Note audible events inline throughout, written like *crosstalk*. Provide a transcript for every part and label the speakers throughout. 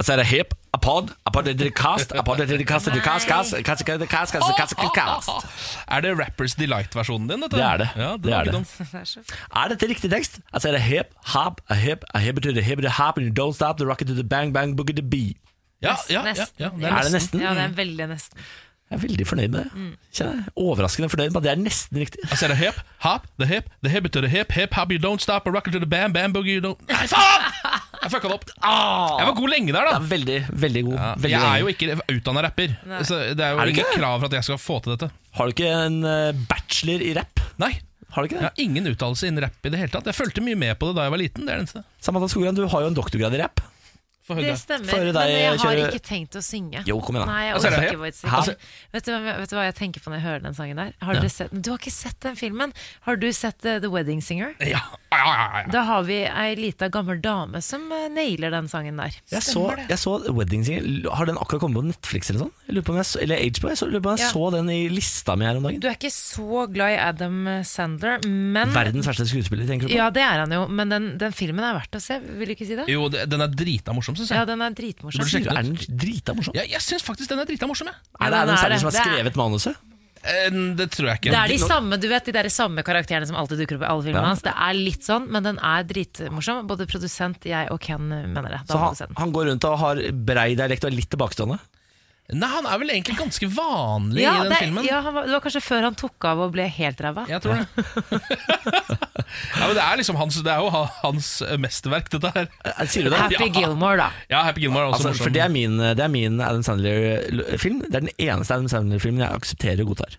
Speaker 1: Altså er det hip, apod, apod er det cast, apod er det cast, er det cast, cast, cast, cast, cast, cast, cast, cast, cast.
Speaker 2: Er det Rappers Delight-versjonen din? Dette?
Speaker 1: Det er det.
Speaker 2: Ja,
Speaker 1: Det
Speaker 2: var
Speaker 1: er
Speaker 2: ikke
Speaker 3: *laughs*
Speaker 1: det. Er dette riktig tekst? Altså er det hip, hop, a hip, a hip to the hip, the hop, and you don't stop, the rocket to the bang, bang, boogie the bee.
Speaker 2: dum. Ja, ja, ja,
Speaker 3: Nesten. Mm.
Speaker 2: ja, det
Speaker 1: Er det
Speaker 2: nesten.
Speaker 1: nesten?
Speaker 3: Ja, det er veldig nesten.
Speaker 1: Jeg er veldig fornøyd med
Speaker 3: Mm.
Speaker 1: det. Kjenner jeg. Overraskende fornøyd med at det er nesten riktig.
Speaker 2: Altså er det hip, hop, the hip, the hip to the hip, hip hop, you don't stop, a rocket to the bam, bam, boogie, you don't Nei, faen! Jeg fucka det opp. Jeg var god lenge der,
Speaker 1: Ah.
Speaker 2: da.
Speaker 1: Det er veldig, veldig god.
Speaker 2: Ja,
Speaker 1: Veldig
Speaker 2: jeg er
Speaker 1: lenge.
Speaker 2: jo ikke utdanna rapper, så det er jo
Speaker 1: Er du
Speaker 2: ingen
Speaker 1: ikke?
Speaker 2: krav for at jeg skal få til dette.
Speaker 1: Har du ikke en eh, bachelor i rap?
Speaker 2: Nei,
Speaker 1: Har du
Speaker 2: jeg
Speaker 1: ikke det?
Speaker 2: har ingen utdannelse innen rap i det hele tatt. Jeg fulgte mye med på det da jeg var liten. Det er det eneste.
Speaker 1: Samantha Skogran, du har jo en doktorgrad i rap.
Speaker 2: Få høre
Speaker 3: Det
Speaker 2: det.
Speaker 3: stemmer,
Speaker 1: Får høre
Speaker 3: men
Speaker 1: deg
Speaker 3: jeg har
Speaker 1: kjøre-
Speaker 3: ikke tenkt å synge.
Speaker 1: Jo, kom igjen da.
Speaker 3: Nei, jeg
Speaker 2: Altså, er
Speaker 3: orker
Speaker 2: det-
Speaker 3: ikke Voice
Speaker 1: Hæ?
Speaker 3: Singer. Vet du, hvem- vet du hva jeg tenker på når jeg hører den sangen der? Har dere sett, du har ikke sett den filmen? Har du sett eh, The Wedding Singer?
Speaker 2: Ja, ja, ja, ja, ja.
Speaker 3: Da har vi ei lita gammel dame som eh, nailer den sangen der.
Speaker 1: Jeg så, jeg så Wedding Singer. Har den akkurat kommet på Netflix eller sånn? Jeg lurer på om jeg så, eller HBO. Jeg, så, lurer på om jeg
Speaker 3: Ja.
Speaker 1: så den i lista mi her om dagen.
Speaker 3: Du er ikke så glad i Adam Sandler, men
Speaker 1: Verdens verste skuespiller, tenker du på?
Speaker 3: Ja, det er han jo, men den, den filmen er verdt å se, vil du ikke si det?
Speaker 2: Jo, det- den er drita morsom, syns
Speaker 3: Ja,
Speaker 2: jeg.
Speaker 3: den er
Speaker 1: Burde
Speaker 3: dritmorsom.
Speaker 1: sjekke ut. Er den drita morsom?
Speaker 2: Ja, Eh, jeg syns faktisk den er drita morsom, jeg.
Speaker 1: Er det
Speaker 3: den
Speaker 1: Adam
Speaker 3: er
Speaker 1: Sandler
Speaker 3: det.
Speaker 1: som har
Speaker 3: Det er-
Speaker 1: skrevet manuset?
Speaker 2: Eh, Det tror jeg ikke.
Speaker 3: Det er de samme du vet, de der samme karakterene som alltid dukker opp i alle filmene
Speaker 1: Ja.
Speaker 3: hans. Det er litt sånn, men den er dritmorsom. Både produsent, jeg og Ken eh, mener det. Da
Speaker 1: Så
Speaker 3: må
Speaker 1: han,
Speaker 3: du se den.
Speaker 1: han går rundt og har brei dialekt og er litt tilbakestående?
Speaker 2: Nei, han er vel egentlig ganske vanlig
Speaker 3: Ja,
Speaker 2: i den
Speaker 3: det,
Speaker 2: filmen.
Speaker 3: ja han var, det var kanskje før han tok av og ble helt ræva.
Speaker 2: Jeg tror det. ja, men det er liksom hans Det er jo ha- hans eh, mesterverk, dette her.
Speaker 1: Eh, Sier du det?
Speaker 2: *laughs*
Speaker 3: Happy
Speaker 2: Ja.
Speaker 3: Gilmore, da.
Speaker 2: Ja, Happy Gilmore er også
Speaker 1: Altså,
Speaker 2: morsom.
Speaker 1: for det er min, det er min Adam Sandler-film. Det er den eneste Adam Sandler-filmen jeg aksepterer og godtar.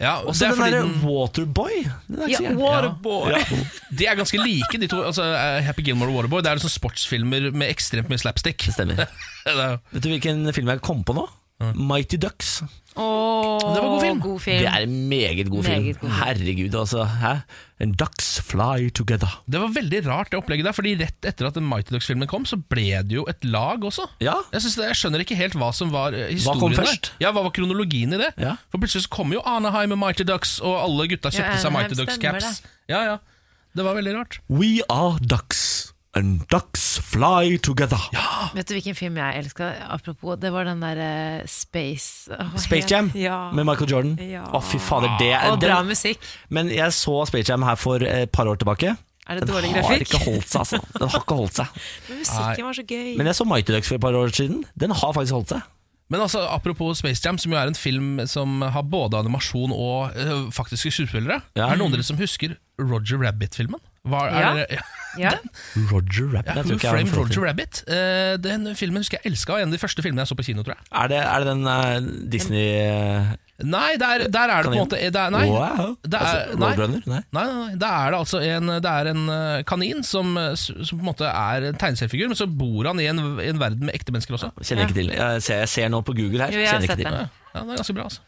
Speaker 2: ja, og
Speaker 1: Også
Speaker 2: det er
Speaker 1: den
Speaker 2: fordi
Speaker 1: derre
Speaker 2: den,
Speaker 1: Waterboy. Den er ikke så
Speaker 3: Ja,
Speaker 1: gæren.
Speaker 3: Waterboy.
Speaker 2: de er ganske like, de to. Altså, eh, Happy Gilmore og Waterboy. Det er liksom sportsfilmer med ekstremt mye slapstick.
Speaker 1: Det stemmer.
Speaker 2: *laughs* Det er jo-
Speaker 1: Vet du hvilken film jeg kom på nå? Mighty Ducks.
Speaker 3: Åh,
Speaker 2: Det var god film.
Speaker 3: God
Speaker 1: Det
Speaker 3: film.
Speaker 1: er en meget god film.
Speaker 3: Meget god film.
Speaker 1: Herregud, altså. Hæ? And ducks fly together.
Speaker 2: Det var veldig rart, det opplegget der. Fordi rett etter at den Mighty Ducks-filmen kom, så ble det jo et lag også.
Speaker 1: Ja.
Speaker 2: Jeg, synes det, jeg skjønner ikke helt hva som var eh, historien
Speaker 1: kom
Speaker 2: der.
Speaker 1: først?
Speaker 2: Ja, hva var kronologien i det?
Speaker 1: Ja.
Speaker 2: For plutselig så kom jo Anaheim med Mighty Ducks, og alle gutta
Speaker 3: Ja,
Speaker 2: kjøpte seg
Speaker 3: Anaheim
Speaker 2: Mighty
Speaker 3: stemmer
Speaker 2: Ducks-caps. Ja, ja. Det var veldig rart.
Speaker 1: We are ducks, and ducks fly together.
Speaker 3: *gasps* Vet du hvilken film jeg elska? Apropos, det var den derre Space Åh, hva
Speaker 1: Space
Speaker 3: het-
Speaker 1: Jam
Speaker 3: Ja.
Speaker 1: med Michael Jordan.
Speaker 3: Ja.
Speaker 1: Å, fy fader. Det er,
Speaker 3: Og
Speaker 1: den-
Speaker 3: bra musikk.
Speaker 1: Men jeg så Space Jam her for et par år tilbake.
Speaker 3: Er det
Speaker 1: Den
Speaker 3: dårlig
Speaker 1: har
Speaker 3: grafikk?
Speaker 1: ikke holdt seg, altså. Den har ikke holdt seg.
Speaker 3: *laughs* Men musikken var så gøy.
Speaker 1: Men jeg så Mighty Ducks for et par år siden. Den har faktisk holdt seg.
Speaker 2: Men altså, apropos Space Jam, som jo er en film som har både animasjon og øh, faktiske skuespillere.
Speaker 1: Ja.
Speaker 2: Er det noen av dere som husker Roger Rabbit-filmen? Hva er
Speaker 3: Ja.
Speaker 2: dere- *laughs* ja.
Speaker 3: ja.
Speaker 1: Roger Rabbit.
Speaker 2: Ja,
Speaker 1: jeg tror
Speaker 2: Who
Speaker 1: ikke jeg har den
Speaker 2: Framed
Speaker 1: for-
Speaker 2: Roger Rabbit? Eh, den filmen husker jeg elska. En av de første filmene jeg så på kino, tror jeg.
Speaker 1: Er det, er det den eh, Disney eh,
Speaker 2: Nei, der, der er det på en
Speaker 1: Kanin?
Speaker 2: måte det er, Nei.
Speaker 1: Wow.
Speaker 2: Det er-
Speaker 1: altså,
Speaker 2: nei.
Speaker 1: Roadrunner? Nei.
Speaker 2: Nei, nei, nei, da er det altså en, det er en eh, kanin som, eh, som på en måte er en tegneseriefigur, men så bor han i en, i en verden med ekte mennesker også.
Speaker 1: Kjenner ikke til. Jeg ser, jeg ser nå på Google her.
Speaker 3: Jo, jeg har
Speaker 1: kjenner ikke til.
Speaker 3: sett den.
Speaker 2: Ja, det er ganske bra, altså.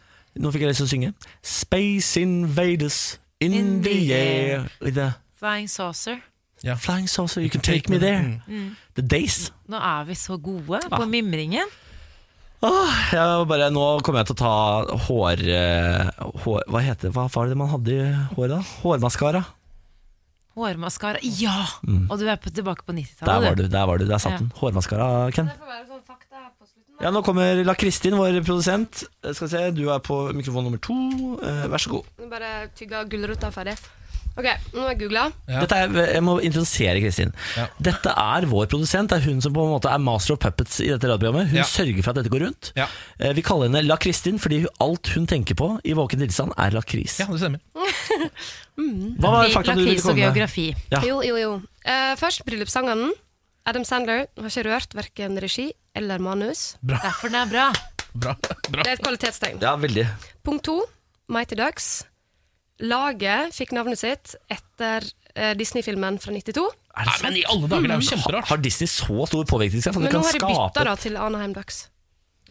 Speaker 1: Nå fikk jeg lyst til å synge. Space invaders in, the air with a
Speaker 3: Flying Saucer. Mm.
Speaker 1: flying saucer, you can take me
Speaker 2: Mm.
Speaker 1: there. The days.
Speaker 3: Nå er vi så gode
Speaker 1: Ah.
Speaker 3: på mimringen.
Speaker 1: Åh, jeg bare, nå kommer jeg til å ta hår, eh, hår Hva heter det? Hva var det man hadde i håret da? Hårmaskara.
Speaker 3: Hårmaskara. Ja! Og du er på, tilbake på
Speaker 1: Mm. Der var
Speaker 3: 90-tallet,
Speaker 1: du, der var du, der satt
Speaker 3: Ja.
Speaker 1: den. Hårmaskara, Ken.
Speaker 4: sånn
Speaker 1: Ja, nå kommer La Kristin, vår produsent. Eh, Skal vi se, du er på mikrofon nummer to. Eh, Vær så god.
Speaker 4: Nå Bare tygge gulrota ferdig. Ok, nå har jeg googla.
Speaker 2: Ja.
Speaker 1: Dette er, eh, jeg må introdusere Kristin.
Speaker 2: Ja.
Speaker 1: Dette er vår produsent. Det er hun som på en måte er master of puppets i dette radioprogrammet. Hun
Speaker 2: Ja.
Speaker 1: sørger for at dette går rundt.
Speaker 2: Ja.
Speaker 1: Eh, Vi kaller henne La Kristin fordi hun- alt hun tenker på i våken tilstand, er lakris.
Speaker 2: Ja, det stemmer.
Speaker 4: Mm.
Speaker 1: Hva var
Speaker 3: du.
Speaker 1: fakta du ville
Speaker 3: Lakris og
Speaker 1: komme med?
Speaker 3: geografi.
Speaker 1: Ja.
Speaker 4: Jo, jo, jo. Eh, først bryllupssangene. Adam Sandler har ikke rørt verken regi eller manus.
Speaker 3: Derfor den er bra.
Speaker 2: Bra. bra.
Speaker 4: Det er et kvalitetstegn.
Speaker 1: Ja, veldig.
Speaker 4: Punkt to, Mighty Ducks. Laget fikk navnet sitt etter eh, Disney-filmen fra 92.
Speaker 1: Er Mm.
Speaker 2: Nei, men i alle dager, det er jo kjemperart.
Speaker 1: Har Disney så stor påvirkningskraft at de
Speaker 4: Men nå
Speaker 1: kan
Speaker 4: har de bytta da
Speaker 1: skape
Speaker 4: til Anaheim Ducks.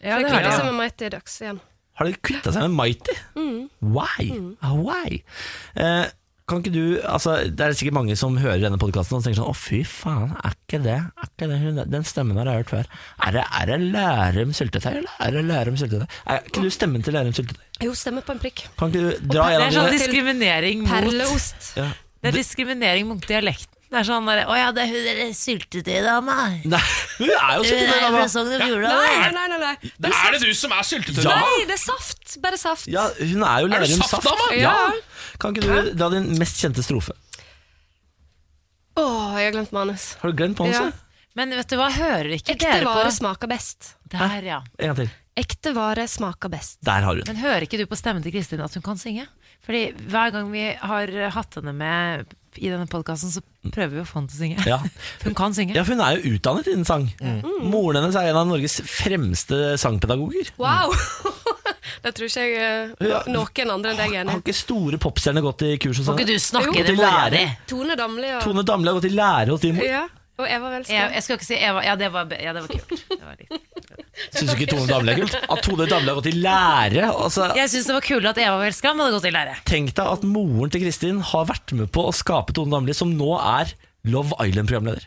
Speaker 3: Ja,
Speaker 4: Det
Speaker 3: det
Speaker 4: er
Speaker 3: har
Speaker 4: klart
Speaker 3: de.
Speaker 4: det med Mighty Ducks igjen. Mm.
Speaker 1: Ah, Har de kvitta seg med Mighty? Why? Why? Eh, Kan ikke du, altså Det er sikkert mange som hører denne podkasten og tenker sånn Å, fy faen, er ikke det, er ikke det hun, den stemmen har jeg hørt før. Er det, er det Lærum syltetøy, eller er det Lærum syltetøy? Er ikke du stemmen til Lærum syltetøy?
Speaker 4: Jo, stemmer på en prikk.
Speaker 1: Kan ikke du dra
Speaker 3: Det er
Speaker 1: gjennom
Speaker 3: sånn
Speaker 1: det?
Speaker 3: diskriminering mot
Speaker 4: Perleost.
Speaker 1: Ja.
Speaker 3: Det er diskriminering mot dialekten. Det er sånn derre Å ja, det er hun derre syltetøydama.
Speaker 1: Nei, hun er jo
Speaker 3: Hun
Speaker 4: Eh,
Speaker 3: er fra
Speaker 1: syltetøy, da.
Speaker 3: Sogn og
Speaker 4: Nei,
Speaker 3: Fjordane.
Speaker 4: nei, nei. nei.
Speaker 2: Det er det du som er syltetøy!
Speaker 1: Ja.
Speaker 4: Nei, det er saft. Bare saft.
Speaker 1: Ja, hun er jo
Speaker 2: Er du
Speaker 1: Lærum
Speaker 2: saft,
Speaker 1: Saft.
Speaker 2: dama?
Speaker 1: Ja. Kan ikke du dra din mest kjente strofe?
Speaker 4: Å, jeg har glemt manus.
Speaker 1: Har du glemt
Speaker 4: Ja.
Speaker 1: manuset?
Speaker 3: Men vet du hva, hører ikke
Speaker 4: Ekte
Speaker 3: dere
Speaker 4: vare
Speaker 3: på
Speaker 4: smaker best.
Speaker 3: Der, ja.
Speaker 1: En gang til.
Speaker 4: Ekte vare smaker best.
Speaker 1: Der har hun.
Speaker 3: Men hører ikke du på stemmen til Kristin at hun kan synge? Fordi hver gang vi har hatt henne med i denne podkasten, så prøver vi å få henne til å synge.
Speaker 1: Ja.
Speaker 3: For hun kan synge.
Speaker 1: Ja, for hun er jo utdannet innen sang. Moren hennes er en av Norges fremste sangpedagoger.
Speaker 4: Wow! *laughs* det tror ikke jeg eh,
Speaker 1: Ja.
Speaker 4: noen andre enn deg er
Speaker 1: Har
Speaker 4: enig i.
Speaker 1: ikke store popstjerner gått i kurs hos
Speaker 3: Får ikke
Speaker 1: henne?
Speaker 3: du
Speaker 4: Jo,
Speaker 3: snakke
Speaker 1: til
Speaker 3: til mora di?
Speaker 1: lærer.
Speaker 4: Tone Damli og,
Speaker 1: Tone Damli har gått i lære hos din mor.
Speaker 4: ja, og Eva
Speaker 3: Jeg,
Speaker 4: Welskov.
Speaker 3: jeg skal ikke si Eva. Ja, det var, be- ja, det var kult. Det var litt.
Speaker 1: Syns du ikke Tone Damli er kult? At Tone Damli har gått i lære? Altså,
Speaker 3: Jeg syns det var kulere at Eva Welskam hadde gått i lære.
Speaker 1: tenk deg at moren til Kristin har vært med på å skape Tone Damli, som nå er Love Island-programleder.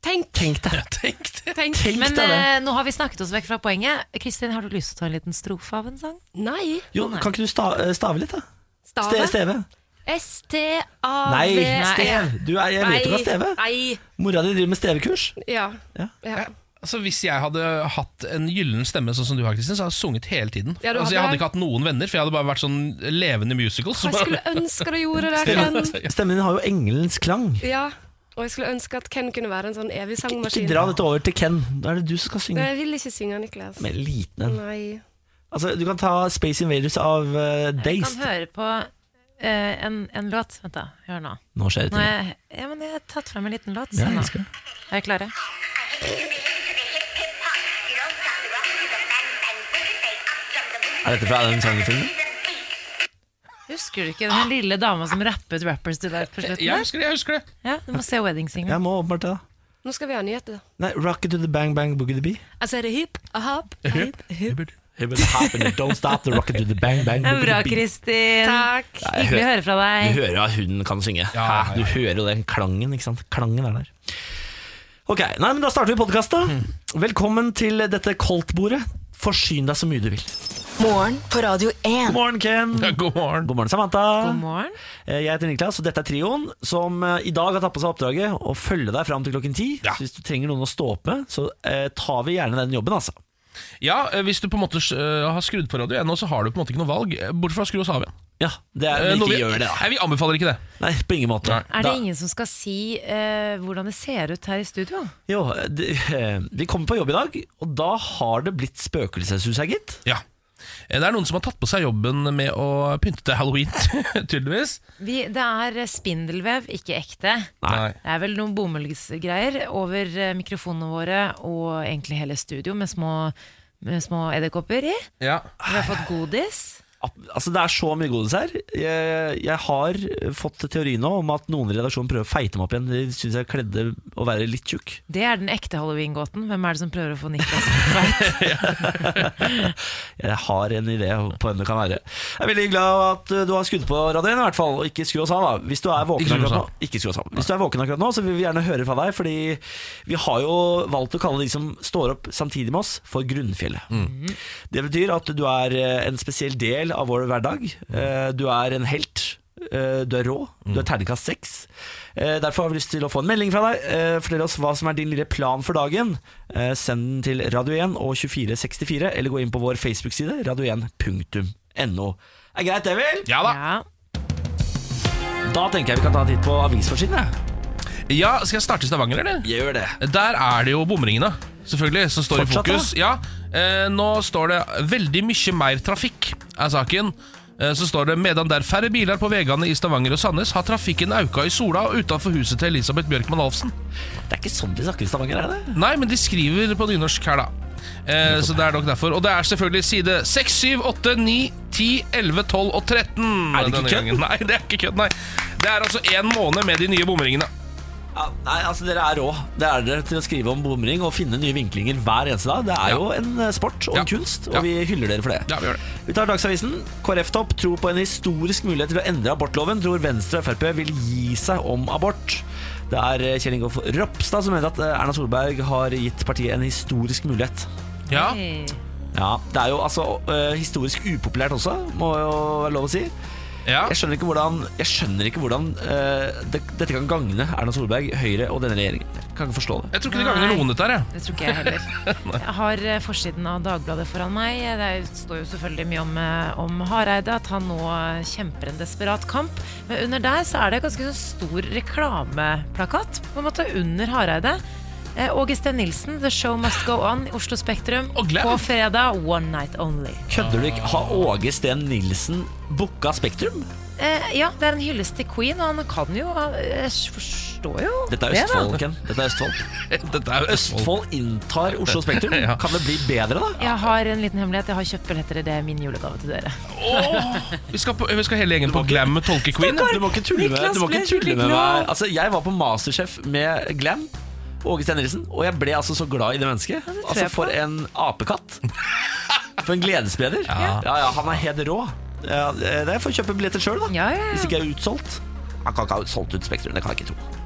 Speaker 4: Tenk,
Speaker 1: Tenk deg
Speaker 2: Tenk det!
Speaker 4: tenk.
Speaker 1: Tenk
Speaker 3: Men
Speaker 1: deg det.
Speaker 3: eh, nå har vi snakket oss vekk fra poenget. Kristin, har du lyst til å ta en liten strofe av en sang?
Speaker 4: Nei.
Speaker 1: Jo, kan ikke du sta eh, stave litt, da? Ste
Speaker 4: Stave.
Speaker 1: steve? Nei,
Speaker 4: S-T-A-V-E.
Speaker 1: Stev. Du er, jeg vet du kan steve.
Speaker 4: E. Nei.
Speaker 1: Mora di driver med stevekurs.
Speaker 4: Ja.
Speaker 1: Ja.
Speaker 4: ja.
Speaker 2: Altså, hvis jeg hadde hatt en gyllen stemme sånn som du har, Kristin, så hadde jeg sunget hele tiden.
Speaker 4: Ja, du
Speaker 2: altså, jeg
Speaker 4: hadde-
Speaker 2: hadde ikke hatt noen venner, for jeg hadde bare vært sånn levende musical. så
Speaker 4: Jeg
Speaker 2: bare-
Speaker 4: skulle ønske du gjorde det, Ken.
Speaker 1: Stemmen din har jo engelens klang.
Speaker 4: Ja. Og jeg skulle ønske at Ken kunne være en sånn evig
Speaker 1: Ikke
Speaker 4: sangmaskin.
Speaker 1: dra dette over til Ken. Da er det du som skal
Speaker 4: Nei,
Speaker 1: synge.
Speaker 4: Jeg vil ikke synge, Niklas.
Speaker 1: Med en liten en.
Speaker 4: Nei.
Speaker 1: Altså, du kan ta Space Invaders av eh,
Speaker 3: Vi
Speaker 1: Days.
Speaker 3: kan høre på eh, en, en låt. Vent, da. Hør nå.
Speaker 1: Nå skjer det
Speaker 3: nå
Speaker 1: ting.
Speaker 3: har jeg, ja, men jeg har tatt frem en liten låt. Se nå. Er dere klare?
Speaker 1: Er dette fra Adam Sandler-filmen?
Speaker 3: Husker du ikke den lille dama som rappet Rappers Delight på slutten?
Speaker 2: Jeg
Speaker 3: der?
Speaker 2: husker det, jeg husker det.
Speaker 3: Ja, Du må se Wedding Singer.
Speaker 1: Jeg må åpenbart det, da.
Speaker 4: Nå skal vi ha nyheter.
Speaker 1: Nei, Rocket to the Bang Bang Boogie the Bee.
Speaker 4: Altså er det hip, a hop, hip.
Speaker 1: It will happen, it don't stop the rocket to the bang bang
Speaker 3: Det er bra,
Speaker 1: boogie the bee.
Speaker 3: Kristin.
Speaker 4: Takk.
Speaker 1: Nei, jeg
Speaker 3: Hyggelig å
Speaker 1: hører-
Speaker 3: høre fra
Speaker 1: Du
Speaker 3: deg.
Speaker 1: hører at hun kan synge.
Speaker 2: Ja,
Speaker 1: Hæ?
Speaker 2: ja, ja.
Speaker 1: Du hører jo den klangen, ikke sant? Klangen er der. Ok, nei, men Da starter vi podkastet. Velkommen til dette koldtbordet. Forsyn deg så mye du vil.
Speaker 5: Morgen på Radio 1.
Speaker 1: God morgen, Ken.
Speaker 2: Ja, *laughs* god morgen.
Speaker 1: God morgen, Samantha.
Speaker 3: God morgen.
Speaker 1: Eh, Jeg heter Niklas, og dette er trioen som eh, i dag har tatt på seg oppdraget å følge deg fram til klokken ti.
Speaker 2: Ja.
Speaker 1: Så hvis du trenger noen å stå opp med, så eh, tar vi gjerne den jobben, altså.
Speaker 2: Ja, eh, hvis du på en måte eh, har skrudd på radio ennå, så har du på en måte ikke noe valg, eh, bortsett fra å skru oss av igjen.
Speaker 1: Ja, det er,
Speaker 2: Eh,
Speaker 1: men
Speaker 2: noe
Speaker 1: ikke gjør det, da.
Speaker 2: Nei, vi anbefaler ikke det.
Speaker 1: Nei, på ingen måte.
Speaker 2: Nei.
Speaker 3: Er
Speaker 1: Da-
Speaker 3: det ingen som skal si eh, hvordan det ser ut her i studio?
Speaker 1: Jo, det, eh, vi kommer på jobb i dag, og da har det blitt spøkelseshus her, gitt.
Speaker 2: Ja. Eh, Det er noen som har tatt på seg jobben med å pynte til halloween, *laughs* tydeligvis.
Speaker 3: Vi, det er eh, spindelvev, ikke ekte.
Speaker 1: Nei.
Speaker 3: Det er vel noen bomullsgreier over eh, mikrofonene våre og egentlig hele studio med små, med små edderkopper i.
Speaker 2: Ja.
Speaker 3: Vi har fått godis.
Speaker 1: Ab- Altså, det er så mye godis her. Jeg, jeg har fått teori nå om at noen i redaksjonen prøver å feite meg opp igjen. De syns jeg kledde å være litt tjukk.
Speaker 3: Det er den ekte halloween-gåten. Hvem er det som prøver å få Niklas til å feite?
Speaker 1: Jeg har en idé på hvem det kan være. Jeg er veldig glad at uh, du har skrudd på radioen, i hvert fall. Og ikke skru oss av, da. Hvis du er våken
Speaker 2: Ikke skru oss
Speaker 1: akkurat nå,
Speaker 2: av.
Speaker 1: ikke skru oss av. Hvis du er våken akkurat nå, så vil vi gjerne høre fra deg. Fordi vi har jo valgt å kalle de som står opp samtidig med oss, for Grunnfjellet. Det betyr at du er uh, en spesiell del av vår hverdag. Uh, Du er en helt. Uh, Du er rå. Du er terningkast seks. Eh, Derfor har vi lyst til å få en melding fra deg. Eh, Fortell oss hva som er din lille plan for dagen. Eh, Send den til Radio 1 og 2464, eller gå inn på vår Facebook-side, radio1.no. Er greit, det, vel?
Speaker 2: ja da.
Speaker 3: Ja.
Speaker 1: Da tenker jeg vi kan ta en titt på avisforsiden. jeg.
Speaker 2: Ja, Skal jeg starte i Stavanger, eller?
Speaker 1: Gjør det.
Speaker 2: Der er det jo bomringene, selvfølgelig, som står
Speaker 1: Fortsatt,
Speaker 2: i fokus. Ja, eh, nå står det 'veldig mye mer trafikk', er saken. Eh, Så står det medan det er færre biler på veiene i Stavanger og Sandnes, har trafikken auka i Sola og utenfor huset til Elisabeth Bjørkman Alfsen.
Speaker 1: Det er ikke sånn de snakker i Stavanger, er det?
Speaker 2: Nei, men de skriver på nynorsk her, da. Eh, så det er nok derfor. Og det er selvfølgelig side 6, 7, 8, 9, 10, 11, 12 og 13.
Speaker 1: Er det ikke
Speaker 2: Mm. denne
Speaker 1: kødd?
Speaker 2: gangen. Nei, det er ikke kødd, nei. Det er altså én måned med de nye bomringene.
Speaker 1: Ja, nei, altså Dere er rå Det er dere til å skrive om bomring og finne nye vinklinger hver eneste dag. Det er
Speaker 2: Ja.
Speaker 1: jo en eh, sport og
Speaker 2: Ja.
Speaker 1: en kunst, og
Speaker 2: Ja.
Speaker 1: vi hyller dere for det.
Speaker 2: Ja, vi gjør det.
Speaker 1: Vi tar Dagsavisen. KrF-topp tror på en historisk mulighet til å endre abortloven. Tror Venstre og Frp vil gi seg om abort. Det er eh, Kjell Ingolf Ropstad som mener at eh, Erna Solberg har gitt partiet en historisk mulighet.
Speaker 2: Ja,
Speaker 3: Hei.
Speaker 1: Ja, Det er jo altså eh, historisk upopulært også, må jo være lov å si.
Speaker 2: ja.
Speaker 1: Jeg skjønner ikke hvordan, jeg skjønner ikke hvordan eh, det, dette kan gagne Erna Solberg, Høyre og denne regjeringen. Jeg kan ikke forstå det.
Speaker 2: Jeg tror ikke det gagner noen dette her, jeg.
Speaker 3: Det tror ikke jeg
Speaker 2: *laughs*
Speaker 3: heller. Jeg har eh, forsiden av Dagbladet foran meg. Det er- står jo selvfølgelig mye om, eh, om Hareide, at han nå eh, kjemper en desperat kamp. Men under der så er det ganske sånn stor reklameplakat, på en måte, under Hareide. Eh, Åge Steen Nilsen, 'The Show Must Go On' i Oslo Spektrum
Speaker 2: Og Glenn.
Speaker 3: på fredag. One night only.
Speaker 1: Kødder du ikke? Har Åge Steen Nilsen booka Spektrum?
Speaker 3: Eh, ja, det er en hyllest til Queen, og han kan jo Jeg forstår jo
Speaker 1: Dette er
Speaker 3: det, da.
Speaker 1: Østfold, Ken. Dette er Østfold.
Speaker 2: *laughs* Dette er jo Østfold.
Speaker 1: Østfold inntar Oslo Spektrum.
Speaker 2: *laughs* Ja.
Speaker 1: Kan det bli bedre, da?
Speaker 3: Jeg har en liten hemmelighet. Jeg har kjøpt billetter i det er min julegave til dere.
Speaker 2: Åh, vi, skal på, vi skal hele gjengen på Glam med Tolke Queen.
Speaker 1: Du må ikke tulle med,
Speaker 6: Niklas
Speaker 1: du må ikke
Speaker 6: ble
Speaker 1: tulle
Speaker 6: skikkelig
Speaker 1: med
Speaker 6: glad.
Speaker 1: meg. Altså, jeg var på Masterchef med Glam. Åge Steen Nilsen. Og jeg ble altså så glad i det mennesket.
Speaker 3: tror
Speaker 1: Altså,
Speaker 3: jeg på.
Speaker 1: for en apekatt.
Speaker 2: *laughs*
Speaker 1: For en gledesspreder. Ja. ja, han er helt rå. Ja, det får jeg kjøpe billetter sjøl, da.
Speaker 3: Ja, ja, ja.
Speaker 1: Hvis ikke jeg er utsolgt. Han kan ikke ha solgt ut Spektrum, det kan jeg ikke tro.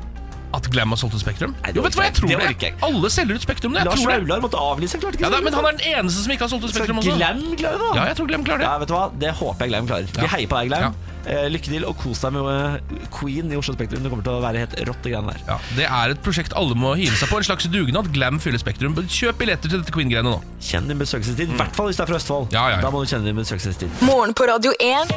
Speaker 2: At Glam har solgt ut Spektrum?
Speaker 1: Nei, det
Speaker 2: Jo, vet du hva, jeg
Speaker 1: orker jeg-
Speaker 2: tror
Speaker 1: det
Speaker 2: det.
Speaker 1: orker jeg ikke.
Speaker 2: Alle selger ut Spektrum. Jeg
Speaker 1: Lars
Speaker 2: tror det.
Speaker 1: Vaular måtte avlyse, klarte ikke
Speaker 2: Ja, da, men han
Speaker 1: det.
Speaker 2: er den eneste som ikke har solgt ut
Speaker 1: Så
Speaker 2: Spektrum også.
Speaker 1: Glam Altså, klarer det, da.
Speaker 2: Ja, jeg tror Glam klarer det.
Speaker 1: Ja, vet du hva? Det håper jeg Glam klarer. Vi
Speaker 2: Ja.
Speaker 1: heier på deg, Glam. Eh, lykke til, og kos deg med eh, Queen i Oslo Spektrum. Det kommer til å være helt rått, det greiene der.
Speaker 2: Ja, Det er et prosjekt alle må hive seg på. En slags dugnad. Glam fyller Spektrum. Kjøp billetter til dette Queen-greiene nå.
Speaker 1: Kjenn din besøkelsestid, i hvert fall hvis du er fra Østfold.
Speaker 2: Ja, ja, ja.
Speaker 1: Da må du kjenne din besøkelsestid.
Speaker 5: Morgen på Radio 1.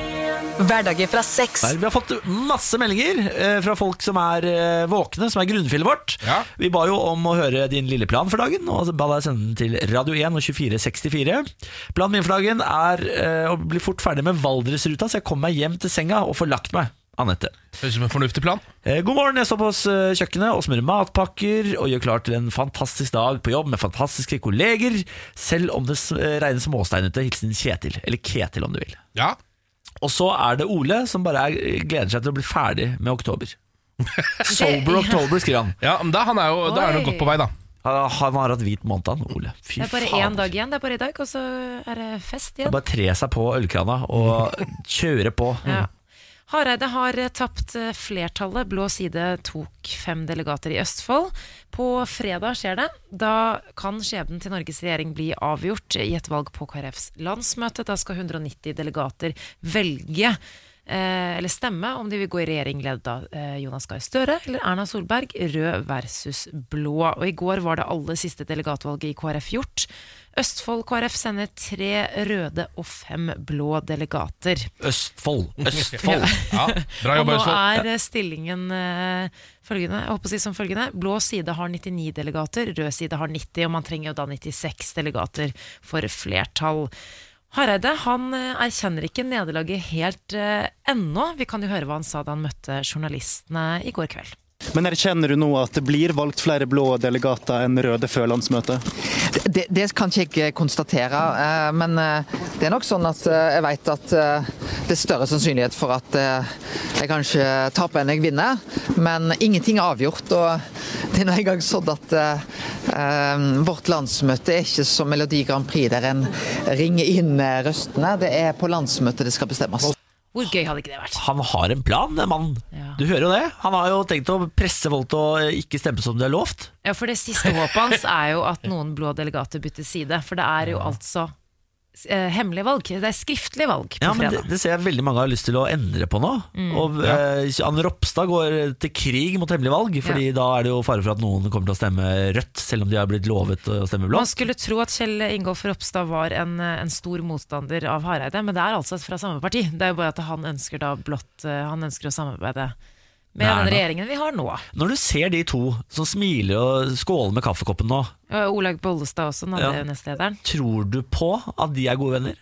Speaker 5: Hverdager fra seks.
Speaker 1: Nei, Vi har fått masse meldinger eh, fra folk som er eh, våkne, som er grunnfjellet vårt.
Speaker 2: Ja.
Speaker 1: Vi ba jo om å høre din lille plan for dagen, og ba deg sende den til Radio 1 og 2464. Planen min for dagen er eh, å bli fort ferdig med Valdresruta, så jeg kommer meg hjem til senga og får lagt meg. Anette.
Speaker 2: Høres ut som en fornuftig plan.
Speaker 1: Eh, God morgen, jeg står på eh, kjøkkenet og smører matpakker og gjør klar til en fantastisk dag på jobb med fantastiske kolleger, selv om det s- eh, regner småsteinete. Hilsen Kjetil, eller Ketil om du vil.
Speaker 2: Ja.
Speaker 1: Og så er det Ole som bare er, gleder seg til å bli ferdig med
Speaker 3: *laughs*
Speaker 1: oktober. Sober October, skriver han.
Speaker 2: ja men da, han er jo, da er han jo
Speaker 3: Oi.
Speaker 2: godt på vei, da.
Speaker 1: Han han har hatt hvit måned, han Ole. Fy
Speaker 3: Det er bare én dag igjen, det er bare i dag, og så er det fest
Speaker 1: Det er
Speaker 3: igjen.
Speaker 1: bare å tre seg på ølkrana og kjøre på.
Speaker 3: Ja. Hareide har eh, tapt eh, flertallet. Blå side tok fem delegater i Østfold. På fredag skjer det. Da kan skjebnen til Norges regjering bli avgjort i et valg på KrFs landsmøte. Da skal 190 delegater velge eh, eller stemme om de vil gå i regjering ledd av eh, Jonas Gahr Støre eller Erna Solberg, rød versus blå. Og i går var det aller siste delegatvalget i KrF gjort. Østfold KrF sender tre røde og fem blå delegater.
Speaker 1: Østfold, Østfold.
Speaker 2: Ja, Bra
Speaker 3: Og
Speaker 2: jobba,
Speaker 3: nå
Speaker 2: Østfold.
Speaker 3: er eh, stillingen eh, følgende, jeg håper å si som følgende. Blå side har 99 delegater, rød side har 90, og man trenger jo da 96 delegater for flertall. Hareide han eh, erkjenner ikke nederlaget helt eh, ennå. Vi kan jo høre hva han sa da han møtte journalistene i går kveld.
Speaker 7: Men erkjenner du nå at det blir valgt flere blå delegater enn røde før landsmøtet?
Speaker 8: Det, det kan ikke jeg konstatere, eh, men eh, det er nok sånn at eh, jeg vet at eh, det er større sannsynlighet for at eh, jeg kanskje taper enn jeg vinner, men ingenting er avgjort. og Det er nå engang sånn at eh, eh, vårt landsmøte er ikke som Melodi Grand Prix der en ringer inn eh, røstene. Det er på landsmøtet det skal bestemmes.
Speaker 3: Hvor gøy hadde ikke det vært?
Speaker 1: Han har en plan, den mannen.
Speaker 3: Ja.
Speaker 1: Du hører jo det. Han har jo tenkt å presse folk til å ikke stemme som de har lovt.
Speaker 3: Ja, For det siste håpet hans er jo at noen blå delegater bytter side. For det er jo altså eh, hemmelig valg. Det er skriftlig valg på
Speaker 1: Ja, men det,
Speaker 3: fredag. Mm.
Speaker 1: det ser jeg veldig mange har lyst til å endre på nå. Og eh, Anne Ropstad går til krig mot hemmelig valg, Fordi da er det jo fare for at noen kommer til å stemme rødt, selv om de har blitt lovet å stemme
Speaker 3: Man
Speaker 1: blått.
Speaker 3: skulle tro at Kjell Ingolf Ropstad var en, en stor motstander av Hareide, men det er altså fra samme parti. Det er jo bare at han ønsker da blått eh, Han ønsker å samarbeide med
Speaker 1: Nei,
Speaker 3: den
Speaker 1: nei.
Speaker 3: regjeringen vi har nå.
Speaker 1: Når du ser de to som smiler og skåler med kaffekoppen nå,
Speaker 3: Og Olaug Bollestad også, den andre
Speaker 1: Ja.
Speaker 3: nestlederen.
Speaker 1: tror du på at de er gode venner?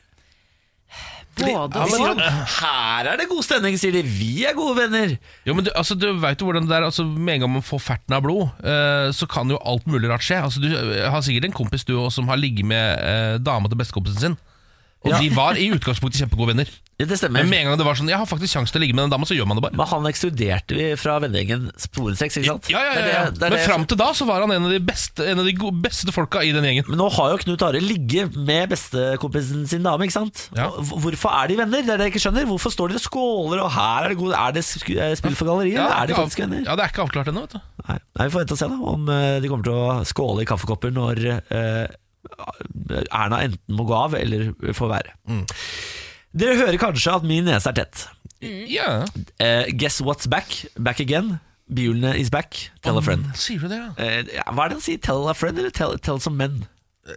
Speaker 3: Både
Speaker 1: de
Speaker 3: og.
Speaker 1: sier at her er det god stemning, sier de. Vi er gode venner.
Speaker 2: Jo, men du, altså, du vet jo hvordan det er altså, Med en gang man får ferten av blod, eh, så kan jo alt mulig rart skje. Altså, du eh, har sikkert en kompis du også, som har ligget med eh, dama til bestekompisen sin. Og
Speaker 1: Ja.
Speaker 2: de var i utgangspunktet kjempegode venner.
Speaker 1: Ja, det stemmer.
Speaker 2: Men med en gang det var sånn Jeg har faktisk sjanse til å ligge med den dama, så gjør man det bare.
Speaker 1: Men han ekskluderte vi fra vennegjengen sporensex, ikke sant?
Speaker 2: Ja, ja, ja, ja.
Speaker 1: Det er det- det er
Speaker 2: Men
Speaker 1: det-
Speaker 2: fram til da så var han en av de beste, en av de go- beste folka i den gjengen.
Speaker 1: Men nå har jo Knut Are ligget med bestekompisen sin dame, ikke sant?
Speaker 2: Ja.
Speaker 1: Og h- Hvorfor er de venner? Det er det jeg ikke skjønner. Hvorfor står dere og skåler, og her er det god Er det sku- eh, spill for galleriet, eller er de
Speaker 2: ikke av-
Speaker 1: faktisk venner?
Speaker 2: ja, det er ikke avklart ennå, vet du.
Speaker 1: Nei. Nei, vi får vente og se da om eh, de kommer til å skåle i kaffekopper når eh, Erna enten må gå av eller får være.
Speaker 2: Mm.
Speaker 1: Dere hører kanskje at min nese er tett.
Speaker 2: Mm, Ja.
Speaker 1: Eh, guess what's back? Back again? Bjulene is back. Tell a friend.
Speaker 2: Sier du det, ja?
Speaker 1: Eh, ja, hva er det han sier? Tell a friend eller tell, tell some men?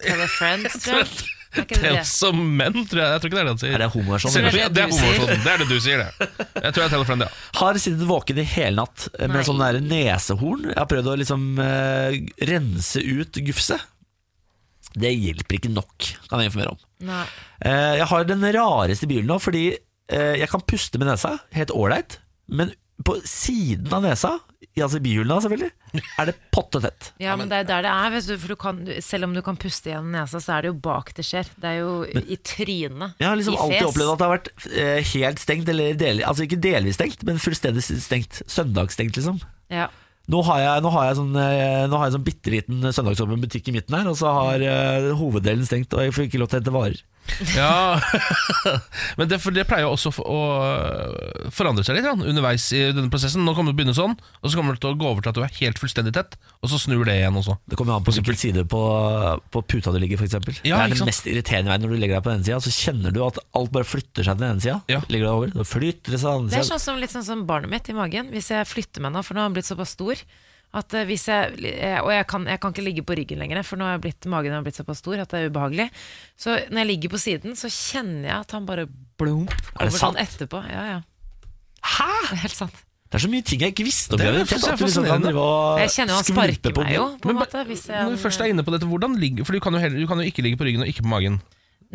Speaker 3: Tell a
Speaker 1: *laughs*
Speaker 3: friend, tror jeg. Er ikke det
Speaker 2: Tell
Speaker 3: det?
Speaker 2: some men, tror jeg. Jeg tror ikke det er det han sier.
Speaker 1: Er det homoversjon?
Speaker 2: Sier
Speaker 1: eller?
Speaker 2: du- det er homoversjonen. Det er det du sier, det. Jeg tror jeg teller frem det. ja.
Speaker 1: Har sittet våken i hele natt eh, med
Speaker 3: Nei.
Speaker 1: sånn der nesehorn. Jeg har prøvd å liksom eh, rense ut gufset. Det hjelper ikke nok, kan jeg informere om.
Speaker 3: Nei.
Speaker 1: Eh, jeg har den rareste bilen nå, fordi eh, jeg kan puste med nesa, helt ålreit, men på siden av nesa, i- altså i bihulene selvfølgelig, er det pottetett.
Speaker 3: Ja, men det er der det er, vet du, for du kan, selv om du kan puste gjennom nesa, så er det jo bak det skjer. Det er jo i trynet.
Speaker 1: Jeg har liksom
Speaker 3: I
Speaker 1: alltid
Speaker 3: fjes.
Speaker 1: opplevd at det har vært eh, helt stengt, eller del, altså ikke delvis stengt, men fullstendig stengt. Søndagsstengt, liksom.
Speaker 3: Ja.
Speaker 1: Nå har jeg, nå har jeg sånn, eh, nå har jeg sånn bitte liten søndagsåpen butikk i midten her, og så har eh, hoveddelen stengt, og jeg får ikke lov til å hente varer.
Speaker 2: ja. *laughs* Men det, for det pleier jo også å å forandre seg litt grann, underveis i denne prosessen. Nå kommer det til å begynne sånn, og så kommer det til å gå over til at du er helt fullstendig tett, og så snur det igjen også.
Speaker 1: Det kommer an på hvilken side på, på puta du ligger,
Speaker 2: Ja,
Speaker 1: f.eks. det er
Speaker 2: ikke
Speaker 1: den
Speaker 2: sant?
Speaker 1: mest irriterende veien når du legger deg på den ene sida, så kjenner du at alt bare flytter seg til den ene sida.
Speaker 2: Ja.
Speaker 1: Ligger du over, så flytter det seg til den
Speaker 3: Det
Speaker 1: andre
Speaker 3: er
Speaker 1: sida.
Speaker 3: sånn som, litt sånn som barnet mitt i magen. Hvis jeg flytter meg nå, for nå har han blitt såpass stor. At eh, hvis jeg, eh, og jeg kan, jeg kan ikke ligge på ryggen lenger, for nå har jeg blitt, magen har blitt såpass stor at det er ubehagelig. Så når jeg ligger på siden, så kjenner jeg at han bare blump
Speaker 1: Er det
Speaker 3: over sånn
Speaker 1: sant?
Speaker 3: etterpå. Ja, ja.
Speaker 1: Hæ?!
Speaker 3: Det er helt sant.
Speaker 1: Det er så mye ting jeg ikke visste om.
Speaker 2: Det er
Speaker 1: graviditet,
Speaker 2: faktisk
Speaker 1: at du liksom kan
Speaker 2: fascinerende.
Speaker 1: drive og
Speaker 3: sånn Jeg kjenner jo han
Speaker 1: skvulpe
Speaker 3: sparker
Speaker 1: på
Speaker 3: meg jo,
Speaker 1: den.
Speaker 3: på en
Speaker 2: Men
Speaker 3: måte. Hvis
Speaker 2: Når vi først
Speaker 3: jeg,
Speaker 2: er inne på dette, hvordan ligger For du kan jo, heller, du kan jo ikke ligge på ryggen og ikke på magen.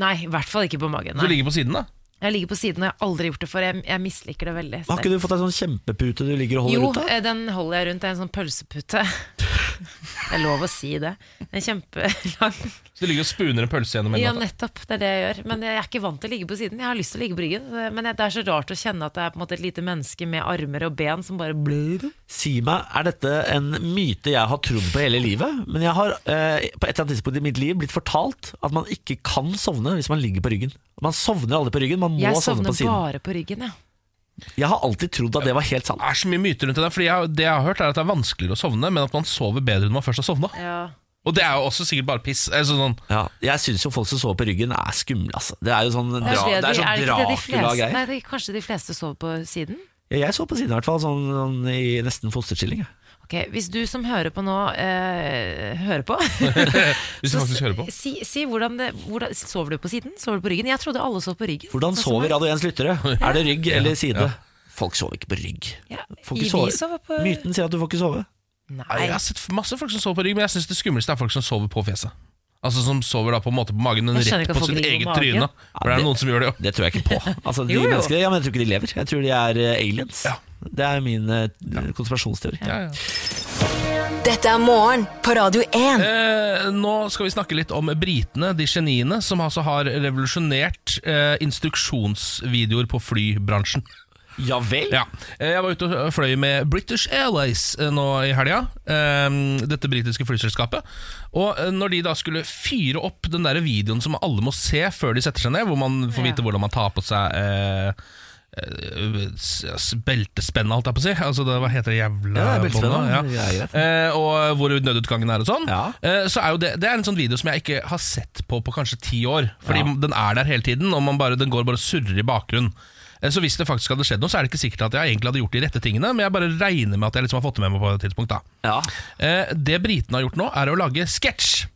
Speaker 3: nei, i hvert fall ikke på magen.
Speaker 2: Du
Speaker 3: Nei.
Speaker 2: ligger på siden, da.
Speaker 3: Jeg ligger på siden, og jeg har aldri gjort det før. Jeg, jeg misliker det veldig.
Speaker 1: Har
Speaker 3: sterkt.
Speaker 1: ikke du fått ei sånn kjempepute du ligger og holder
Speaker 3: jo,
Speaker 1: ut av?
Speaker 3: eh, den holder jeg rundt. Det er en sånn pølsepute. *laughs* Det er lov å si det. En kjempelang
Speaker 2: Så du ligger og spooner en pølse gjennom hele
Speaker 3: Ja,
Speaker 2: natta.
Speaker 3: nettopp. Det er det jeg gjør. Men jeg er ikke vant til å ligge på siden. Jeg har lyst til å ligge på ryggen. eh, Men det er så rart å kjenne at det er på en måte et lite menneske med armer og ben som bare blør.
Speaker 1: Si meg, er dette en myte jeg har trodd på hele livet? Men jeg har eh, på et eller annet tidspunkt i mitt liv blitt fortalt at man ikke kan sovne hvis man ligger på ryggen. Man sovner aldri på ryggen, man må
Speaker 3: Jeg
Speaker 1: sovne
Speaker 3: sovner
Speaker 1: på siden.
Speaker 3: bare på ryggen, jeg.
Speaker 1: Jeg har alltid trodd at det var helt sant.
Speaker 2: Det er så mye myter rundt det der, fordi jeg, det jeg har hørt er at det er vanskeligere å sovne, men at man sover bedre når man først har sovna.
Speaker 3: Ja.
Speaker 2: Og det er jo også sikkert bare piss. Altså, sånn,
Speaker 1: Ja, jeg syns jo folk som sover på ryggen er skumle, altså. Det er jo sånn,
Speaker 3: Det
Speaker 1: dra,
Speaker 3: er, det,
Speaker 1: det er
Speaker 3: de-
Speaker 1: sånn
Speaker 3: er det ikke det de fleste
Speaker 1: Dracula-greier.
Speaker 3: Nei, det er kanskje de fleste sover på siden?
Speaker 1: Ja, jeg så på siden i hvert fall, sånn, sånn i nesten fosterstilling. jeg.
Speaker 3: Ok, Hvis du som hører på nå, eh, hører på
Speaker 2: *laughs* hvis du faktisk hører på.
Speaker 3: Si, si hvordan det, hvordan, sover du på siden? Sover du på ryggen? Jeg trodde alle sov på ryggen.
Speaker 1: Hvordan
Speaker 3: Sånn som
Speaker 1: sover
Speaker 3: meg.
Speaker 1: Radio 1s lyttere? Er det
Speaker 2: *laughs*
Speaker 1: rygg eller side? Folk sover ikke på rygg.
Speaker 3: Ja,
Speaker 1: Får
Speaker 3: vi
Speaker 1: ikke sove.
Speaker 3: sover på
Speaker 1: Myten sier at du får ikke sove.
Speaker 2: Nei,
Speaker 3: Nei.
Speaker 2: Jeg har sett masse folk som sover på rygg, men jeg syns det skumleste er folk som sover på fjeset. Altså Som sover da på en måte på magen, men
Speaker 3: Jeg
Speaker 2: rett
Speaker 3: skjønner ikke at
Speaker 2: på
Speaker 3: folk
Speaker 2: sitt
Speaker 3: ligger på
Speaker 2: eget
Speaker 3: magen.
Speaker 2: tryne. For det
Speaker 1: det-
Speaker 2: er noen som gjør det jo.
Speaker 1: Det tror jeg ikke på. Altså, de
Speaker 3: Jo, jo.
Speaker 1: menneskene, ja, men Jeg tror ikke de lever. Jeg tror de er eh, aliens.
Speaker 2: Ja.
Speaker 1: Det er min eh, konspirasjonsteori.
Speaker 2: Ja, ja.
Speaker 5: Dette er morgen på Radio 1.
Speaker 2: Eh, nå skal vi snakke litt om britene, de geniene, som altså har revolusjonert eh, instruksjonsvideoer på flybransjen.
Speaker 1: Ja vel?
Speaker 2: Ja. Eh, Jeg var ute og fløy med British Airways eh, nå i helga. eh, Dette britiske flyselskapet. Og eh, når de da skulle fyre opp den der videoen som alle må se før de setter seg ned, hvor man får vite hvordan man tar på seg eh, eh, s- s- Beltespennet, holdt jeg på å si. Altså, det, hva heter det jævla
Speaker 1: Ja, det er
Speaker 2: båndet?
Speaker 1: beltespennet.
Speaker 2: Ja.
Speaker 1: Ja, greit.
Speaker 2: Eh, og hvor nødutgangen er og sånn.
Speaker 1: Ja.
Speaker 2: Eh, så er jo det, det er en sånn video som jeg ikke har sett på på kanskje ti år. Fordi den er der hele tiden, og man bare, den går bare og surrer i bakgrunnen. Eh, Så hvis det faktisk hadde skjedd noe, så er det ikke sikkert at jeg egentlig hadde gjort de rette tingene, men jeg bare regner med at jeg liksom har fått det med meg på et tidspunkt. da.
Speaker 1: Ja.
Speaker 2: Eh, Det britene har gjort nå, er å lage sketsj.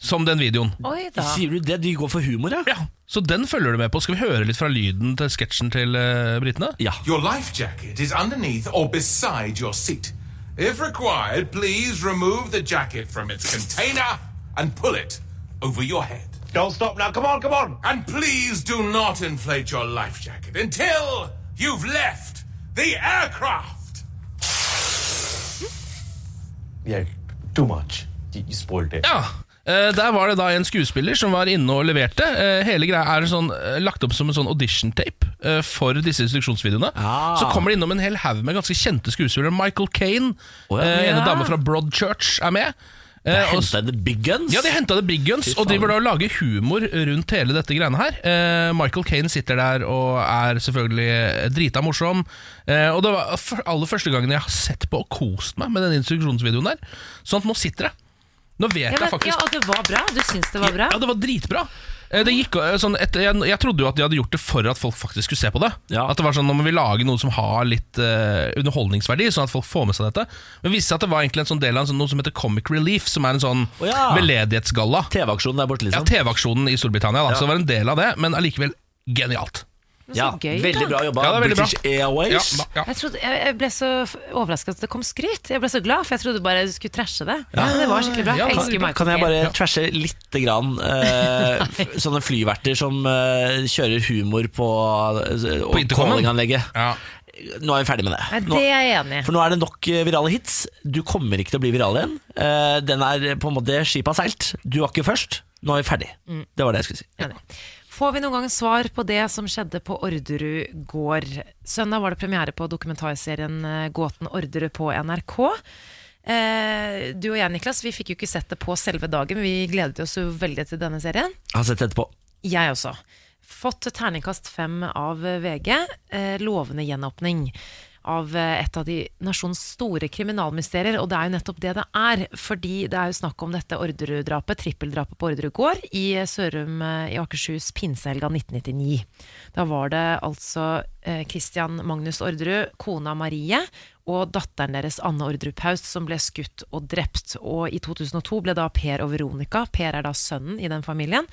Speaker 2: Som den videoen.
Speaker 3: Oi da.
Speaker 1: Sier du det? De går for humor, ja?
Speaker 2: Ja, Så den følger du med på. Skal vi høre litt fra lyden til sketsjen til eh, britene?
Speaker 1: Ja.
Speaker 9: Your life jacket is underneath or beside your seat. If required, please remove the jacket from its container and pull it over your head.
Speaker 10: Don't stop now. Come on, come on.
Speaker 9: And please do not inflate your life jacket until you've left the aircraft.
Speaker 10: Yeah, too much. You, you spoiled it.
Speaker 2: Ja, Eh, Der var det da en skuespiller som var inne og leverte. Eh, Hele greia er sånn, eh, lagt opp som en sånn audition-tape eh, for disse instruksjonsvideoene.
Speaker 1: Ah.
Speaker 2: Så kommer det innom en hel haug med ganske kjente skuespillere. Michael Kane,
Speaker 1: Å, ja.
Speaker 2: eh, en
Speaker 1: Ja.
Speaker 2: dame fra Broadchurch, er med. Eh, og s-
Speaker 1: Henta The Big Guns?
Speaker 2: ja, de henta The Big Guns,
Speaker 1: Fy
Speaker 2: og driver da
Speaker 1: faen.
Speaker 2: og lager humor rundt hele dette greiene her. Eh, Michael Kane sitter der og er selvfølgelig drita morsom. Eh, og det var f- aller første gangen jeg har sett på og kost meg med den instruksjonsvideoen der. Sånn at nå sitter jeg. Nå vet
Speaker 3: Ja, men,
Speaker 2: jeg faktisk
Speaker 3: ja, og det var bra. Du syns det var bra?
Speaker 2: Ja, det var dritbra. Eh, Det gikk, eh, sånn etter, jeg, jeg trodde jo at de hadde gjort det for at folk faktisk skulle se på det. At det var sånn, Nå må vi lage noe som har litt eh, underholdningsverdi, sånn at folk får med seg dette. Men det viste seg at det var egentlig en sånn del av en sånn, noe som heter Comic Relief, som er en sånn
Speaker 1: Å ja.
Speaker 2: veldedighetsgalla.
Speaker 1: TV-aksjonen der borte, liksom.
Speaker 2: Ja, TV-aksjonen i Storbritannia. Da.
Speaker 1: Ja.
Speaker 2: Så det var en del av det, men allikevel genialt.
Speaker 3: Men så gøy,
Speaker 1: veldig
Speaker 3: da.
Speaker 1: bra jobba.
Speaker 2: Ja, det er veldig bra.
Speaker 1: British Airways.
Speaker 2: Ja, ja.
Speaker 3: Jeg, trodde, jeg jeg ble så overraska at det kom skryt. Jeg ble så glad, for jeg trodde bare du skulle trashe det. Men det var skikkelig bra.
Speaker 2: Ja,
Speaker 3: Jeg
Speaker 2: kan-
Speaker 3: elsker Michael
Speaker 1: Kan jeg bare
Speaker 3: Caine.
Speaker 1: trashe lite grann
Speaker 3: *laughs*
Speaker 1: eh, f- sånne flyverter som eh, kjører humor på, eh, og
Speaker 2: intercomen?
Speaker 1: callinganlegget?
Speaker 2: Ja.
Speaker 1: Nå er vi ferdig med det.
Speaker 3: Nei,
Speaker 1: Nå,
Speaker 3: Det er jeg enig i.
Speaker 1: for nå er det nok eh, virale hits. Du kommer ikke til å bli viral igjen. Eh, den er på en måte skipet har seilt. Du var ikke først. Nå er vi ferdig.
Speaker 3: Mm.
Speaker 1: Det var det jeg skulle si.
Speaker 3: Enig. Får vi noen gang svar på det som skjedde på Orderud gård? Søndag var det premiere på dokumentarserien eh, Gåten Orderud på NRK. Eh, du og jeg, Niklas, vi fikk jo ikke sett det på selve dagen, men vi gledet oss jo veldig til denne serien.
Speaker 1: Jeg har sett etterpå.
Speaker 3: Jeg også. Fått terningkast fem av VG. Eh, lovende gjenåpning av eh, et av de nasjonens store kriminalmysterier. Og det er jo nettopp det det er. Fordi det er jo snakk om dette Orderud-drapet, trippeldrapet på Orderud gård i eh, Sørum eh, i Akershus pinsehelga 1999. Da var det altså eh, Christian Magnus Orderud, kona Marie og datteren deres Anne Orderud Paust som ble skutt og drept. Og i 2002 ble da Per og Veronica, Per er da sønnen i den familien,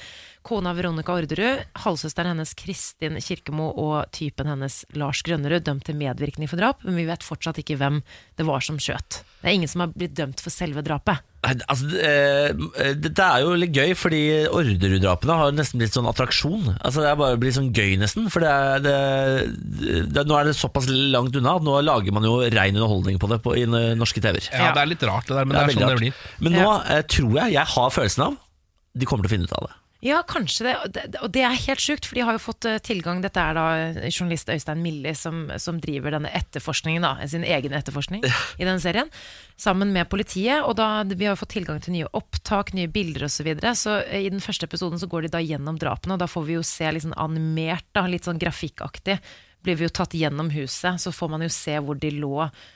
Speaker 3: kona Veronica Orderud, halvsøsteren hennes Kristin Kirkemo og typen hennes Lars Grønnerud dømt til medvirkning for drap, men vi vet fortsatt ikke hvem det var som skjøt. Det er ingen som har blitt dømt for selve drapet.
Speaker 1: Nei, Altså, det, eh, dette er jo litt gøy, fordi Orderud-drapene har nesten blitt sånn attraksjon. Altså, det er bare blitt sånn gøy, nesten. For det er, det, det, nå er det såpass langt unna at nå lager man jo rein underholdning på det på, i eh, norske TV-er.
Speaker 2: Ja, Det er litt rart, det der, men det
Speaker 1: Det er
Speaker 2: er,
Speaker 1: veldig
Speaker 2: sånn det
Speaker 1: rart.
Speaker 2: blir.
Speaker 1: Men nå eh, tror jeg jeg har følelsen av de kommer til å finne ut av det.
Speaker 3: Ja, kanskje det. og det- Og det er helt sjukt, for de har jo fått eh, tilgang Dette er da eh, journalist Øystein Milli som, som driver denne etterforskningen, da, sin egen etterforskning i den serien, sammen med politiet. Og da, vi har jo fått tilgang til nye opptak, nye bilder osv. Så, videre. så eh, i den første episoden så går de da gjennom drapene, og da får vi jo se litt sånn animert, da, litt sånn grafikkaktig. Blir vi jo tatt gjennom huset, så får man jo se hvor de lå.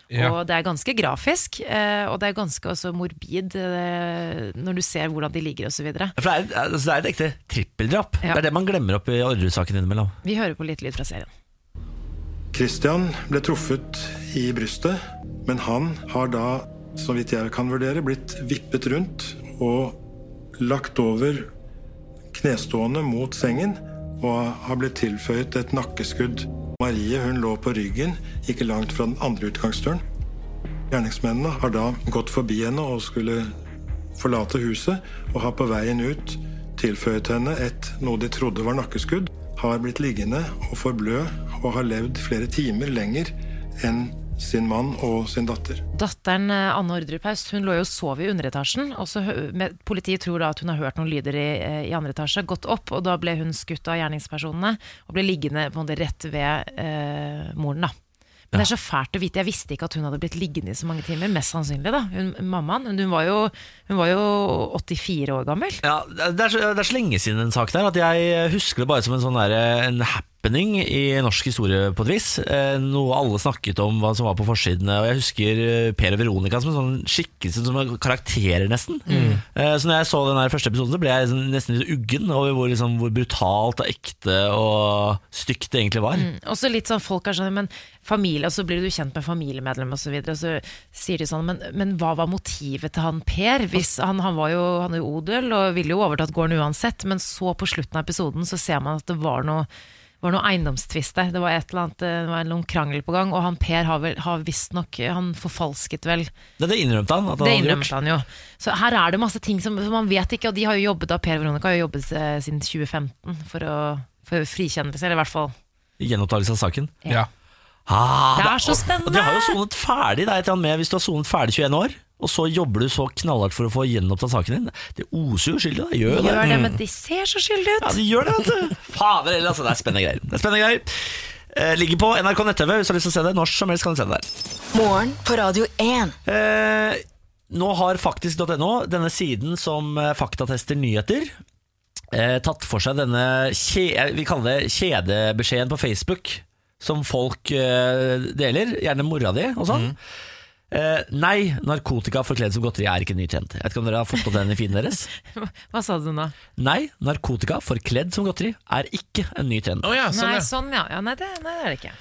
Speaker 2: Ja.
Speaker 3: Og det er ganske grafisk, eh, og det er ganske også morbid eh, når du ser hvordan de ligger osv.
Speaker 1: For det er, altså, det er et ekte trippeldrap.
Speaker 3: Ja.
Speaker 1: Det er det man glemmer opp i Orderud-saken innimellom.
Speaker 3: Vi hører på litt lyd fra serien.
Speaker 11: Christian ble truffet i brystet, men han har da, så vidt jeg kan vurdere, blitt vippet rundt og lagt over knestående mot sengen og har blitt tilføyet et nakkeskudd. Marie hun lå på ryggen, ikke langt fra den andre utgangsdøren. Gjerningsmennene har da gått forbi henne og skulle forlate huset, og har på veien ut tilføyet henne et noe de trodde var nakkeskudd, har blitt liggende og forblø og har levd flere timer lenger enn sin mann og sin datter.
Speaker 3: Datteren eh, Anne Ordrup Haust hun lå jo og sov i underetasjen. og så hø- med, Politiet tror da at hun har hørt noen lyder i, eh, i andre etasje, gått opp, og da ble hun skutt av gjerningspersonene og ble liggende på en måte rett ved eh, moren. da. Men det er så fælt å vite. Jeg visste ikke at hun hadde blitt liggende i så mange timer. Mest sannsynlig, da. Hun, mammaen. Hun var, jo, hun var jo 84 år gammel.
Speaker 1: Ja, det er, så, det er så lenge siden den saken her at jeg husker det bare som en sånn der, en happening i norsk historie på et vis. Eh, Noe alle snakket om hva som var på forsidene. Og jeg husker eh, Per og Veronica som en sånn skikkelse, som en karakterer nesten. Eh, Så når jeg så den her første episoden, så ble jeg sånn nesten litt uggen over hvor, liksom, hvor brutalt og ekte og stygt det egentlig var.
Speaker 3: Og så litt sånn folk er sånn, men familie, og så blir du kjent med familiemedlem og så videre, og så sier de sånn, men, men hva var motivet til han Per? Hvis han, han var jo, han er jo odel og ville jo overtatt gården uansett, men så på slutten av episoden så ser man at det var noe, var noe eiendomstvist der. Det var et eller annet, det var noen krangel på gang, og han Per har, vel, har visst nok, han forfalsket vel.
Speaker 1: Det, det innrømte han. At han
Speaker 3: Det
Speaker 1: hadde gjort.
Speaker 3: innrømmer han jo. Så her er det masse ting som, som man vet ikke, og de har jo jobbet, da Per og Veronica har jo jobbet eh, siden 2015 for, å, for frikjennelse, eller i hvert fall.
Speaker 1: Gjenopptakelse av saken.
Speaker 2: Ja.
Speaker 1: Ah,
Speaker 3: Det er så spennende!
Speaker 1: Og de har jo sonet ferdig, det er et eller annet med hvis du har sonet ferdig 21 år. og så jobber du så knallhardt for å få gjenopptatt saken din. Det oser jo skylda. Det gjør jo det.
Speaker 3: Gjør det,
Speaker 1: Mm.
Speaker 3: men de ser så skyldige ut.
Speaker 1: Ja, de gjør det,
Speaker 3: *laughs*
Speaker 1: vet du. Fader heller, altså. Det er spennende greier. Det er spennende greier. Eh, ligger på NRK nett-TV hvis du har lyst til å se det. Når som helst kan du se det der.
Speaker 5: Morgen på Radio 1.
Speaker 1: Eh, nå har faktisk.no, denne siden som eh, faktatester nyheter, eh, tatt for seg denne kje, eh, vi kaller det kjedebeskjeden på Facebook, som folk eh, deler, gjerne mora di og
Speaker 3: Mm.
Speaker 1: sånn. Eh, nei, narkotika forkledd som godteri er ikke nytjent. Jeg vet ikke om dere har fått opp den i feeden deres?
Speaker 3: *laughs* Hva sa du nå?
Speaker 1: Nei, narkotika forkledd som godteri er ikke en ny trend.
Speaker 3: nei, sånn ja. ja nei, det, nei, det er det ikke.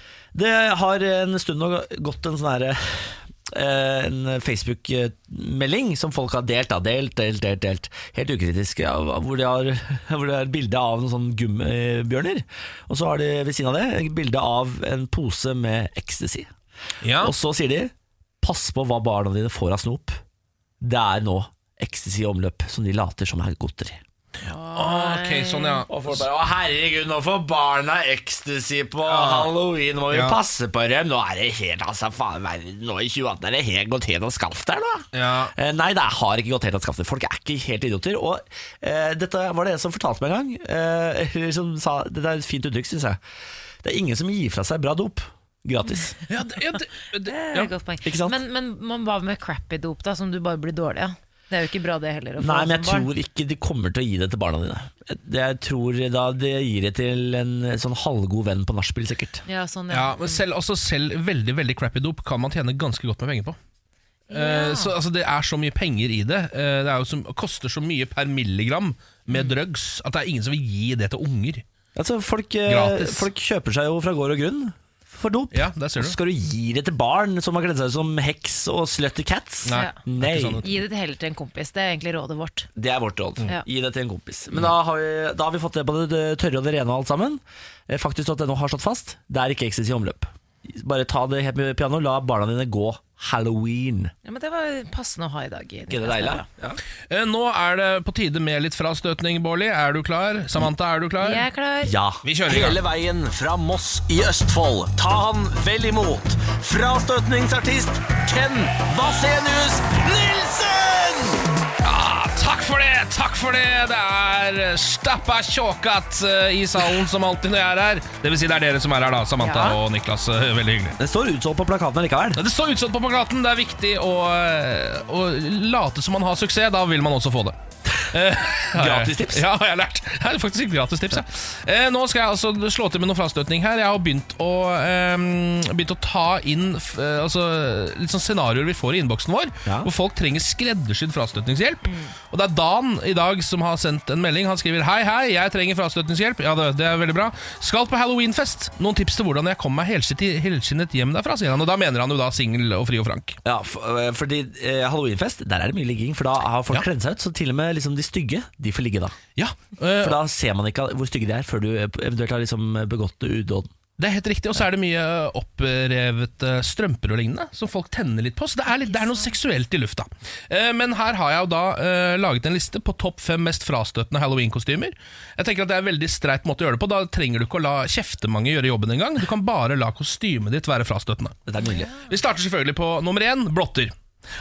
Speaker 1: Det har en stund nå gått en sånn herre eh, en Facebook-melding som folk har delt, da. delt, delt, delt, delt helt ukritisk. ja, Hvor de har, hvor de har bilde av noen sånne gummibjørner. Og så har de ved siden av det et bilde av en pose med ecstasy. Og så sier de 'pass på hva barna dine får av snop'. Det er nå ecstasy i omløp, som de later som er godteri.
Speaker 2: Ok, sånn ja
Speaker 1: Og folk bare, å herregud, nå får barna ecstasy på
Speaker 12: Ah.
Speaker 1: halloween, må vi
Speaker 2: Ja.
Speaker 1: passe på dem. Nå er det helt, altså, faen, verden, nå i 2018 er det helt gått helt av skaft der, da. Eh, Nei, det har ikke gått helt av skaftet. Folk er ikke helt idioter. Og eh, dette var det en som fortalte meg en gang, eh, eller som sa, dette er et fint uttrykk, synes jeg. Det er ingen som gir fra seg bra dop, gratis.
Speaker 2: *laughs* Ja, det, ja, det, det,
Speaker 3: Det er
Speaker 1: Ja,
Speaker 3: et godt poeng.
Speaker 1: ikke sant?
Speaker 3: Men, men man var med crappy dop, da, som du bare blir dårlig av. Det er jo ikke bra, det heller. å få
Speaker 1: Nei, men jeg
Speaker 3: som barn.
Speaker 1: tror ikke de kommer til å gi det til barna dine. Det jeg tror da, det gir det til en sånn halvgod venn på nachspiel, sikkert.
Speaker 3: Ja, sånn, ja.
Speaker 2: Ja, men selv, også selv veldig veldig crappy dop kan man tjene ganske godt med penger på. Eh, så, altså, det er så mye penger i det. Eh, det er jo som, koster så mye per milligram med
Speaker 3: Mm.
Speaker 2: drugs at det er ingen som vil gi det til unger.
Speaker 1: Altså, folk, eh,
Speaker 2: Gratis.
Speaker 1: folk kjøper seg jo fra gård og grunn for dop.
Speaker 2: Ja, der ser
Speaker 1: Og
Speaker 2: du.
Speaker 1: så skal du gi det til barn som har kledd seg ut som heks og slutty cats?
Speaker 2: Nei,
Speaker 1: Nei.
Speaker 2: det er ikke sånn.
Speaker 3: Gi det til- heller til en kompis. Det er egentlig rådet vårt.
Speaker 1: Det er vårt råd.
Speaker 3: Ja.
Speaker 1: Gi det til en kompis. Men da har vi, da har vi fått det på det tørre og det rene og alt sammen. Eh, Faktisk at det nå har slått fast. Det er ikke Exit i omløp. Bare ta det helt med piano. La barna dine gå halloween.
Speaker 3: Ja, men Det var passende å ha i dag. i
Speaker 1: Ikke det
Speaker 3: nyhetsbrevet.
Speaker 1: deilig? Ja.
Speaker 2: Eh, nå er det på tide med litt frastøtning, Bårli. Er du klar? Samantha, er du klar?
Speaker 3: Jeg er klar.
Speaker 1: Ja.
Speaker 2: Vi kjører i gang.
Speaker 13: Hele veien fra Moss i Østfold. Ta han vel imot. Frastøtningsartist Ken Vasenius Nilsen!
Speaker 2: Ja, takk for det! Takk for det! Det er stappa tjåkat eh, i salen som alltid når jeg er her. Det vil si det er dere som er her, da. Samantha
Speaker 3: Ja.
Speaker 2: og Niklas. eh, Veldig hyggelig.
Speaker 1: Det står utsolgt på plakaten likevel.
Speaker 2: Ja, Det står utsatt på plakaten. Det er viktig å, eh, å late som man har suksess. Da vil man også få det. Eh, *laughs* har jeg-
Speaker 1: Gratistips.
Speaker 2: Ja, har jeg lært. Det er faktisk et gratistips. Ja. Eh, nå skal jeg altså slå til med noe frastøtning her. Jeg har begynt å, eh, begynt å ta inn f, eh, altså, litt sånn scenarioer vi får i innboksen vår,
Speaker 1: Ja.
Speaker 2: hvor folk trenger skreddersydd frastøtningshjelp. Og det er Dan i dag som har sendt en melding. Han skriver Hei, hei, jeg trenger frastøtningshjelp. Ja, det, det er veldig bra. Skal på halloweenfest. Noen tips til hvordan jeg kommer meg helskinnet helskinnet hjem derfra, sier han. Og da mener han jo da singel og fri og frank.
Speaker 1: Ja, for, eh, fordi eh, halloweenfest, der er det mye ligging. For da har folk
Speaker 2: Ja.
Speaker 1: kledd seg ut. Så til og med liksom, de stygge, de får ligge da.
Speaker 2: Ja,
Speaker 1: For
Speaker 2: eh,
Speaker 1: da ser man ikke hvor stygge de er, før du eventuelt har liksom begått udåden.
Speaker 2: det er helt riktig. Og så er det mye opprevet eh, strømper og lignende, som folk tenner litt på. Så det er, litt, det er noe seksuelt i lufta. Eh, Men her har jeg jo da eh, laget en liste på topp fem mest frastøtende halloween-kostymer. Jeg tenker at Det er en veldig streit måte å gjøre det på. Da trenger du ikke å la kjeftemange gjøre jobben engang. Du kan bare la kostymet ditt være frastøtende.
Speaker 1: Dette er nydelig.
Speaker 2: Vi starter selvfølgelig på nummer én blotter.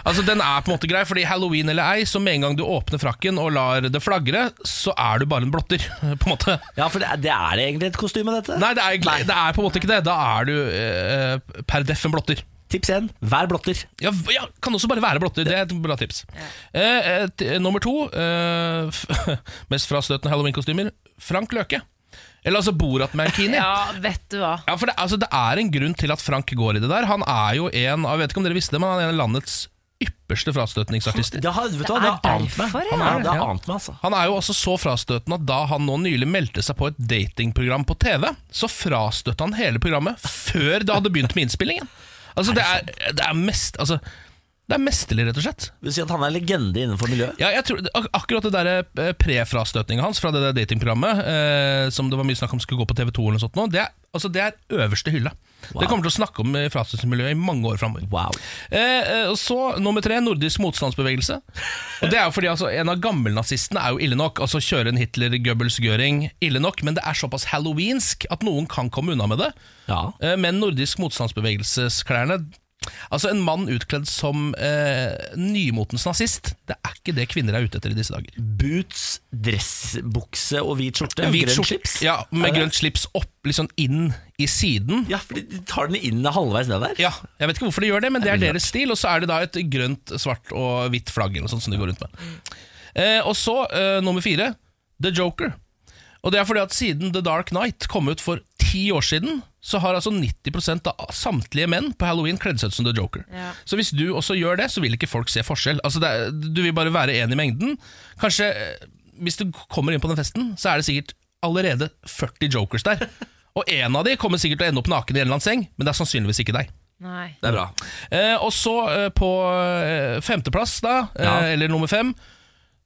Speaker 2: Altså Den er på en måte grei, fordi halloween eller ei, så med en gang du åpner frakken og lar det flagre, så er du bare en blotter. *laughs* På en måte
Speaker 1: Ja, for det er det, er det egentlig et kostyme, dette.
Speaker 2: Nei, det er, det er på en måte ikke det. Da er du eh, per deff en blotter.
Speaker 1: Tips én vær blotter.
Speaker 2: Ja, v- ja, kan også bare være blotter. Det er et bra tips. Eh, eh, t- nummer to, eh, *laughs* f- mest frastøtende halloweenkostymer, Frank Løke. Eller altså Borat-mankini. ja.
Speaker 3: Ja, vet du hva.
Speaker 2: for det, altså, det er en grunn til at Frank går i det der. Han er jo en av, jeg vet ikke om dere visste det, men han er en av landets ypperste frastøtningsartister.
Speaker 1: Det har, vet du hva, det
Speaker 3: Det er
Speaker 1: har ant meg.
Speaker 3: derfor, ja.
Speaker 1: Han er, det har
Speaker 2: Ja.
Speaker 1: ant meg, altså.
Speaker 2: Han er jo også så frastøtende at da han nå nylig meldte seg på et datingprogram på TV, så frastøtte han hele programmet før det hadde begynt med innspillingen. Altså, det er, det er mest Altså, det er mesterlig, rett og slett.
Speaker 1: Vil si at han er legende innenfor miljøet.
Speaker 2: Ja, jeg tror, ak akkurat det der eh, pre-frastøtninga hans fra det der datingprogrammet, eh, som det var mye snakk om skulle gå på TV2, eller noe sånt nå, det, er, altså, det er øverste hylle. Det kommer til å snakke om eh, frastøtningsmiljøet i mange år framover.
Speaker 1: Wow.
Speaker 2: Eh, eh, og så nummer tre, nordisk motstandsbevegelse. Og det er jo fordi altså, En av gammelnazistene er jo ille nok. Altså Kjøre en Hitler, Goebbels, Göring ille nok, men det er såpass halloweensk at noen kan komme unna med det.
Speaker 1: Ja.
Speaker 2: Eh, men nordisk motstandsbevegelsesklærne Altså En mann utkledd som eh, nymotens nazist, det er ikke det kvinner er ute etter i disse dager.
Speaker 1: Boots, dressbukse og hvit skjorte?
Speaker 2: Hvit
Speaker 1: grønt
Speaker 2: skjort-
Speaker 1: slips?
Speaker 2: Ja,
Speaker 1: Er
Speaker 2: med
Speaker 1: det-
Speaker 2: grønt slips opp, liksom inn i siden.
Speaker 1: Ja, for de tar den inn halvveis ned der.
Speaker 2: Ja, Jeg vet ikke hvorfor de gjør det, men det er deres stil. Og så er det da et grønt, svart og hvitt flagg eller noe sånt som de går rundt med. Eh, og så, eh, nummer fire, The Joker. Og det er fordi at siden The Dark Knight kom ut for ti år siden, så har altså 90 av samtlige menn på halloween kledd seg ut som The Joker.
Speaker 14: Ja.
Speaker 2: Så hvis du også gjør det, så vil ikke folk se forskjell. Altså det er, du vil bare være en i mengden. Kanskje eh, hvis du kommer inn på den festen, så er det sikkert allerede 40 jokers der. Og én av de kommer sikkert til å ende opp naken i en eller annen seng, men det er sannsynligvis ikke deg.
Speaker 3: Nei.
Speaker 2: Det er bra. Eh, og så eh, på eh, femteplass, da, eh,
Speaker 1: Ja.
Speaker 2: eller nummer fem,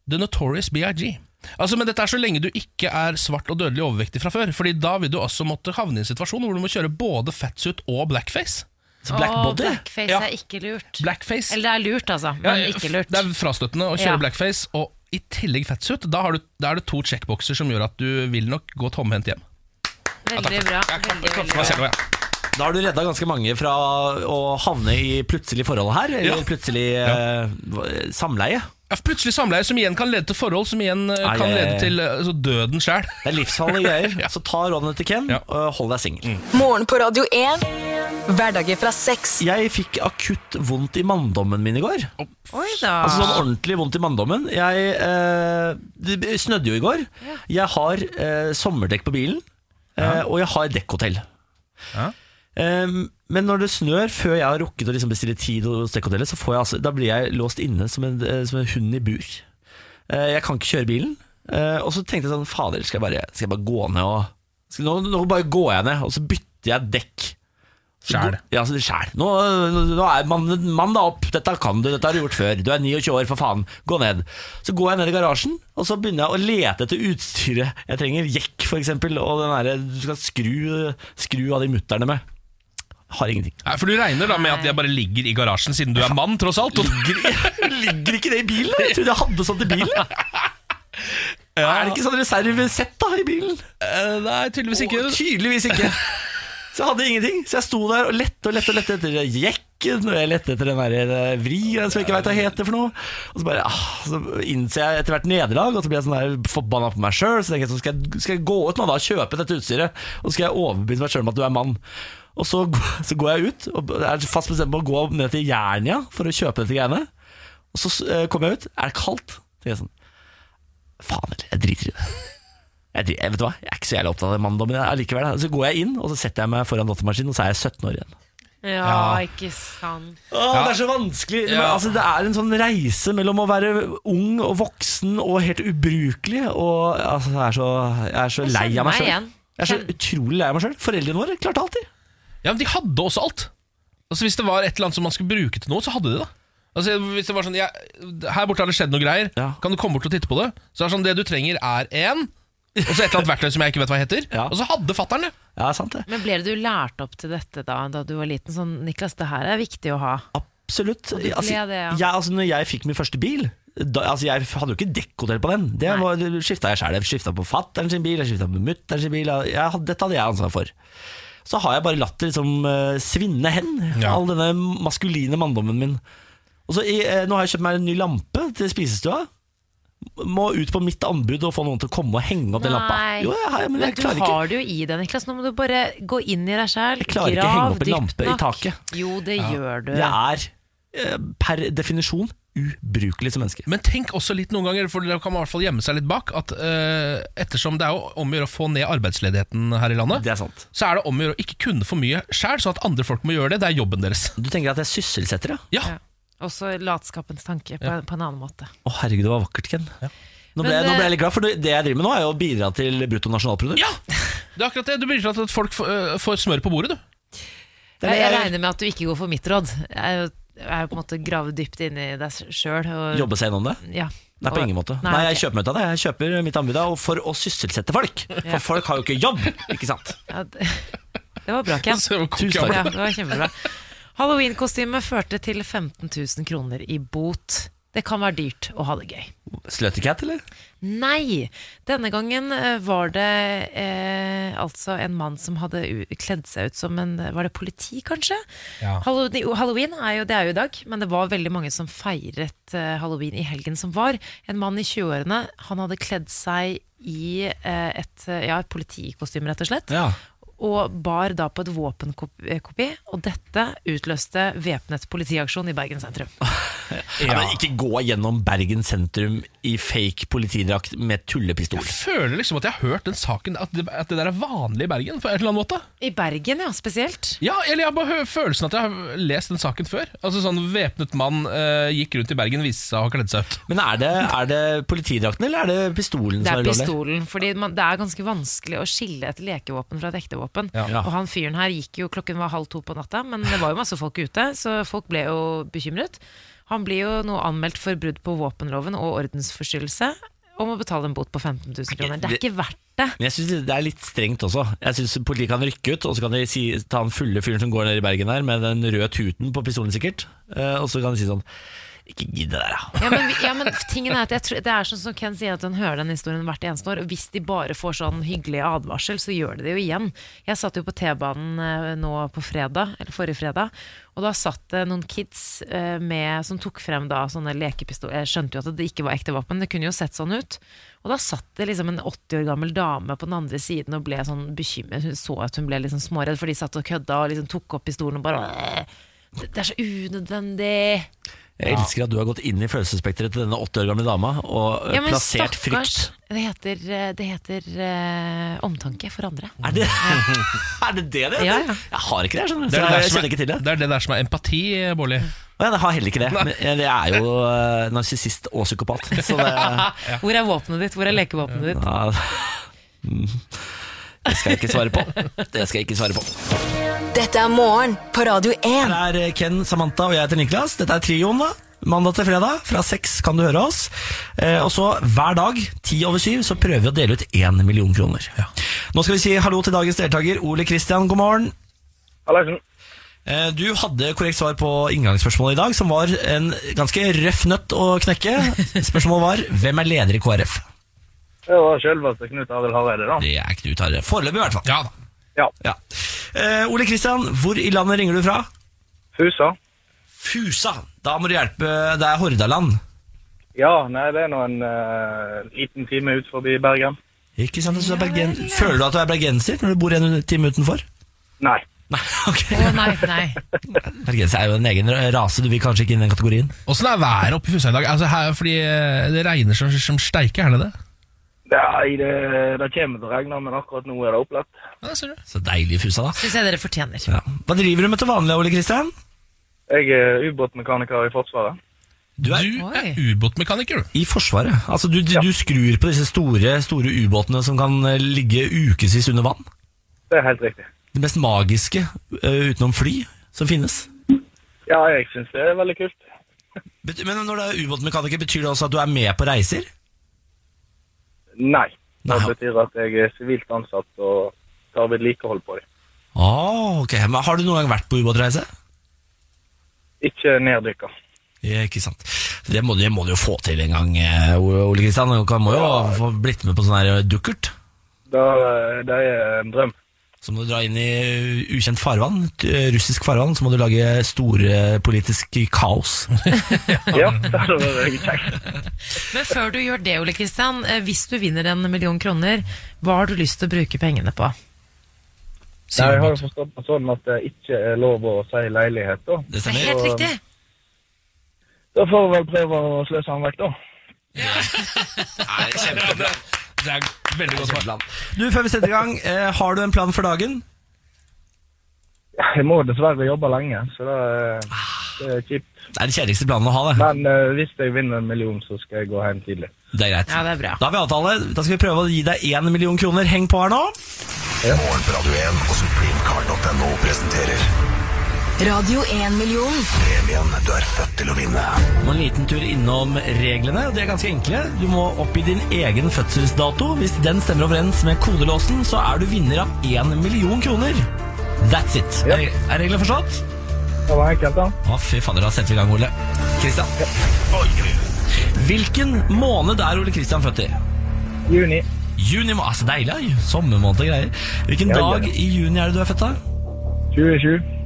Speaker 2: The Notorious BIG. Altså, men dette er så lenge du ikke er svart og dødelig overvektig fra før. Fordi da vil du også måtte havne i en situasjon hvor du må kjøre både fatsuit og blackface.
Speaker 3: Åh, blackface
Speaker 2: Ja.
Speaker 3: er ikke lurt.
Speaker 2: Blackface.
Speaker 3: Eller det er lurt, altså,
Speaker 2: Ja,
Speaker 3: men ikke lurt.
Speaker 2: Det er frastøtende å kjøre
Speaker 3: Ja.
Speaker 2: blackface og i tillegg fatsuit. Da, har du, da er det to checkboxer som gjør at du vil nok gå tomhendt hjem.
Speaker 3: Veldig bra. Veldig, veldig
Speaker 2: Hva
Speaker 3: bra.
Speaker 2: ser du, ja.
Speaker 1: Da har du redda ganske mange fra å havne i plutselig forhold her, eller
Speaker 2: Ja.
Speaker 1: plutselig eh, hva- samleie.
Speaker 2: Ja, for Plutselig samleie som igjen kan lede til forhold, som igjen eh,
Speaker 1: Ai,
Speaker 2: kan
Speaker 1: ai,
Speaker 2: lede
Speaker 1: ai.
Speaker 2: til eh, altså, døden sjæl.
Speaker 1: Det er livsfarlige
Speaker 2: *laughs*
Speaker 1: greier. Så ta rådene til Ken, og hold deg singel.
Speaker 2: Mm.
Speaker 5: Morgen på Radio 1. Hverdager fra seks.
Speaker 1: Jeg fikk akutt vondt i manndommen min i går.
Speaker 3: Oi da.
Speaker 1: Altså sånn ordentlig vondt i manndommen. Jeg, eh, det snødde jo i går. Jeg har eh, sommerdekk på bilen, eh, og jeg har dekkhotell. Eh, men når det snør, før jeg har rukket å liksom bestille tid hos dekkhotellet, så får jeg, altså, da blir jeg låst inne som en, eh, som en hund i bur. Eh, jeg kan ikke kjøre bilen. Eh, og så tenkte jeg sånn, fader, skal jeg bare, skal jeg bare gå ned og skal, nå, nå bare går jeg ned, og så bytter jeg dekk. Så
Speaker 2: Skjær.
Speaker 1: går- Ja, så det skjær. Nå, nå er man, mann deg opp, dette kan du, dette har du gjort før. Du er 29 år, for faen, gå ned. Så går jeg ned i garasjen, og så begynner jeg å lete etter utstyret jeg trenger. Jekk, for eksempel, og den derre du skal skru, skru av de mutterne med. Har ingenting.
Speaker 2: Nei, for du regner da med at jeg bare ligger i garasjen siden du er mann, tross alt?
Speaker 1: Ligger, ligger ikke det i *laughs* bilen? da? Jeg trodde jeg hadde sånt i bilen. jeg. Er det ikke sånn reservesett da, i bilen?
Speaker 2: Eh, nei, tydeligvis ikke.
Speaker 1: tydeligvis
Speaker 2: *laughs*
Speaker 1: ikke. Så jeg hadde ingenting. Så jeg sto der og lette og lette og lette etter jekken, og jeg lette etter den der eh, vrien som jeg ikke veit hva heter for noe. Og så bare ah, Så innser jeg etter hvert nederlag, og så blir jeg sånn der forbanna på meg sjøl. Så tenker jeg sånn, skal jeg, skal jeg gå ut nå da og kjøpe dette utstyret, og så skal jeg overbevise meg sjøl om at du er mann. Og så, g- *laughs* så går jeg ut, og er fast bestemt på å gå ned til Jernia for å kjøpe dette greiene. Og så eh, kommer jeg ut, er det kaldt? Tenker jeg sånn Faen heller, jeg driter i det. Jeg, dri- jeg, vet du hva? jeg er ikke så jævlig opptatt av manndommen jeg- allikevel. da. Så går jeg inn, og så setter jeg meg foran datamaskinen, og så er jeg 17 år igjen.
Speaker 3: Ja,
Speaker 1: Ja.
Speaker 3: ikke sant.
Speaker 1: Åh, Det er så vanskelig. Men,
Speaker 3: Ja.
Speaker 1: altså, det er en sånn reise mellom å være ung og voksen og helt ubrukelig. Og altså, jeg, er så, jeg er så
Speaker 2: Jeg
Speaker 1: lei
Speaker 2: kjenner
Speaker 1: av meg
Speaker 2: meg
Speaker 1: sjøl.
Speaker 2: igjen.
Speaker 1: Jeg er så utrolig lei av meg sjøl. Foreldrene våre klarte alltid.
Speaker 2: Ja, men de hadde også alt. Altså Hvis det var et eller annet som man skulle bruke til noe, så hadde de det. Altså Hvis det var sånn jeg, Her borte har det skjedd noe greier, kan du komme bort og titte på det? Så er det sånn Det du trenger, er en og så et eller annet verktøy som jeg ikke vet hva heter. Og så hadde fattern det!
Speaker 1: Ja, sant det
Speaker 3: Men ble du lært opp til dette da da du var liten? Sånn, Niklas, det her er viktig å ha.
Speaker 1: Absolutt.
Speaker 3: Og du ble
Speaker 1: Altså,
Speaker 3: det, ja.
Speaker 1: jeg, altså, når jeg fikk min første bil da, altså Jeg hadde jo ikke dekkhotell på den. Det var- skifta jeg sjæl. Jeg skifta på fatter'n sin bil, jeg skifta på mutter'n sin bil. Jeg, hadde- dette hadde jeg ansvar for. Så har jeg bare latt det liksom eh, svinne hen, all denne maskuline manndommen min. Og så i, eh, Nå har jeg kjøpt meg en ny lampe til spisestua. Må ut på mitt anbud og få noen til å komme og henge opp den lampa. Jo, jeg, har- men jeg
Speaker 3: du
Speaker 1: klarer ikke
Speaker 3: har det jo i deg, Niklas. Nå må du bare gå inn i deg sjæl.
Speaker 1: Jeg klarer ikke å henge opp en lampe i taket.
Speaker 3: Jo, det gjør du.
Speaker 1: Jeg er eh, per definisjon ubrukelig som menneske.
Speaker 2: Men tenk også litt noen ganger, for dere kan i hvert fall gjemme seg litt bak, at eh, ettersom det er jo om å gjøre å få ned arbeidsledigheten her i landet, så er det om å gjøre å ikke kunne for mye sjæl, sånn at andre folk må gjøre det. Det er jobben deres.
Speaker 1: Du tenker at jeg sysselsetter,
Speaker 2: ja?
Speaker 3: Ja. Også latskapens tanke, på, på en annen måte.
Speaker 1: Å herregud, det var vakkert, Ken. Nå, ble,
Speaker 3: Men,
Speaker 1: jeg- nå ble
Speaker 3: eh,
Speaker 1: jeg litt glad, for det det jeg driver med nå, er jo å bidra til bruttonasjonalprodukt.
Speaker 2: Ja! Det er akkurat det. Du blir til at folk får, eh, får smør på bordet, du.
Speaker 3: Jeg, jeg regner med at du ikke går for mitt råd. Jeg er jo- jeg er jo på en måte grave dypt inni deg sjøl.
Speaker 1: Jobbe seg gjennom det?
Speaker 3: Ja.
Speaker 1: Nei, på ingen måte. Nei, jeg kjøper meg ut av det. Jeg kjøper mitt anbud da, og for å sysselsette folk.
Speaker 3: Ja.
Speaker 1: For folk har jo ikke jobb, ikke sant?
Speaker 3: Ja, det, det var bra, Ken.
Speaker 1: Så det var kokk, ja.
Speaker 3: Ja, det var kjempebra. Halloween-kostymet førte til 15 000 kroner i bot. Det kan være dyrt å ha det gøy.
Speaker 1: Sluttycat, eller?
Speaker 3: Nei! Denne gangen eh, var det eh, altså en mann som hadde u- kledd seg ut som en Var det politi, kanskje?
Speaker 14: Ja.
Speaker 3: Hallow- Halloween er jo, det er jo i dag, men det var veldig mange som feiret eh, halloween i helgen som var. En mann i 20-årene, han hadde kledd seg i eh, et, eh, ja, et politikostyme, rett og slett. Og bar da på et våpenkopi, og dette utløste væpnet politiaksjon i Bergen sentrum.
Speaker 1: Ja. men ikke gå gjennom Bergen sentrum i fake politidrakt med tullepistol.
Speaker 2: Føler liksom at jeg har hørt den saken, at det, at det der er vanlig i Bergen på en eller annen måte.
Speaker 3: I Bergen, ja, spesielt.
Speaker 2: Ja, eller jeg har bare hø- følelsen at jeg har lest den saken før. Altså sånn væpnet mann eh, gikk rundt i Bergen, viste seg å ha kledd seg ut.
Speaker 1: Men er det, er det politidrakten eller er det pistolen
Speaker 3: Det
Speaker 1: som
Speaker 3: er
Speaker 1: er ulovlig?
Speaker 3: pistolen, fordi man, det er ganske vanskelig å skille et lekevåpen fra et ekte våpen.
Speaker 1: Ja. Ja.
Speaker 3: Og han fyren her gikk jo, klokken var halv to på natta, men det var jo masse folk ute, så folk ble jo bekymret. Han blir jo nå anmeldt for brudd på våpenloven og ordensforstyrrelse, og må betale en bot på 15 000 kroner. Det er ikke verdt det.
Speaker 1: Men jeg syns det er litt strengt også. Jeg synes Politiet kan rykke ut, og så kan de si, ta den fulle fyren som går ned i Bergen her med den røde tuten på pistolen sikkert, eh, og så kan de si sånn Ikke gidd det der, da.
Speaker 3: Ja, men, vi- ja, men tingen er at jeg tror, Det er sånn som Ken sier, at hun hører den historien hvert eneste år. Og hvis de bare får sånn hyggelig advarsel, så gjør de det jo igjen. Jeg satt jo på T-banen eh, nå på fredag, eller forrige fredag, og da satt det noen kids eh, med, som tok frem da sånne lekepistoler. Jeg skjønte jo at det ikke var ekte våpen, det kunne jo sett sånn ut. Og da satt det liksom en 80 år gammel dame på den andre siden og ble sånn bekymret. Hun så at hun ble liksom småredd, for de satt og kødda og liksom tok opp pistolen og bare «Åh, Det det er så unødvendig.
Speaker 1: Jeg elsker at du har gått inn i følelsesspekteret til denne 80 år gamle dama og eh,
Speaker 3: Ja, men
Speaker 1: plassert frykt.
Speaker 3: stakkars, Det heter, eh, det heter eh, omtanke for andre.
Speaker 1: Er det *laughs* er det, det det?
Speaker 3: Ja,
Speaker 1: heter?
Speaker 3: ja.
Speaker 1: Jeg har
Speaker 3: *laughs*
Speaker 1: ikke det, skjønner du.
Speaker 2: Det er
Speaker 1: Så
Speaker 2: det der som
Speaker 1: jeg,
Speaker 2: er-
Speaker 1: kjenner ikke til det.
Speaker 2: Det er det der som er empati, eh, Bårli.
Speaker 1: Å, ja, jeg har heller ikke det. Men jeg jeg er jo eh, narsissist og psykopat. Så det
Speaker 3: *laughs* Hvor er våpenet ditt? Hvor er lekevåpenet ditt?
Speaker 1: ja, mm. Det skal jeg ikke svare på. Det skal jeg ikke svare på.
Speaker 5: Dette er morgen på Radio 1.
Speaker 1: Her er Ken, Samantha og jeg heter Niklas. Dette er trioen, da. Mandag til fredag fra seks kan du høre oss. Eh, og så hver dag, ti over syv, så prøver vi å dele ut én million kroner. Nå skal vi si hallo til dagens deltaker, Ole Kristian. God morgen.
Speaker 12: Hallaisen.
Speaker 1: Eh, Du hadde korrekt svar på inngangsspørsmålet i dag, som var en ganske røff nøtt å knekke. Spørsmålet var 'Hvem er leder i KrF?'
Speaker 12: Det var selveste Knut Arild Hareide, da.
Speaker 1: Det er Knut Arild. Foreløpig, i hvert fall.
Speaker 2: Ja
Speaker 12: Ja.
Speaker 1: Eh, Ole Kristian, hvor i landet ringer du fra?
Speaker 12: Fusa.
Speaker 1: Fusa. Da må du hjelpe. Det er Hordaland.
Speaker 12: Ja, nei, det er nå en eh, liten time ut forbi Bergen.
Speaker 1: Ikke sant? Så du er bergen... Føler du at du er bergenser når du bor en time utenfor?
Speaker 12: Nei.
Speaker 3: nei, nei.
Speaker 1: Bergenser er jo en egen rase, du vil kanskje ikke inn i den kategorien.
Speaker 2: Åssen er været oppe i Fusa i dag? Altså her, fordi eh, Det regner som, som steike, er det det?
Speaker 12: Nei, det, det kommer til å regne, men akkurat nå er det opplagt.
Speaker 2: Ja, ser du.
Speaker 1: Så deilig i Fusa, da.
Speaker 3: Syns jeg dere fortjener.
Speaker 1: Hva driver du med til vanlig, Ole Kristian?
Speaker 12: Jeg er ubåtmekaniker i Forsvaret.
Speaker 1: Du
Speaker 2: er, ubåtmekaniker, du.
Speaker 1: I Forsvaret. Altså, du, du, du skrur på disse store, store ubåtene som kan eh, ligge ukevis under vann.
Speaker 12: Det er helt riktig.
Speaker 1: Det mest magiske eh, utenom fly som finnes.
Speaker 12: Ja, jeg syns det er veldig kult.
Speaker 1: *laughs* Bet- Men når du er ubåtmekaniker, betyr det også at du er med på reiser?
Speaker 12: Nei. Det betyr at jeg er sivilt ansatt og tar vedlikehold på dem.
Speaker 1: Ah, ok. Men har du noen gang vært på ubåtreise?
Speaker 12: Ikke neddykka.
Speaker 1: Ja, ikke sant. Det må, du- det må du jo få til en gang, eh, Ole Kristian. Du må jo få blitt med på sånn her dukkert.
Speaker 12: Det, eh, det er en drøm.
Speaker 1: Så må du dra inn i eh, ukjent farvann, t- eh, russisk farvann, så må du lage storpolitisk kaos.
Speaker 12: *laughs* *laughs*
Speaker 1: *laughs*
Speaker 12: Ja, det hadde vært kjekt.
Speaker 3: Men før du gjør det, Ole Kristian, eh, hvis du vinner en million kroner, hva har du lyst til å bruke pengene på?
Speaker 12: Nei, jeg har jo forstått det sånn at det ikke er lov å si leilighet, da. eh,
Speaker 1: Det
Speaker 3: er helt riktig.
Speaker 12: Da får vi vel prøve å sløse han vekk, da.
Speaker 1: Nei,
Speaker 2: kjempebra. Det er veldig godt
Speaker 1: svar. Du, Før vi setter i gang, eh, har du en plan for dagen?
Speaker 12: Jeg må dessverre jobbe lenge, så det er, det er kjipt.
Speaker 1: Ah. Det er den kjedeligste planen å ha, det.
Speaker 12: Men eh, hvis jeg vinner en million, så skal jeg gå hjem tidlig.
Speaker 1: Det er greit.
Speaker 12: Ja,
Speaker 3: det er bra.
Speaker 1: Da har vi avtale. Da skal vi prøve å gi deg én million kroner. Heng på her nå.
Speaker 15: Morgen på Radio 1 og supremecard.no presenterer
Speaker 5: Radio 1-million.
Speaker 15: premien du er født til å vinne.
Speaker 1: Må en liten tur innom reglene. og De er ganske enkle. Du må oppgi din egen fødselsdato. Hvis den stemmer overens med kodelåsen, så er du vinner av én million kroner. That's it. Er, er reglene forstått?
Speaker 12: Det var enkelt, da.
Speaker 1: Å, fy fader, da setter vi i gang, Ole. Kristian.
Speaker 15: Oi, oi, oi.
Speaker 1: Hvilken måned er Ole Kristian født i? Juni. Juni, må- altså Deilig, ja. sommermåned og greier. Hvilken
Speaker 14: Ja, ja.
Speaker 1: dag i juni er det du er født, da? 27.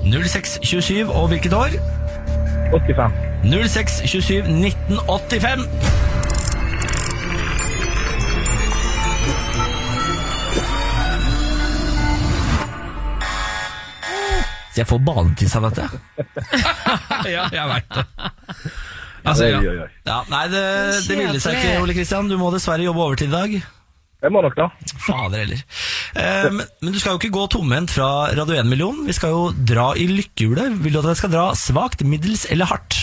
Speaker 1: 0627, og hvilket år? 85. 0627, 1985. Så jeg får badetiss av dette.
Speaker 2: *laughs* ja, jeg veit det.
Speaker 1: Altså,
Speaker 2: Oi,
Speaker 1: ja.
Speaker 2: oi, oi.
Speaker 1: Ja, nei, det, det ville seg ikke, Ole Kristian. Du må dessverre jobbe overtid i dag. Jeg må nok da. Fader heller. Eh, men- men du skal jo ikke gå tomhendt fra Radio 1-million. Vi skal jo dra i lykkehjulet. Vil du at jeg skal dra svakt, middels eller hardt?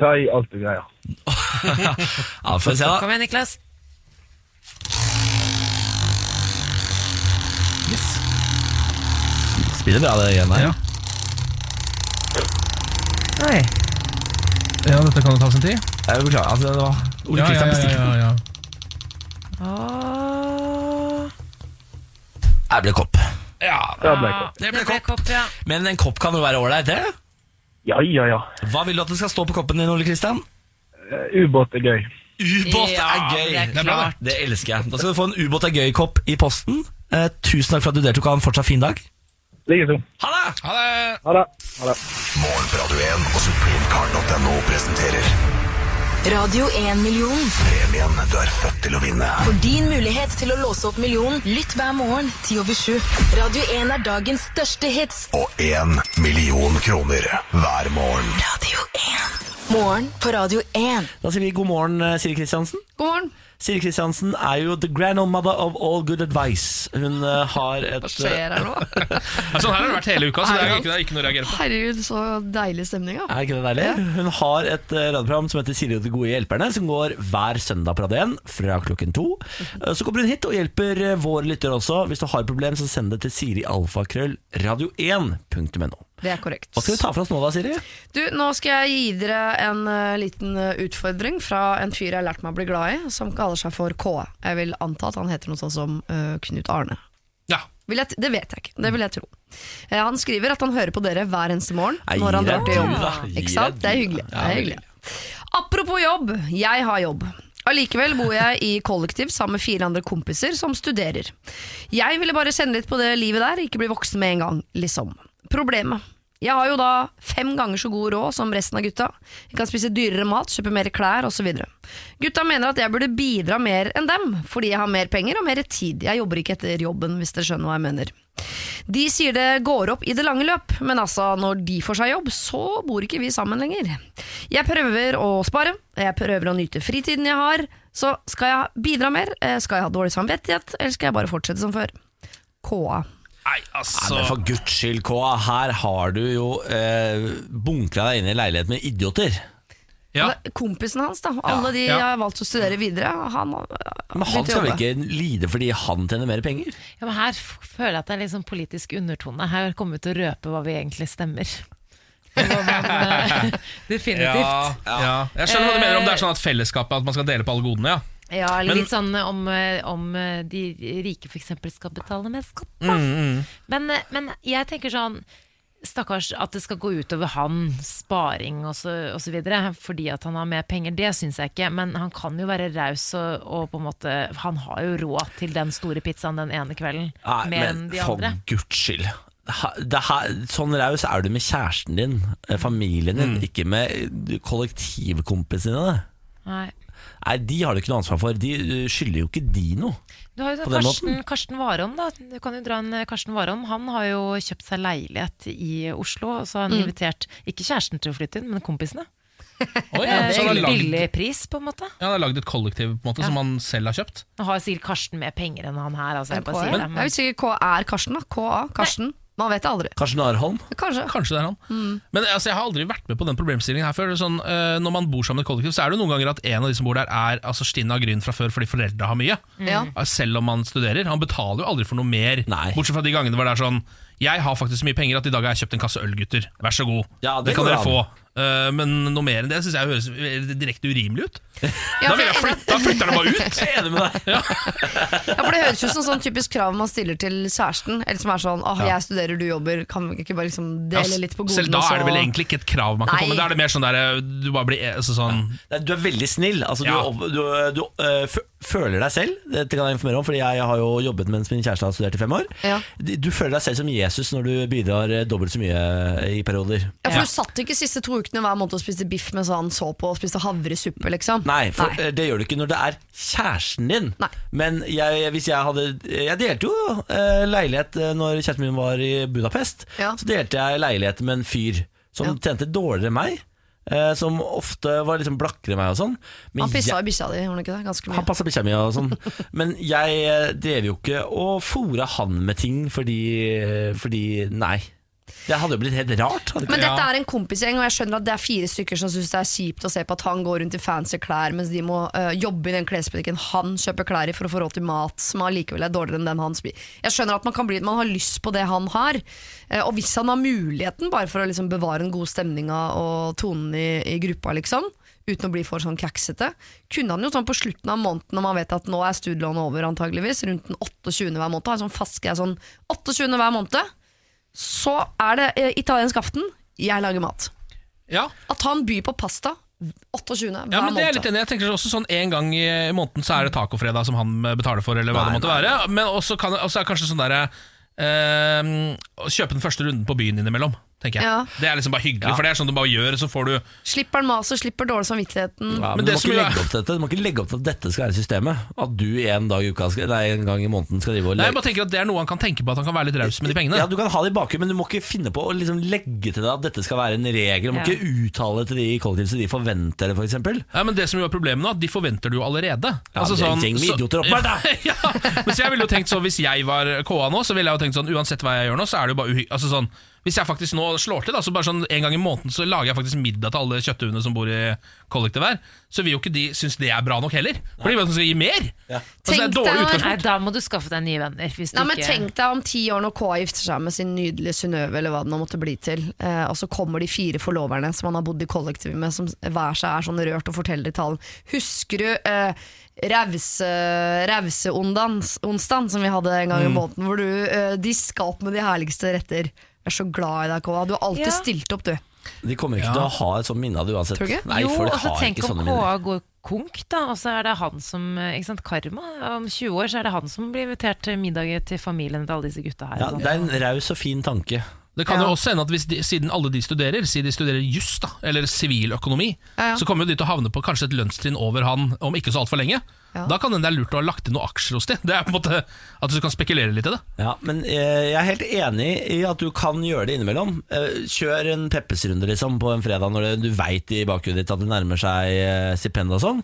Speaker 1: Ta i alt du greier. *laughs* ja, får vi se, da.
Speaker 3: Kom igjen, Niklas.
Speaker 1: Spiller bra, det igjen her.
Speaker 3: Oi.
Speaker 2: Ja, dette kan jo ta sin tid.
Speaker 1: Jeg beklager. Altså, det var Ole
Speaker 2: Ja,
Speaker 1: Kristian
Speaker 2: ja, ja,
Speaker 1: bestilte
Speaker 2: ja, ja.
Speaker 1: Jeg ble kopp. Ja,
Speaker 3: Det ble kopp.
Speaker 1: Det ble kopp.
Speaker 16: *laughs*
Speaker 1: Men en kopp kan jo være ålreit, det? Ja, ja, ja. Hva vil du at det skal stå på koppen din, Ole Kristian? Ubåt er gøy. Ubåt
Speaker 13: Ja,
Speaker 1: er gøy!
Speaker 13: det er
Speaker 1: bra,
Speaker 13: klart.
Speaker 1: Det elsker jeg. Da skal du få en Ubåt er gøy-kopp i posten. Eh, tusen takk for at du deltok. Ha en fortsatt fin dag. Likeså. Ha det!
Speaker 2: Ha det!
Speaker 1: Ha det.
Speaker 15: Morgen på Radio 1 og supremecard.no presenterer
Speaker 5: Radio 1-million.
Speaker 15: premien du er født til å vinne.
Speaker 5: For din mulighet til å låse opp millionen, lytt hver morgen 10 over 7. Radio 1 er dagens største hits.
Speaker 15: Og én million kroner hver morgen.
Speaker 5: Morgen på Radio 1.
Speaker 1: Da sier vi god morgen, eh, Siri Kristiansen.
Speaker 5: God morgen.
Speaker 1: Siri Kristiansen er jo the grandmother of all good advice. Hun eh, har et eh, Hva
Speaker 17: skjer her nå?
Speaker 2: Sånn her har det vært hele uka, så det er ikke, det er ikke noe å reagere på.
Speaker 17: Herregud, så deilig stemning, ja.
Speaker 1: Er ikke det deilig? Hun har et eh, radioprogram som heter Siri og de gode hjelperne, som går hver søndag på Radio 1 fra klokken to.
Speaker 17: Mhm.
Speaker 1: Eh, Så kommer hun hit og hjelper eh, våre lyttere også. Hvis du har et problem, så send det til sirialfakrøllradio1.no.
Speaker 17: Det er korrekt.
Speaker 1: Hva skal vi ta for oss nå da, Siri?
Speaker 17: Du, nå skal jeg gi dere en eh, liten eh, utfordring fra en fyr jeg har lært meg å bli glad i, som kaller seg for KA. Jeg vil anta at han heter noe sånn som eh, Knut Arne.
Speaker 2: Ja.
Speaker 17: Vil jeg, t- det vet jeg ikke, det vil jeg tro. Eh, han skriver at han hører på dere hver eneste morgen
Speaker 5: Nei,
Speaker 17: når han
Speaker 5: gi
Speaker 17: drar
Speaker 5: deg
Speaker 17: til
Speaker 5: du,
Speaker 17: jobb.
Speaker 5: da. Gi
Speaker 17: Ikke
Speaker 5: deg
Speaker 17: sant? Det er
Speaker 5: du,
Speaker 17: hyggelig.
Speaker 5: da.
Speaker 17: Det er
Speaker 5: Ja,
Speaker 17: hyggelig. Apropos jobb, jeg har jobb. Allikevel bor jeg i kollektiv sammen med fire andre kompiser som studerer. Jeg ville bare kjenne litt på det livet der, ikke bli voksen med en gang, liksom. Problemet. Jeg har jo da fem ganger så god råd som resten av gutta. Jeg kan spise dyrere mat, kjøpe mer klær osv. Gutta mener at jeg burde bidra mer enn dem, fordi jeg har mer penger og mer tid. Jeg jobber ikke etter jobben, hvis dere skjønner hva jeg mener. De sier det går opp i det lange løp, men altså, når de får seg jobb, så bor ikke vi sammen lenger. Jeg prøver å spare, jeg prøver å nyte fritiden jeg har, så skal jeg bidra mer, eh, skal jeg ha dårlig samvittighet, eller skal jeg bare fortsette som før? KA.
Speaker 2: Nei, altså
Speaker 1: Nei, men for guds skyld, Kåa. Her har du jo eh, bunkra deg inn i en leilighet med idioter.
Speaker 17: Men Kompisen hans, da. Alle de
Speaker 1: ja.
Speaker 17: jeg har valgt å studere videre. Han, eh,
Speaker 1: Men han skal vel ikke lide fordi han tjener mer penger?
Speaker 3: Ja, men her f- føler jeg at det er litt sånn politisk undertone. Her kommer vi til å røpe hva vi egentlig stemmer.
Speaker 1: *laughs*
Speaker 3: eh,
Speaker 2: Ja,
Speaker 3: Definitivt. Eh,
Speaker 2: ja. Jeg skjønner hva du mener om det er sånn at fellesskapet At man skal dele på alle godene, ja.
Speaker 3: Ja, eller
Speaker 2: Men-
Speaker 3: litt sånn eh, om, eh, om eh, de rike f.eks. skal betale mer skatt. da.
Speaker 2: Mm, mm.
Speaker 3: Men, eh, men jeg tenker sånn Stakkars at det skal gå utover han, sparing og så, og så videre, fordi at han har mer penger. Det syns jeg ikke, men han kan jo være raus og, og på en måte Han har jo råd til den store pizzaen den ene kvelden,
Speaker 1: Nei,
Speaker 3: mer enn de
Speaker 1: for
Speaker 3: andre.
Speaker 1: guds skyld. Ha- Det her, sånn raus er du med kjæresten din, eh, familien din, ikke med eh, kollektivkompisene dine.
Speaker 3: Nei.
Speaker 1: Nei, de har du ikke noe ansvar for. De eh, skylder jo ikke de noe.
Speaker 3: Du har jo
Speaker 1: På den
Speaker 3: Karsten,
Speaker 1: måten.
Speaker 3: Karsten Warholm, da. Du kan jo dra en eh, Karsten Warholm. Han har jo kjøpt seg leilighet i Oslo, og så har han
Speaker 17: Mm.
Speaker 3: invitert ikke kjæresten til å flytte inn, men
Speaker 1: *laughs*
Speaker 3: kompisene.
Speaker 2: Oi, ja,
Speaker 3: Eh,
Speaker 2: så han har lagd-
Speaker 3: Billig pris, på en måte.
Speaker 2: Ja, Han har lagd et kollektiv på en måte som han selv har kjøpt.
Speaker 3: Nå har sikkert Karsten mer penger enn han her, altså. Jeg bare
Speaker 17: KA.
Speaker 3: sier det.
Speaker 17: Jeg
Speaker 3: Men,
Speaker 17: vet ikke hva er Karsten, da. KA. Karsten. Man vet aldri. Mm.
Speaker 1: Karsten Arholm?
Speaker 17: Kanskje.
Speaker 2: Kanskje det er han. Men altså, jeg har aldri vært med på den problemstillingen her før. Det er Sånn, eh, når man bor sammen i et kollektiv, så er det noen ganger at en av de som bor der, er altså, stinn av gryn fra før fordi foreldra har mye.
Speaker 17: Mm. Ja.
Speaker 2: Eh, Selv om man studerer. Han betaler jo aldri for noe mer. Bortsett fra de gangene hvor det er sånn Jeg har faktisk så mye penger at i dag har jeg kjøpt en kasse øl, gutter. Vær så god.
Speaker 1: Ja,
Speaker 2: det,
Speaker 1: det
Speaker 2: kan
Speaker 1: går
Speaker 2: dere få.
Speaker 1: an.
Speaker 2: Eh, men noe mer enn det syns jeg høres direkte urimelig ut. da vil jeg
Speaker 17: for- *laughs*
Speaker 2: flytte, da
Speaker 1: *laughs*
Speaker 2: flytter jeg bare ut!
Speaker 1: Jeg er enig med deg.
Speaker 17: Ja, for Det høres ut som sånn typisk krav man stiller til kjæresten. Eller som er sånn åh,
Speaker 2: Ja.
Speaker 17: jeg studerer, du jobber, kan vi ikke bare liksom
Speaker 2: Ja,
Speaker 17: dele litt på godene?
Speaker 2: Selv da er det vel
Speaker 17: så-
Speaker 2: egentlig ikke et krav man kan
Speaker 17: Nei.
Speaker 2: komme Da er det mer sånn der eh, Du bare blir eh, altså, sånn
Speaker 1: Nei, Du er veldig snill. Altså, du,
Speaker 2: Ja.
Speaker 1: opp- du, du eh, fø- føler deg selv, dette kan jeg informere om, fordi jeg har jo jobbet mens min kjæreste har studert i fem år. Du du føler deg selv som Jesus når du bidrar eh, dobbelt så mye i perioder.
Speaker 17: Ja, for Du satt ikke siste to ukene hver måned og spiste biff mens han så på og spiste havresuppe, liksom.
Speaker 1: Nei, for eh, det gjør du ikke når det er kjæresten din. Men jeg, hvis jeg hadde Jeg delte jo eh, leilighet eh, når kjæresten min var i Budapest. Så delte jeg leilighet med en fyr som tjente dårligere enn meg. eh, som ofte var liksom blakkere enn meg og sånn. Men
Speaker 17: Han pissa
Speaker 1: jeg-
Speaker 17: i bikkja di, gjorde han ikke det? Ganske mye.
Speaker 1: Han passa bikkja mi og sånn. *laughs* Men jeg eh, drev jo ikke og fora han med ting fordi, fordi Nei. Det hadde jo blitt helt rart. Hadde ikke
Speaker 17: Men
Speaker 1: det?
Speaker 17: dette er en kompisgjeng, og jeg skjønner at det er fire stykker som syns det er kjipt å se på at han går rundt i fancy klær, mens de må øh, jobbe i den klesbutikken han kjøper klær i for å få råd til mat, som allikevel er dårligere enn den han spiser. Jeg skjønner at man, kan bli, man har lyst på det han har, eh, og hvis han har muligheten, bare for å liksom bevare den gode stemninga og tonen i, i gruppa, liksom. Uten å bli for sånn kjaksete. Kunne han jo sånn på slutten av måneden, når man vet at nå er studielånet over, antageligvis, rundt den 28. hver måned, ha en sånn fast greie sånn 28. hver måned, så er det eh, italiensk aften. Jeg lager mat.
Speaker 2: Ja.
Speaker 17: At han byr på pasta 28. hver
Speaker 2: Ja, men det er jeg litt
Speaker 17: måned.
Speaker 2: enig i. Jeg tenker også sånn En gang i i måneden så er det tacofredag som han eh, betaler for, eller hva
Speaker 13: Nei,
Speaker 2: det måtte være. Men også, kan, også er det kanskje sånn derre eh, å Kjøpe den første runden på byen innimellom, tenker jeg.
Speaker 17: Ja.
Speaker 2: Det er liksom bare hyggelig, for det er sånn du bare gjør, og så får du
Speaker 17: Slipper han maset, slipper dårlig samvittigheten.
Speaker 1: Ja,
Speaker 2: Mm.
Speaker 1: men
Speaker 2: Men
Speaker 1: du,
Speaker 2: det
Speaker 1: må
Speaker 2: som
Speaker 1: ikke
Speaker 2: jo er-
Speaker 1: legge opp til dette. du må ikke legge opp til at dette skal være systemet. At du en, dag i uka skal, nei, en gang i måneden skal drive og
Speaker 2: Nei, jeg
Speaker 1: legge
Speaker 2: bare tenker at Det er noe han kan tenke på, at han kan være litt raus med de pengene.
Speaker 1: Ja, Du kan ha det i bakhjulet, men du må ikke finne på å liksom legge til deg at dette skal være en regel. Du må
Speaker 2: Ja.
Speaker 1: ikke uttale til de i kollektivet så de forventer det, f.eks. For
Speaker 2: Ja, men det som jo er problemet nå, at de forventer det jo allerede. Altså sånn,
Speaker 1: Ja, det er en gjeng med idioter oppe her, da.
Speaker 2: *laughs* ja, men så jeg ville jo tenkt sånn, Hvis jeg var KA nå, så ville jeg jo tenkt sånn Uansett hva jeg gjør nå, så er det jo bare uhy... Altså sånn, hvis jeg faktisk nå slår til, da, så bare sånn en gang i måneden så lager jeg faktisk middag til alle kjøtthuene som bor i kollektivet her, så vil jo ikke de synes det er bra nok heller. For de vet at de skal gi mer. Altså, det er
Speaker 17: Tenk
Speaker 2: et dårlig
Speaker 17: deg-
Speaker 2: utgangspunkt.
Speaker 3: Nei, da må du skaffe deg nye venner. Hvis du
Speaker 17: Nei, men
Speaker 3: ikke...
Speaker 17: Tenk deg om ti år når KA gifter seg med sin nydelige Synnøve, eller hva det nå måtte bli til, eh, og så kommer de fire forloverne som han har bodd i kollektiv med, som hver seg er sånn rørt og forteller detaljen. Husker du eh, Rause- Rauseondans- onsdagen som vi hadde en gang i
Speaker 3: Mm.
Speaker 17: måneden, hvor du eh, diska opp med de herligste retter? Jeg er så glad i deg, KA. Du har alltid
Speaker 3: Ja.
Speaker 17: stilt opp, du.
Speaker 1: De kommer ikke til å ha et sånt minne av det uansett.
Speaker 17: Tror du ikke?
Speaker 1: Nei,
Speaker 3: jo,
Speaker 2: altså,
Speaker 1: folk
Speaker 3: og så
Speaker 1: har
Speaker 3: tenk
Speaker 1: ikke
Speaker 3: om
Speaker 1: sånne
Speaker 3: KA
Speaker 1: minner.
Speaker 3: går konk, da. Og så er det han som ikke sant, Karma. Om 20 år så er det han som blir invitert til middager til familien til alle disse gutta her.
Speaker 1: Ja, det er en raus og fin tanke.
Speaker 2: Det kan jo også hende at hvis de, siden alle de studerer, si de studerer juss da, eller siviløkonomi,
Speaker 3: Ja, ja.
Speaker 2: så kommer jo de til å havne på kanskje et lønnstrinn over han om ikke så altfor lenge.
Speaker 1: Ja.
Speaker 2: Da kan det hende det er lurt å ha lagt inn noen aksjer hos de. Det er på en måte At du kan spekulere litt i det.
Speaker 1: Ja, men eh, jeg er helt enig i at du kan gjøre det innimellom. Eh, kjør en Peppes-runde liksom, på en fredag når det, du veit i bakhodet ditt at det nærmer seg eh, stipend og sånn.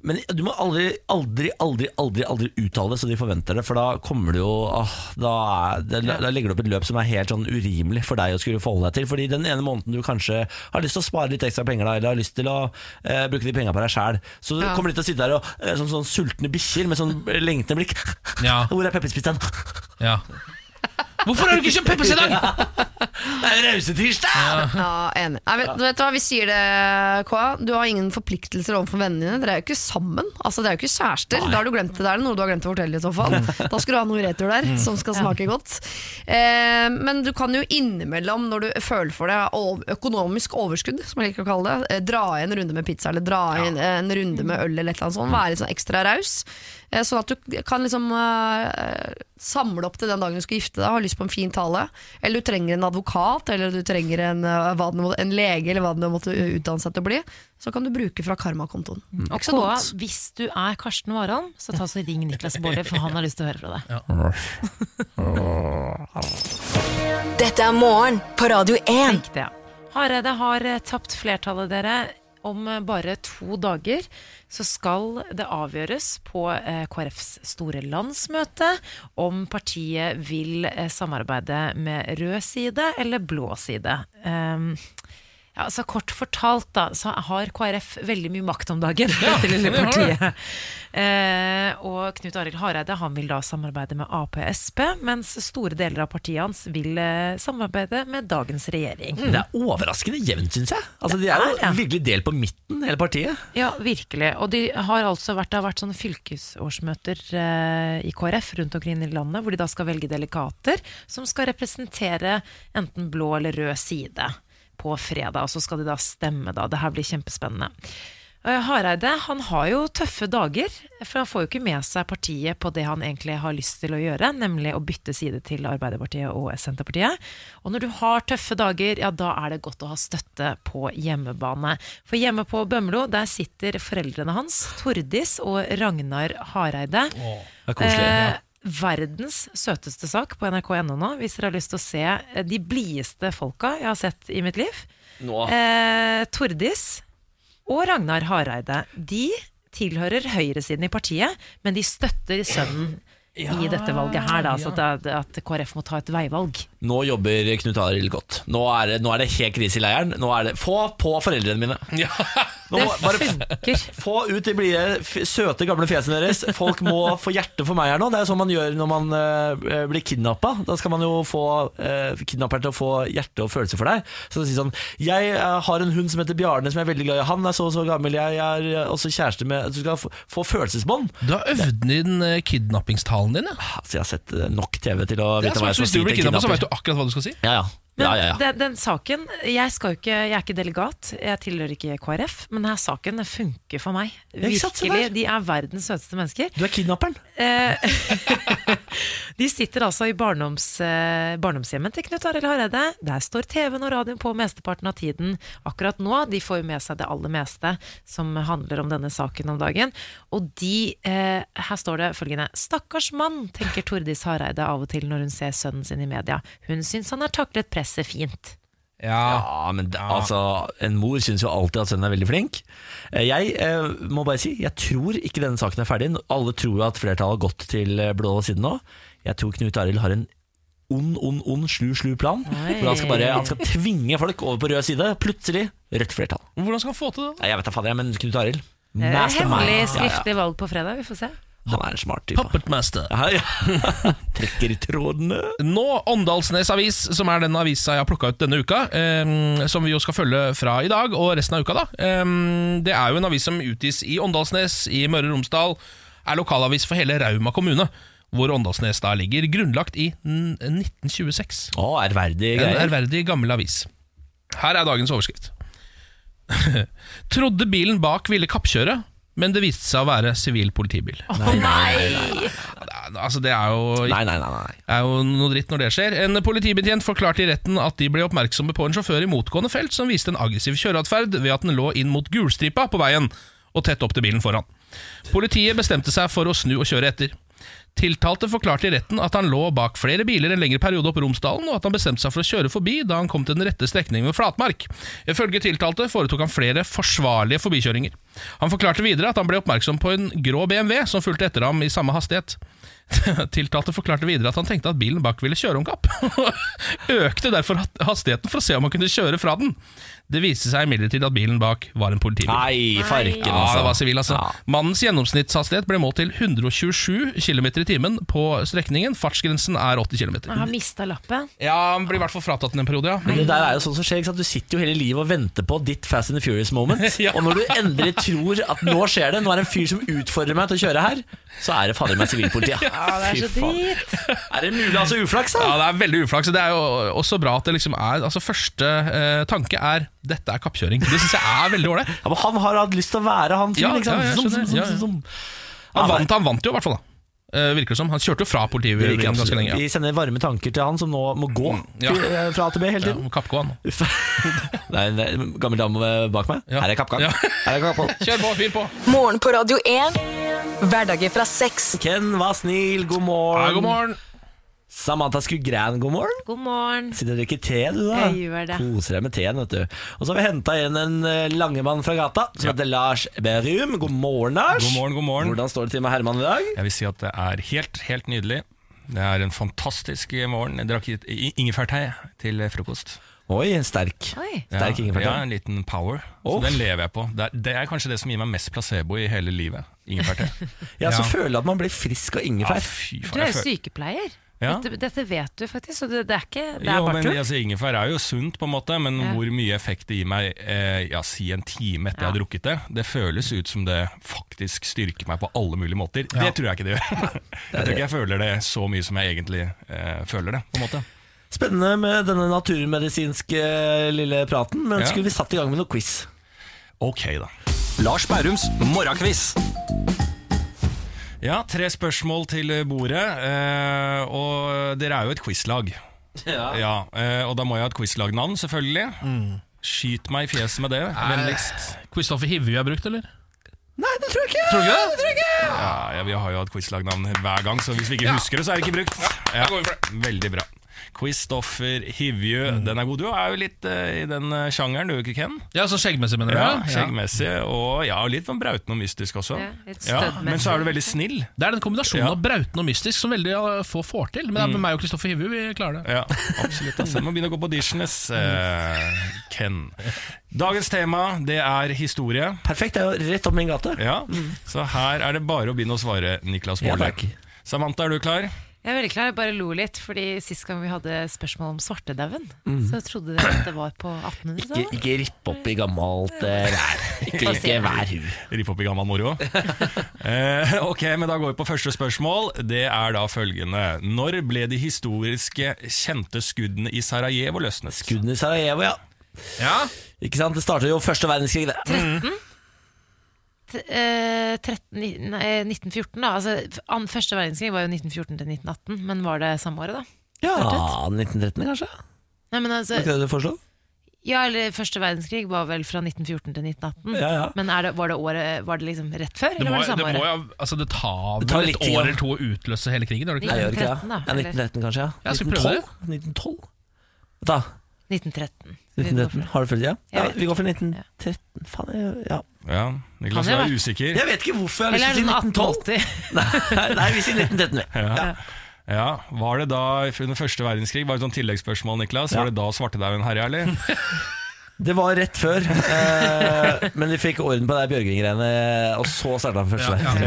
Speaker 1: Men du må aldri, aldri, aldri aldri, aldri uttale det så de forventer det, for da kommer du jo ah, da, er, det, da legger du opp et løp som er helt sånn urimelig for deg å skulle forholde deg til. Fordi den ene måneden du kanskje har lyst til å spare litt ekstra penger da, eller har lyst til å eh, bruke de penga på deg sjæl, så
Speaker 13: Ja.
Speaker 1: kommer de til å sitte der og, eh, som sånn sultne bikkjer med sånn lengtende blikk. *laughs* Hvor er pepperspisseren?
Speaker 2: Ja. Hvorfor har du ikke kjøpt Peppes i dag?
Speaker 1: Det er Rausetirsdag!
Speaker 17: Ja, enig. Nei, vet, vet du hva, vi sier det, KA. Du har ingen forpliktelser overfor vennene dine. Dere er jo ikke sammen. Altså, Dere er jo ikke kjærester. Da har du glemt det. Det er noe du har glemt å fortelle i så fall. Da skal du ha noe retur der
Speaker 3: Mm.
Speaker 17: som skal smake godt. Eh, men du kan jo innimellom, når du føler for det, ov- økonomisk overskudd, som jeg liker å kalle det, eh, dra i en runde med pizza eller dra i en, en runde med øl eller et eller annet sånt. Være litt sånn ekstra raus. Eh, sånn at du kan liksom eh, samle opp til den dagen du skal gifte deg, har lyst på en fin tale, eller du trenger en advokat, eller du trenger en, eh, hva det nå må- en lege, eller hva det nå måtte utdanne seg til å bli, så kan du bruke fra karmakontoen. Mm.
Speaker 3: Og KA, hvis du er Karsten Warholm, så ta så ring Niklas Baarli, for han har lyst til å høre fra deg.
Speaker 5: Dette er morgen på Radio 1.
Speaker 3: Tenk det. Hareide har eh, tapt flertallet, dere. Om eh, bare to dager så skal det avgjøres på eh, KrFs store landsmøte om partiet vil eh, samarbeide med rød side eller blå side. Um, Ja, altså Kort fortalt da, så har KrF veldig mye makt om dagen. *laughs*
Speaker 14: Ja,
Speaker 3: dette lille
Speaker 14: det har de.
Speaker 3: partiet. Eh, og Knut Arild Hareide han vil da samarbeide med Ap og Sp, mens store deler av partiet hans vil eh, samarbeide med dagens regjering.
Speaker 14: Mm,
Speaker 1: Det er overraskende jevnt, syns jeg. Altså, de er jo virkelig delt på midten, hele partiet.
Speaker 3: Ja, virkelig. Og de har altså vært, det har vært sånne fylkesårsmøter eh, i KrF rundt omkring i landet, hvor de da skal velge delikater som skal representere enten blå eller rød side på fredag. Og så skal de da stemme, da. Det her blir kjempespennende. Eh, Hareide han har jo tøffe dager, for han får jo ikke med seg partiet på det han egentlig har lyst til å gjøre, nemlig å bytte side til Arbeiderpartiet og Senterpartiet. Og når du har tøffe dager, ja da er det godt å ha støtte på hjemmebane. For hjemme på Bømlo, der sitter foreldrene hans, Tordis og Ragnar Hareide. Eh,
Speaker 1: det er koselig, ja.
Speaker 3: verdens søteste sak på nrk.no nå, hvis dere har lyst til å se eh, de blideste folka jeg har sett i mitt liv.
Speaker 14: Nå.
Speaker 3: Eh, Tordis og Ragnar Hareide De tilhører høyresiden i partiet, men de støtter sønnen i dette valget her. Da, så at, at KrF må ta et veivalg.
Speaker 1: Nå jobber Knut Arild godt. Nå er, det, nå er det helt krise i leiren. Nå er det Få på foreldrene mine! Nå må, bare
Speaker 3: f-
Speaker 1: få ut de blide, f- søte, gamle fjesene deres. Folk må få hjerte for meg her nå. Det er jo sånn man gjør når man eh, blir kidnappa. Da skal man jo få uh, kidnapperen til å få hjerte og følelser for deg. Så si sånn Jeg eh, har en hund som heter Bjarne, som jeg er veldig glad i. Han er så og så gammel. Jeg er eh, også kjæreste med Du skal få, få følelsesbånd.
Speaker 2: Du har øvd inn eh, kidnappingstalen din. Ja.
Speaker 1: Altså, jeg har sett eh, nok TV til å
Speaker 2: Det er
Speaker 1: vite
Speaker 2: smart,
Speaker 1: hva jeg skal
Speaker 2: Hvis du
Speaker 1: si
Speaker 2: blir
Speaker 1: til
Speaker 2: kidnappet, så
Speaker 1: kidnapper.
Speaker 2: vet du akkurat hva du skal si.
Speaker 1: Ja, ja. ja, ja, ja.
Speaker 3: Den, den saken jeg, skal jo ikke, jeg er ikke delegat, jeg tilhører ikke KrF, men denne saken funker for meg.
Speaker 1: Ja, ikke sant, se
Speaker 3: Virkelig,
Speaker 1: der.
Speaker 3: De er verdens søteste mennesker.
Speaker 1: Du er kidnapperen.
Speaker 3: Eh, *laughs* de sitter altså i barndoms, eh, barndomshjemmet til Knut Arild Hareide. Der står TV-en og radioen på mesteparten av tiden akkurat nå. De får jo med seg det aller meste som handler om denne saken om dagen. Og de eh, Her står det følgende Stakkars mann, tenker Tordis Hareide av og til når hun ser sønnen sin i media. Hun syns han har taklet presset fint.
Speaker 1: Ja, men det, altså En mor syns jo alltid at sønnen er veldig flink. Eh, Jeg eh, må bare si, jeg tror ikke denne saken er ferdig. Alle tror at flertallet har gått til eh, blå siden nå. Jeg tror Knut Arild har en ond, ond, ond, slu, slu plan.
Speaker 2: Oi.
Speaker 1: Hvor han skal bare han skal tvinge folk over på rød side. Plutselig rødt flertall.
Speaker 2: Hvordan skal han få til det?
Speaker 1: Nei, Jeg vet da fader, jeg, men Knut Arild
Speaker 3: Det er Eh, Hemmelig
Speaker 1: mastermind. Ja, ja.
Speaker 3: skriftlig valg på fredag, vi får se.
Speaker 1: Han er en smart type.
Speaker 2: Puppetmaster.
Speaker 1: Ja, ja. *laughs* Trekker i trådene.
Speaker 2: Nå, Åndalsnes Avis, som er den avisa jeg har plukka ut denne uka, eh, som vi jo skal følge fra i dag og resten av uka, da. Eh, det er jo en avis som utgis i Åndalsnes i Møre og Romsdal. Er lokalavis for hele Rauma kommune, hvor Åndalsnes da ligger. Grunnlagt i n- 1926.
Speaker 1: Å, ærverdig
Speaker 2: En
Speaker 1: greier.
Speaker 2: ærverdig gammel avis. Her er dagens overskrift. *laughs* Trodde bilen bak ville kappkjøre, men det viste seg å være sivil politibil. Altså, det er jo, er jo noe dritt når det skjer. En politibetjent forklarte i retten at de ble oppmerksomme på en sjåfør i motgående felt som viste en aggressiv kjøreatferd ved at den lå inn mot gulstripa på veien og tett opp til bilen foran. Politiet bestemte seg for å snu og kjøre etter. Tiltalte forklarte i retten at han lå bak flere biler en lengre periode opp Romsdalen, og at han bestemte seg for å kjøre forbi da han kom til den rette strekningen ved Flatmark. Ifølge tiltalte foretok han flere forsvarlige forbikjøringer. Han forklarte videre at han ble oppmerksom på en grå BMW som fulgte etter ham i samme hastighet. *laughs* Tiltalte forklarte videre at han tenkte at bilen bak ville kjøre om kapp, *laughs* og økte derfor hastigheten for å se om han kunne kjøre fra den. Det viste seg imidlertid at bilen bak var en politibil.
Speaker 1: Nei, farken, altså.
Speaker 2: Ja, det var sivil, altså. Mannens gjennomsnittshastighet ble målt til 127 km i timen på strekningen. Fartsgrensen er 80
Speaker 3: Jeg
Speaker 2: km.
Speaker 3: har mista lappen.
Speaker 2: Ja, han blir i hvert fall fratatt den en periode, ja.
Speaker 1: Men det der er jo sånn som skjer, ikke sant? Du sitter jo hele livet og venter på ditt Fast and the Furious
Speaker 2: *laughs*
Speaker 1: moment. Og når du endelig tror at nå skjer det, nå er det en fyr som utfordrer meg til å kjøre her, så er det fader meg sivilpolitiet. Fy faen. Er det mulig altså uflaks, da?
Speaker 2: Ja, det er veldig uflaks. og Det er jo også bra at det liksom er Altså, første eh, tanke er 'dette er kappkjøring'. Det syns jeg er veldig ålreit.
Speaker 1: Ja, men han har hatt lyst til å være han fyren,
Speaker 2: Ja,
Speaker 1: ikke sant?
Speaker 2: ja, jeg
Speaker 1: Zoom,
Speaker 2: skjønner.
Speaker 1: zoom,
Speaker 2: Ja, ja.
Speaker 1: zoom, zoom.
Speaker 2: Han vant, han vant jo, i hvert fall. da Eh, Virker det som. Han kjørte jo fra
Speaker 1: Det
Speaker 2: politiet
Speaker 1: virker
Speaker 2: ganske
Speaker 1: absolutt.
Speaker 2: lenge.
Speaker 1: Vi
Speaker 2: Ja. Mm,
Speaker 1: sender varme tanker til han som nå må gå
Speaker 2: Ja.
Speaker 1: til- eh, fra A til B hele tiden.
Speaker 2: Ja, Kappgå
Speaker 1: *laughs*
Speaker 2: han.
Speaker 1: Uff. Det er en eh, gammel dame bak meg. Her er kappgang. Her er kappgang.
Speaker 2: *laughs* Kjør på, fyr på!
Speaker 5: Morgen på Radio 1. Hverdager fra seks.
Speaker 1: Ken var snill, god morgen.
Speaker 5: Ja, god morgen.
Speaker 1: Samantha Skugran, god morgen.
Speaker 3: God morgen.
Speaker 1: Sitter og drikker te, du da?
Speaker 3: Jeg gjør det.
Speaker 1: Koser deg med teen, vet du. Og så har vi henta igjen en eh, langemann fra gata som heter Lars Berum. God morgen, Lars.
Speaker 16: God morgen, god morgen.
Speaker 1: Hvordan står det til med Herman i dag?
Speaker 16: Jeg vil si at det er helt, helt nydelig. Det er en fantastisk morgen. Jeg drakk i- i- ingefærtei til frokost.
Speaker 1: Oi, en sterk. Sterk ingefærte.
Speaker 16: Ja, en liten power. Så
Speaker 1: Uff.
Speaker 16: den lever jeg på. Det er, det er kanskje det som gir meg mest placebo i hele livet. Ingefærte.
Speaker 1: *laughs* Ja, så føler jeg at man blir frisk av ingefær.
Speaker 16: Ja, fy faen,
Speaker 3: Du er
Speaker 16: jeg
Speaker 3: jo
Speaker 16: føler-
Speaker 3: sykepleier.
Speaker 16: Ja.
Speaker 3: Dette, dette vet du faktisk, så det, det er ikke Det er
Speaker 16: Jo,
Speaker 3: bare
Speaker 16: men
Speaker 3: tull.
Speaker 16: altså, Ingefær er jo sunt, på en måte, men
Speaker 3: Ja.
Speaker 16: hvor mye effekt det gir meg eh, ja, si en time etter jeg har drukket det, det føles ut som det faktisk styrker meg på alle mulige måter.
Speaker 1: Ja.
Speaker 16: Det tror jeg ikke det gjør. jeg tror ikke jeg føler det så mye som jeg egentlig eh, føler det. på en måte.
Speaker 1: Spennende med denne naturmedisinske eh, lille praten, men
Speaker 16: Ja.
Speaker 1: skulle vi satt i gang med noe quiz?
Speaker 16: Ok, da.
Speaker 13: Lars Bærums morgenkviss.
Speaker 16: Ja, tre spørsmål til bordet, eh, og dere er jo et quizlag.
Speaker 13: Ja.
Speaker 16: eh, og da må jeg ha et quizlagnavn, selvfølgelig. Skyt meg i fjeset med det, vennligst.
Speaker 2: Kristoffer Hivju er brukt, eller?
Speaker 1: Nei, det tror jeg ikke!
Speaker 2: Tror du ikke det?
Speaker 16: Ja, ja, Vi har jo hatt quizlagnavn hver gang, så hvis vi ikke
Speaker 2: Ja.
Speaker 16: husker det, så er det ikke brukt. Ja, Veldig bra. Quizstoffer Hivju, den er god. Du er jo litt eh, i den eh, sjangeren, du, Ken?
Speaker 2: Mm. Ja, så skjeggmessig, mener du?
Speaker 16: Ja,
Speaker 2: ja?
Speaker 16: Skjeggmessig, og ja, litt sånn brauten og mystisk også.
Speaker 2: Ja, litt
Speaker 16: Ja, men så er du
Speaker 2: stødmessig.
Speaker 16: veldig snill.
Speaker 2: Det er den kombinasjonen
Speaker 16: Ja.
Speaker 2: av brauten og mystisk som veldig eh, få får til. Men det er
Speaker 16: Mm.
Speaker 2: meg og Kristoffer Hivju vi klarer det.
Speaker 16: Ja, absolutt. Altså. Jeg Må begynne å gå på auditiones, eh, Ken. Dagens tema det er historie.
Speaker 1: Perfekt, det er jo rett opp min gate.
Speaker 16: Ja, Så her er det bare å begynne å svare, Niklas
Speaker 1: Ja,
Speaker 16: Baarli.
Speaker 1: takk.
Speaker 16: Samantha, er du klar?
Speaker 3: Jeg er veldig klar, jeg bare lo litt, fordi sist gang vi hadde spørsmål om svartedauden,
Speaker 1: Mm.
Speaker 3: så trodde dere at det var på 1800-tallet.
Speaker 1: Ikke, ikke ripp opp i gammelt eh, vær. Ikke, ikke vær hu.
Speaker 16: Ripp opp i gammel moro. Eh, ok, men da går vi på første spørsmål. Det er da følgende. Når ble de historiske kjente skuddene i Sarajevo løsnet?
Speaker 1: Skuddene i Sarajevo, ja. Ikke sant? Det startet jo første verdenskrig. det. Mm.
Speaker 3: 13? T- eh, 13 ni- nei, 1914, da. Altså, f- an- første verdenskrig var jo 1914 til 1918, men var det samme året, da?
Speaker 1: Ja,
Speaker 3: Startet?
Speaker 1: 1913 kanskje?
Speaker 3: Nei, men
Speaker 1: Var
Speaker 3: altså,
Speaker 1: ikke det du foreslo?
Speaker 3: ja, eller første verdenskrig var vel fra 1914 til 1918.
Speaker 1: Ja, ja.
Speaker 3: Men er det, var, det året, var det liksom rett før,
Speaker 2: Det,
Speaker 3: eller
Speaker 2: må,
Speaker 3: var det
Speaker 2: det,
Speaker 3: samme
Speaker 2: må,
Speaker 3: året?
Speaker 2: jo- altså, det tar
Speaker 1: Det tar
Speaker 2: vel
Speaker 1: litt
Speaker 2: et
Speaker 1: tid, ja.
Speaker 2: år eller to å utløse hele krigen? Gjør det
Speaker 1: Nei,
Speaker 2: ikke
Speaker 1: jeg gjør ikke det.
Speaker 3: 1913
Speaker 1: Ja,
Speaker 3: da, eller?
Speaker 1: 1913 kanskje, ja.
Speaker 2: Ja, skal vi prøve det?
Speaker 1: 1912? 1912? Vent da,
Speaker 3: 1913.
Speaker 1: 1913. Har du følt det? Ja,
Speaker 3: Jeg vet
Speaker 1: vi går for 1913. Faen, jeg, ja.
Speaker 16: Ja, Niklas
Speaker 1: Kan det
Speaker 16: var
Speaker 1: være?
Speaker 16: usikker.
Speaker 1: Jeg vet ikke hvorfor jeg har
Speaker 3: Eller
Speaker 1: lyst
Speaker 3: er det
Speaker 1: til å si
Speaker 3: sånn
Speaker 1: 1912.
Speaker 3: 1880?
Speaker 1: Nei, nei, vi sier 1913. vi.
Speaker 16: Ja. Ja, Var det da under første verdenskrig Var det sånn tilleggsspørsmål, Niklas? Var det da svartedauden herja, eller?
Speaker 1: Det var rett
Speaker 3: *laughs*
Speaker 1: før, eh, men vi fikk orden på det Bjørgvin-greiene, og så starta første verdenskrig.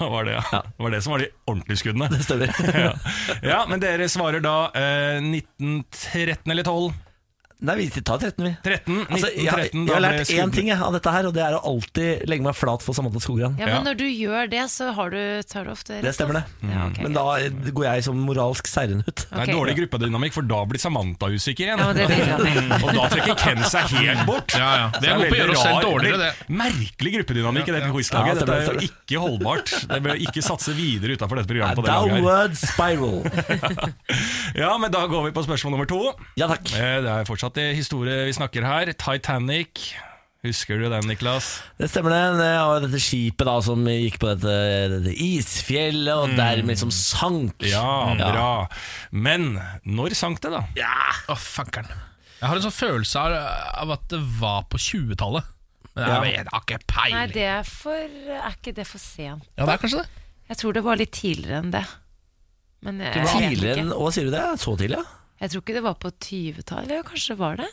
Speaker 16: Ja, var det, ja. *laughs* Det var det som var de ordentlige skuddene.
Speaker 1: Det stemmer.
Speaker 16: *laughs* ja. ja, Men dere svarer da eh, 1913 eller 12?
Speaker 1: Nei, vi tar 13, vi.
Speaker 16: 13, 1913,
Speaker 1: Altså, jeg, har- jeg
Speaker 16: da ble
Speaker 1: har lært én
Speaker 16: skuddene-
Speaker 1: ting jeg, av dette her, og det er å alltid legge meg flat for Samantha Skogran.
Speaker 3: Ja, men når du gjør det, så har du, tar du ofte
Speaker 1: Det stemmer, det.
Speaker 16: Mm.
Speaker 3: Ja, ok,
Speaker 1: men da går jeg som moralsk seirende ut.
Speaker 16: Det er dårlig gruppedynamikk, for da blir Samantha usikker igjen.
Speaker 3: Ja, men det blir det.
Speaker 16: *laughs* og da trekker Ken seg helt bort.
Speaker 2: Ja, ja. Det går på
Speaker 16: Så
Speaker 2: å
Speaker 16: veldig
Speaker 2: gjøre oss selv
Speaker 16: rar-
Speaker 2: dårligere, det.
Speaker 16: veldig Merkelig gruppedynamikk i dette
Speaker 1: Ja,
Speaker 16: quizlaget.
Speaker 1: stemmer,
Speaker 16: Dette er
Speaker 1: stemmer.
Speaker 16: jo ikke holdbart. Det bør ikke satse videre utenfor dette programmet. på det laget her.
Speaker 1: Downward spiral.
Speaker 16: Ja, men da går vi på spørsmål nummer to.
Speaker 1: Ja, takk
Speaker 16: Eh, Det er fortsatt det historie vi snakker her. Titanic. Husker du den, Niklas?
Speaker 1: Det stemmer det. Det var dette skipet da som gikk på dette, dette isfjellet, og dermed liksom sank.
Speaker 16: Mm. Ja, Ah, bra. Men når sank det, da?
Speaker 1: Ja.
Speaker 2: Å, fankeren. Jeg har en sånn følelse av, av at det var på 20-tallet. Men jeg,
Speaker 16: Ja.
Speaker 2: vet- jeg har ikke
Speaker 3: Nei,
Speaker 2: peiling.
Speaker 3: det er, for, er ikke det for sent?
Speaker 2: Ja, det er kanskje det.
Speaker 3: Jeg tror det var litt tidligere enn det. Men eh, jeg, jeg, vet
Speaker 1: Tidligere enn
Speaker 3: ikke.
Speaker 1: Å, sier du det? Så tidlig, ja?
Speaker 3: jeg tror ikke det var på 20-tallet. Ja, Kanskje det var det?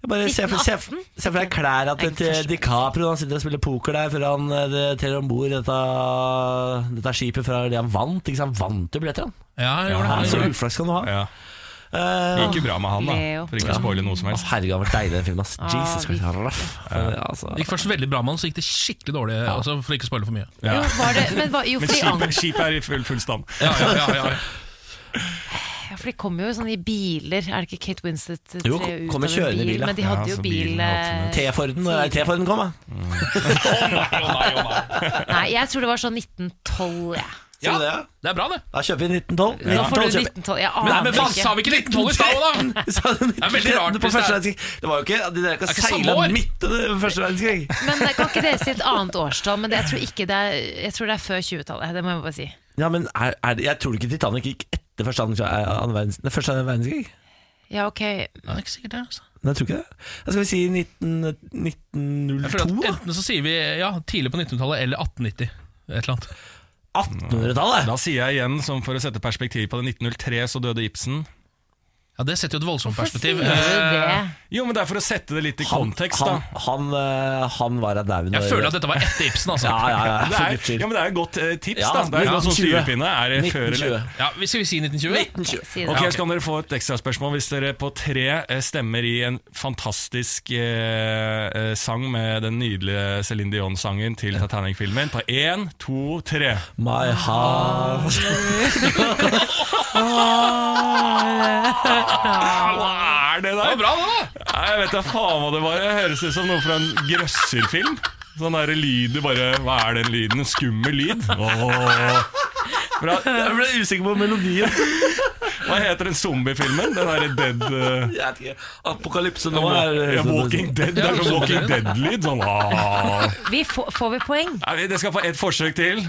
Speaker 1: Jeg bare ser for, ser, ser for deg klær at til DiCaprio han sitter og spiller poker der før han eh, det- teller om bord dette, dette skipet fra det han vant. Ikke sant? Han vant jo billetter, han.
Speaker 2: Ja, jeg gjorde det.
Speaker 1: Ja,
Speaker 2: Jeg
Speaker 1: så
Speaker 2: gjorde det.
Speaker 1: uflaks kan du ha.
Speaker 16: Ja.
Speaker 1: Eh,
Speaker 16: Gikk jo bra med han, da.
Speaker 3: Leo.
Speaker 16: For ikke å spoile noe som helst.
Speaker 1: Å, Herregud, han var deilig den filmen. ass.
Speaker 3: Ah,
Speaker 1: Jesus Christ, han var røff. Ja,
Speaker 2: Det gikk
Speaker 1: altså.
Speaker 2: først veldig bra med han, så gikk det skikkelig dårlig. Altså, for ikke å spoile for mye.
Speaker 3: Jo, var det men, var, jo,
Speaker 16: Men
Speaker 3: fordi,
Speaker 16: skipet,
Speaker 3: an-
Speaker 16: skipet er i full, full stand.
Speaker 2: Ja, ja, ja, ja, ja.
Speaker 3: ja, for de kom jo sånn i biler. Er det ikke Kate Winslet eh,
Speaker 1: Jo,
Speaker 3: tre ut
Speaker 1: kom
Speaker 3: av
Speaker 1: og kjørende i
Speaker 3: en
Speaker 1: bil,
Speaker 3: bil?
Speaker 1: ja.
Speaker 3: Men de hadde
Speaker 1: Ja,
Speaker 3: jo
Speaker 1: så
Speaker 3: bil eh,
Speaker 1: T-Forden når nei, T-Forden kom, da.
Speaker 3: Nei, jeg tror det var sånn 1912, jeg.
Speaker 1: Sier du det? ja?
Speaker 2: Det er bra, det.
Speaker 1: Da kjøper vi 1912.
Speaker 3: Nå får
Speaker 1: 1912
Speaker 3: du
Speaker 1: kjøper vi.
Speaker 3: 1912. Jeg
Speaker 2: Men,
Speaker 3: aner
Speaker 2: men faen, sa
Speaker 3: ikke.
Speaker 2: vi ikke 1912 i stad
Speaker 1: *laughs*
Speaker 2: òg, da?!
Speaker 1: Så er
Speaker 2: er veldig rart
Speaker 1: 1913 på
Speaker 2: hvis det er-
Speaker 1: første verdenskrig. Det var jo ikke De der
Speaker 2: Det er
Speaker 1: kan
Speaker 2: ikke samme
Speaker 1: seile
Speaker 2: år.
Speaker 1: midt under første verdenskrig.
Speaker 3: *laughs* Men eh, kan ikke dere si et annet årstall? Men det, jeg, tror ikke det er, jeg tror det er før 20-tallet. Det må jeg bare si.
Speaker 1: Ja, men er, er det, Jeg tror ikke Titanic gikk etter første, andre- andre verdens- nei, første verdenskrig.
Speaker 3: Ja, ok.
Speaker 2: Ja, det er ikke sikkert det, altså.
Speaker 1: Nei, jeg tror ikke det. Da skal vi si 19,
Speaker 2: Jeg føler at
Speaker 1: 1902, da.
Speaker 2: Enten så sier vi ja, tidlig på 1900-tallet eller 1890. Et eller annet.
Speaker 1: 1800-tallet!
Speaker 16: Da sier jeg igjen, som for å sette perspektiv på det, 1903 så døde Ibsen.
Speaker 2: Ja, Det setter jo et voldsomt
Speaker 17: Hvorfor
Speaker 2: perspektiv.
Speaker 17: sier du
Speaker 2: Eh,
Speaker 17: det?
Speaker 16: Jo, men det er for å sette det litt i
Speaker 1: Han-
Speaker 16: kontekst,
Speaker 1: han,
Speaker 16: da.
Speaker 1: Han, eh, han var en daud.
Speaker 2: Jeg føler at dette var etter Ibsen, altså.
Speaker 1: Ja, ja, ja,
Speaker 16: Det
Speaker 1: for
Speaker 16: er,
Speaker 1: guds skyld.
Speaker 16: ja, men det er jo et godt eh, tips,
Speaker 1: Ja,
Speaker 16: da. Det er jo en
Speaker 1: 1920.
Speaker 16: sånn styrepinne. Er det før
Speaker 1: 1920.
Speaker 16: eller
Speaker 2: Ja, vi- Skal vi si 1920? 1920.
Speaker 16: Ok, så kan dere få et ekstraspørsmål hvis dere på tre eh, stemmer i en fantastisk eh, eh, sang med den nydelige Céline Dion-sangen til Titanic-filmen. På én, to, tre.
Speaker 1: My heart
Speaker 17: *laughs*
Speaker 16: Hva er det der?
Speaker 2: Det var bra, det, da!
Speaker 16: Nei, jeg vet da faen hva det var. Det høres ut som noe fra en grøsserfilm. Sånn der lyd det bare Hva er den lyden? En skummel lyd? Åh. Bra.
Speaker 1: Jeg ble usikker på melodien.
Speaker 16: Hva heter den zombiefilmen? Den derre Dead eh,
Speaker 1: Jeg vet ikke. Apokalypse nå er
Speaker 16: ja, Walking Dead. Det er sånn Walking Dead-lyd. Sånn ah.
Speaker 3: Vi får, får vi poeng?
Speaker 16: Nei, vi- Det skal få ett forsøk til.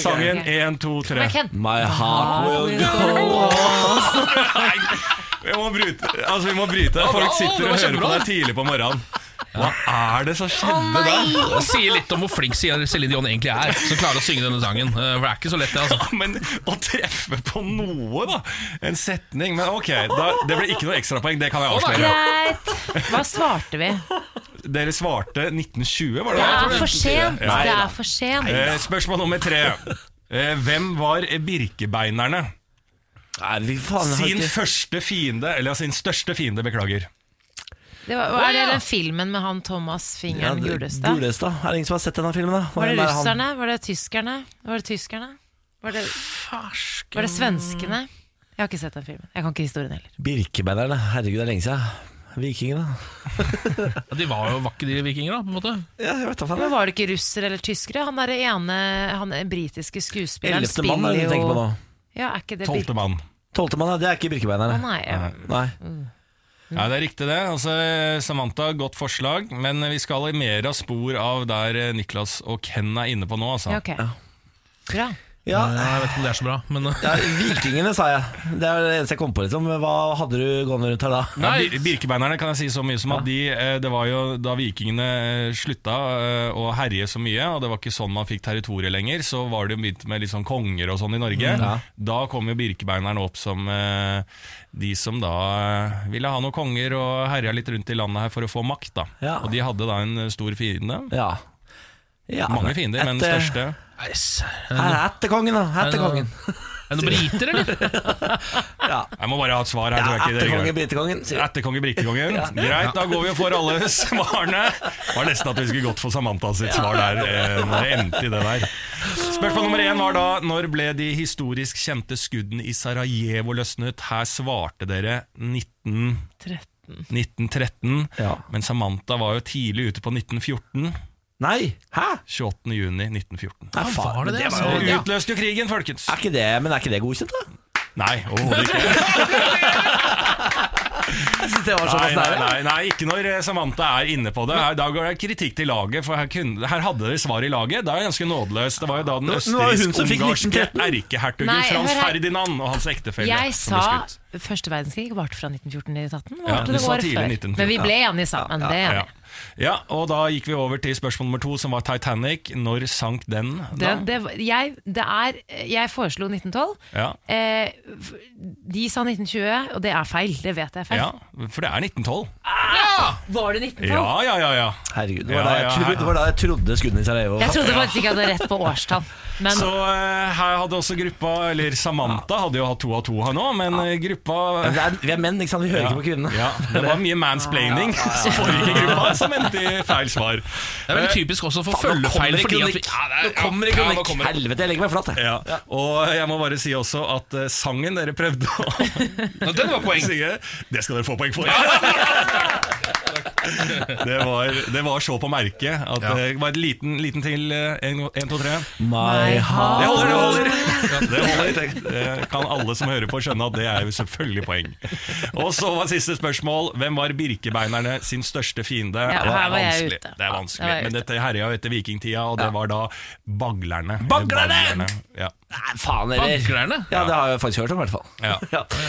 Speaker 16: Sangen én, to, tre.
Speaker 3: igjen, Ken.
Speaker 1: My heart will go
Speaker 16: Nei, vi må bryte Altså vi må bryte.
Speaker 2: var bra,
Speaker 16: Folk
Speaker 2: det var
Speaker 16: sitter og hører
Speaker 2: kjempebra,
Speaker 16: på deg
Speaker 2: det.
Speaker 16: tidlig på morgenen. Hva er det som skjedde der?
Speaker 2: Det sier litt om hvor flink Céline Dion egentlig er, som klarer å synge denne sangen. Eh, For det er ikke så lett, det, altså.
Speaker 16: Men å treffe på noe, da! En setning. Men ok, da, det ble ikke noe ekstrapoeng. Det kan jeg avsløre.
Speaker 3: Greit. Hva svarte vi?
Speaker 16: Dere svarte 1920, var det?
Speaker 3: Det
Speaker 16: da?
Speaker 3: er for sent.
Speaker 16: Nei
Speaker 3: Det
Speaker 16: da.
Speaker 3: er for sent.
Speaker 16: Eh, Spørsmål nummer tre. Eh, Hvem var Birkebeinerne?
Speaker 1: jeg har
Speaker 16: sin
Speaker 1: ikke-
Speaker 16: første fiende, eller sin største fiende, beklager.
Speaker 3: Det var, er det den filmen med han Thomas Fingeren Gulestad?
Speaker 1: Gulestad. Er det ingen som har sett denne filmen? da?
Speaker 3: Var det
Speaker 1: Hvem er han?
Speaker 3: russerne? Var det tyskerne? Var det tyskerne? Var det, var det svenskene? Jeg har ikke sett den filmen. Jeg kan ikke historien heller.
Speaker 1: Birkebeinerne. Herregud, det er lenge siden. Vikingene.
Speaker 2: Ja, de var jo var ikke de vikinger, da, på en måte.
Speaker 1: Ja, jeg vet da
Speaker 3: Men
Speaker 1: faen.
Speaker 3: var det ikke russer eller tyskere? Han der ene han britiske skuespilleren
Speaker 1: Ellevte mann er
Speaker 3: spiller
Speaker 1: det du tenker på nå.
Speaker 3: jo Ja, er ikke det Bir-
Speaker 16: Tolvte mann.
Speaker 1: Tolvte mann, ja. Det er ikke Birkebeinerne.
Speaker 3: Å, nei, ja.
Speaker 1: Nei.
Speaker 16: Ja, Det er riktig, det. Altså, Samantha, godt forslag. Men vi skal i mer av spor av der eh, Niklas og Ken er inne på nå. Altså.
Speaker 3: Ja, ok. Bra.
Speaker 1: Ja,
Speaker 2: Nei, jeg vet ikke om det er så bra, men eh.
Speaker 1: ja, Vikingene, sa jeg. Det er det eneste jeg kom på. liksom Hva hadde du gående rundt her da?
Speaker 16: Ja, bir- Birkebeinerne kan jeg si så mye som at de, eh, det var jo da vikingene eh, slutta eh, å herje så mye, og det var ikke sånn man fikk territoriet lenger, så var det jo begynt med litt sånn konger og sånn i Norge.
Speaker 1: Mm, ja.
Speaker 16: Da kom jo birkebeinerne opp som eh, de som da eh, ville ha noen konger og herja litt rundt i landet her for å få makt, da.
Speaker 1: Ja.
Speaker 16: Og de hadde da en eh, stor fiende.
Speaker 1: Ja. Ja,
Speaker 16: Mange fiender, men den
Speaker 1: etter-
Speaker 16: største
Speaker 2: Nei, s-
Speaker 1: Her er etterkongen, da. Etterkongen.
Speaker 2: eh, Er det noen briter,
Speaker 1: *laughs*
Speaker 2: eller?
Speaker 16: Jeg må bare ha et svar her. tror
Speaker 1: Ja,
Speaker 16: jeg ikke dere
Speaker 1: etterkongen,
Speaker 16: greier.
Speaker 1: britekongen. sier jeg.
Speaker 16: Etterkonge Britekongen. Greit, da går vi og får alle svarene. Det var nesten at vi skulle gått for Samantha sitt svar der. eh, når Det endte i det der. Spørsmål nummer én var da når ble de historisk kjente skuddene i Sarajevo løsnet? Her svarte dere 19...
Speaker 3: 13.
Speaker 16: 1913,
Speaker 1: Ja.
Speaker 16: men Samantha var jo tidlig ute på 1914.
Speaker 1: Nei, hæ?
Speaker 16: 28. juni 1914.
Speaker 1: Nei, faen,
Speaker 2: var det
Speaker 1: men
Speaker 2: det,
Speaker 1: det
Speaker 2: altså?
Speaker 1: var jo
Speaker 2: Ja.
Speaker 16: Utløste jo krigen, folkens!
Speaker 1: er ikke det, Men er ikke det godkjent, da?
Speaker 16: Nei, overhodet ikke.
Speaker 1: Jeg synes det var
Speaker 16: Nei,
Speaker 1: såpass
Speaker 16: nei,
Speaker 1: nære.
Speaker 16: nei, nei, ikke når eh, Samantha er inne på det. Her, da går det kritikk til laget, for her, kunne, her hadde dere svar i laget. Det er ganske nådeløst. Det var jo da den
Speaker 1: Nå- nå var det hun som fikk
Speaker 16: østerriksk-ungarske
Speaker 1: 1913.
Speaker 16: erkehertugen
Speaker 3: Nei,
Speaker 16: Frans
Speaker 3: hør her.
Speaker 16: Ferdinand og hans ektefelle
Speaker 3: Jeg sa
Speaker 16: som ble skutt.
Speaker 3: første verdenskrig varte fra 1914 til 1818.
Speaker 16: Ja,
Speaker 3: varte
Speaker 16: du
Speaker 3: det
Speaker 16: sa
Speaker 3: året
Speaker 16: tidlig
Speaker 3: før.
Speaker 16: 1914,
Speaker 3: Men vi ble
Speaker 16: ja.
Speaker 3: enige sammen. Det er jeg
Speaker 16: Ja.
Speaker 3: enig i.
Speaker 16: ja, og da gikk vi over til spørsmål nummer to, som var Titanic. Når sank den?
Speaker 3: Det,
Speaker 16: Da?
Speaker 3: det, jeg, det er, jeg foreslo 1912.
Speaker 16: Ja.
Speaker 3: Eh, f- de sa 1920, og det er feil. Det vet jeg er feil.
Speaker 16: ja, for det er 1912.
Speaker 3: Var det 1912?
Speaker 16: Ja, ja, ja. ja.
Speaker 1: Herregud, det
Speaker 16: Ja,
Speaker 1: var, da jeg
Speaker 16: ja,
Speaker 1: tro,
Speaker 16: her-
Speaker 1: det var da jeg trodde skuddene i Sarajevo
Speaker 3: Jeg trodde faktisk ikke jeg hadde rett på årstall. Men
Speaker 16: Så eh, her hadde også gruppa, eller Samantha hadde jo hatt to av to her nå, men eh, gruppa
Speaker 1: Men det er, Vi er menn, ikke sant? Vi hører
Speaker 16: Ja.
Speaker 1: ikke på kvinnene.
Speaker 16: Ja, det var mye mansplaining som foregikk i gruppa, som endte i feil svar. Eh,
Speaker 2: Det er veldig typisk også for
Speaker 1: Faen, nå
Speaker 2: følgefeil.
Speaker 1: kommer det
Speaker 2: Fordi at vi,
Speaker 1: kronikk!
Speaker 2: ja, det er-
Speaker 1: Nå kommer det
Speaker 2: ja, nå
Speaker 1: kronikk!
Speaker 2: kommer det.
Speaker 1: Helvete, jeg legger meg flatt, jeg.
Speaker 16: Ja. Og jeg må bare si også at eh, sangen dere prøvde å
Speaker 2: Nå, Den var poeng.
Speaker 16: synge, det skal dere få poeng for. *laughs* Det var, det var så på merket at
Speaker 2: Ja.
Speaker 16: det var en liten, liten til. eh, En, en, to, tre.
Speaker 1: My heart
Speaker 16: Det holder, det holder! Det holder. Det kan alle som hører på skjønne at det er jo selvfølgelig poeng. Og så var siste spørsmål Hvem var birkebeinerne sin største fiende?
Speaker 3: Ja,
Speaker 16: Det er
Speaker 3: her var jeg
Speaker 16: vanskelig.
Speaker 3: ute.
Speaker 16: Det er
Speaker 3: Ja,
Speaker 16: vanskelig
Speaker 3: jeg var
Speaker 16: Men
Speaker 3: ute.
Speaker 16: dette herja jo etter vikingtida, og det var da baglerne.
Speaker 1: Baglerne!
Speaker 16: Ja.
Speaker 1: Nei, faen heller.
Speaker 2: Baglerne?
Speaker 1: Ja, det har jeg faktisk hørt om, i hvert fall.
Speaker 16: *laughs* Ja.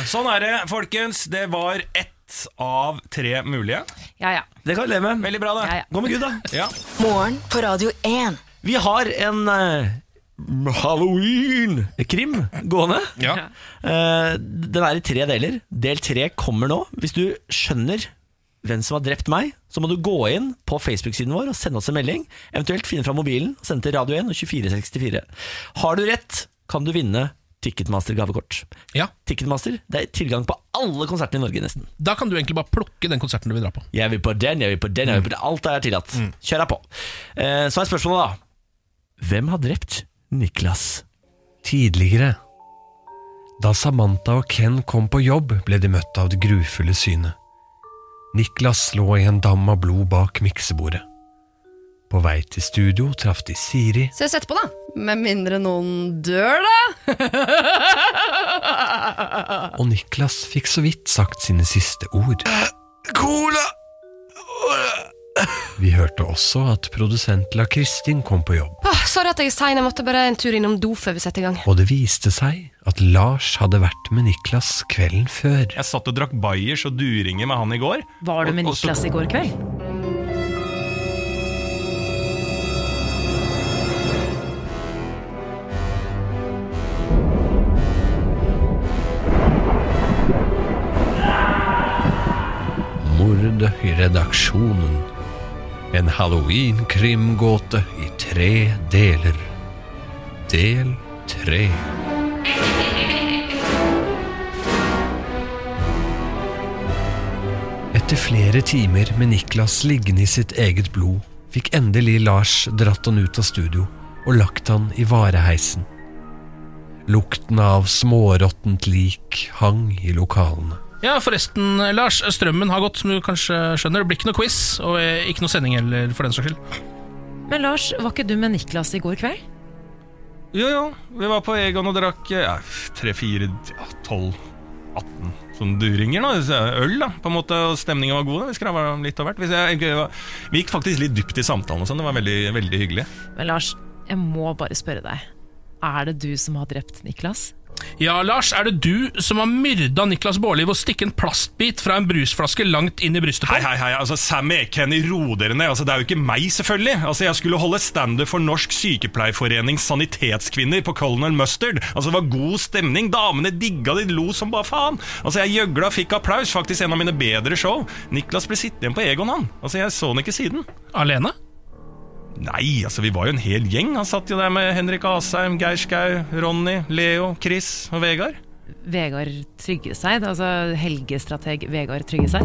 Speaker 16: Sånn er det, folkens. Det var ett av tre mulige.
Speaker 3: ja, ja.
Speaker 1: Det kan vi leve med.
Speaker 16: Veldig bra,
Speaker 3: Ja,
Speaker 16: det.
Speaker 3: ja.
Speaker 1: Gå med Gud, da.
Speaker 16: Ja.
Speaker 5: Morgen på Radio 1.
Speaker 1: Vi har en eh, Halloween-krim gående.
Speaker 2: Ja.
Speaker 1: Eh, den er i tre deler. Del tre kommer nå. Hvis du skjønner hvem som har drept meg, så må du gå inn på Facebook-siden vår og sende oss en melding. Eventuelt finne fram mobilen og sende til Radio 1 og 2464. Har du rett, kan du vinne Ticketmaster-gavekort.
Speaker 2: Ja.
Speaker 1: Ticketmaster, det er tilgang på alle konsertene i Norge, nesten.
Speaker 2: Da kan du egentlig bare plukke den konserten du vil dra på.
Speaker 1: Jeg vil på den, jeg vil på den, jeg vil på den.
Speaker 2: Mm.
Speaker 1: Alt er tillatt. Kjør deg på. Eh, Så er spørsmålet, da. Hvem har drept Niklas?
Speaker 14: Tidligere, da Samantha og Ken kom på jobb, ble de møtt av det grufulle synet. Niklas lå i en dam av blod bak miksebordet. På vei til studio traff de Siri.
Speaker 17: Så jeg setter på, da. Med mindre noen dør, da.
Speaker 14: og Niklas fikk så vidt sagt sine siste ord.
Speaker 10: Cola!
Speaker 14: Vi hørte også at produsent La Kristin kom på jobb,
Speaker 4: Åh, sorry at jeg er sein, jeg måtte bare en tur innom do før vi setter i gang.
Speaker 14: og det viste seg at Lars hadde vært med Niklas kvelden før.
Speaker 16: Jeg satt og drakk bayers og duringer med han i går.
Speaker 3: Var du med
Speaker 16: Og- og så-
Speaker 3: Niklas i går kveld?
Speaker 14: Mord i redaksjonen. En halloween-krimgåte i tre deler. Del tre. Etter flere timer med Niklas liggende i sitt eget blod, fikk endelig Lars dratt han ut av studio og lagt han i vareheisen. Lukten av småråttent lik hang i lokalene.
Speaker 2: Ja, forresten, Lars. Strømmen har gått, som du kanskje skjønner. Det blir ikke noe quiz, og eh, ikke noe sending heller, for den saks skyld.
Speaker 3: Men Lars, var ikke du med Niklas i går kveld?
Speaker 16: Jo, jo. Vi var på Egon og drakk ja, 3, 4, 12, 18 sånne duringer. Da. Så Øl, da, på en måte. Og stemningen var god. Da. Vi skravla om litt av hvert. Vi, jeg- vi gikk faktisk litt dypt i samtalen og sånn. Det var veldig, veldig hyggelig.
Speaker 3: Men Lars, jeg må bare spørre deg. Er det du som har drept Niklas?
Speaker 2: Ja, Lars, er det du som har myrda Niklas Baarli ved å stikke en plastbit fra en brusflaske langt inn i brystet på?
Speaker 16: Hei, hei, hei, altså Sammy Kenny, ro dere ned. Altså, det er jo ikke meg, selvfølgelig. Altså, Jeg skulle holde standup for Norsk Sykepleierforening Sanitetskvinner på Colonel Mustard. Altså, Det var god stemning. Damene digga det, de lo som bare faen. Altså, Jeg gjøgla og fikk applaus. Faktisk en av mine bedre show. Niklas ble sittende igjen på Egon, han. Altså, Jeg så han ikke siden.
Speaker 2: Alene?
Speaker 16: Nei, altså, vi var jo en hel gjeng. Han satt jo der med Henrik Asheim, Geir Skau, Ronny, Leo, Chris og Vegard.
Speaker 3: Vegard Tryggeseid, altså helgestrateg Vegard Tryggeseid.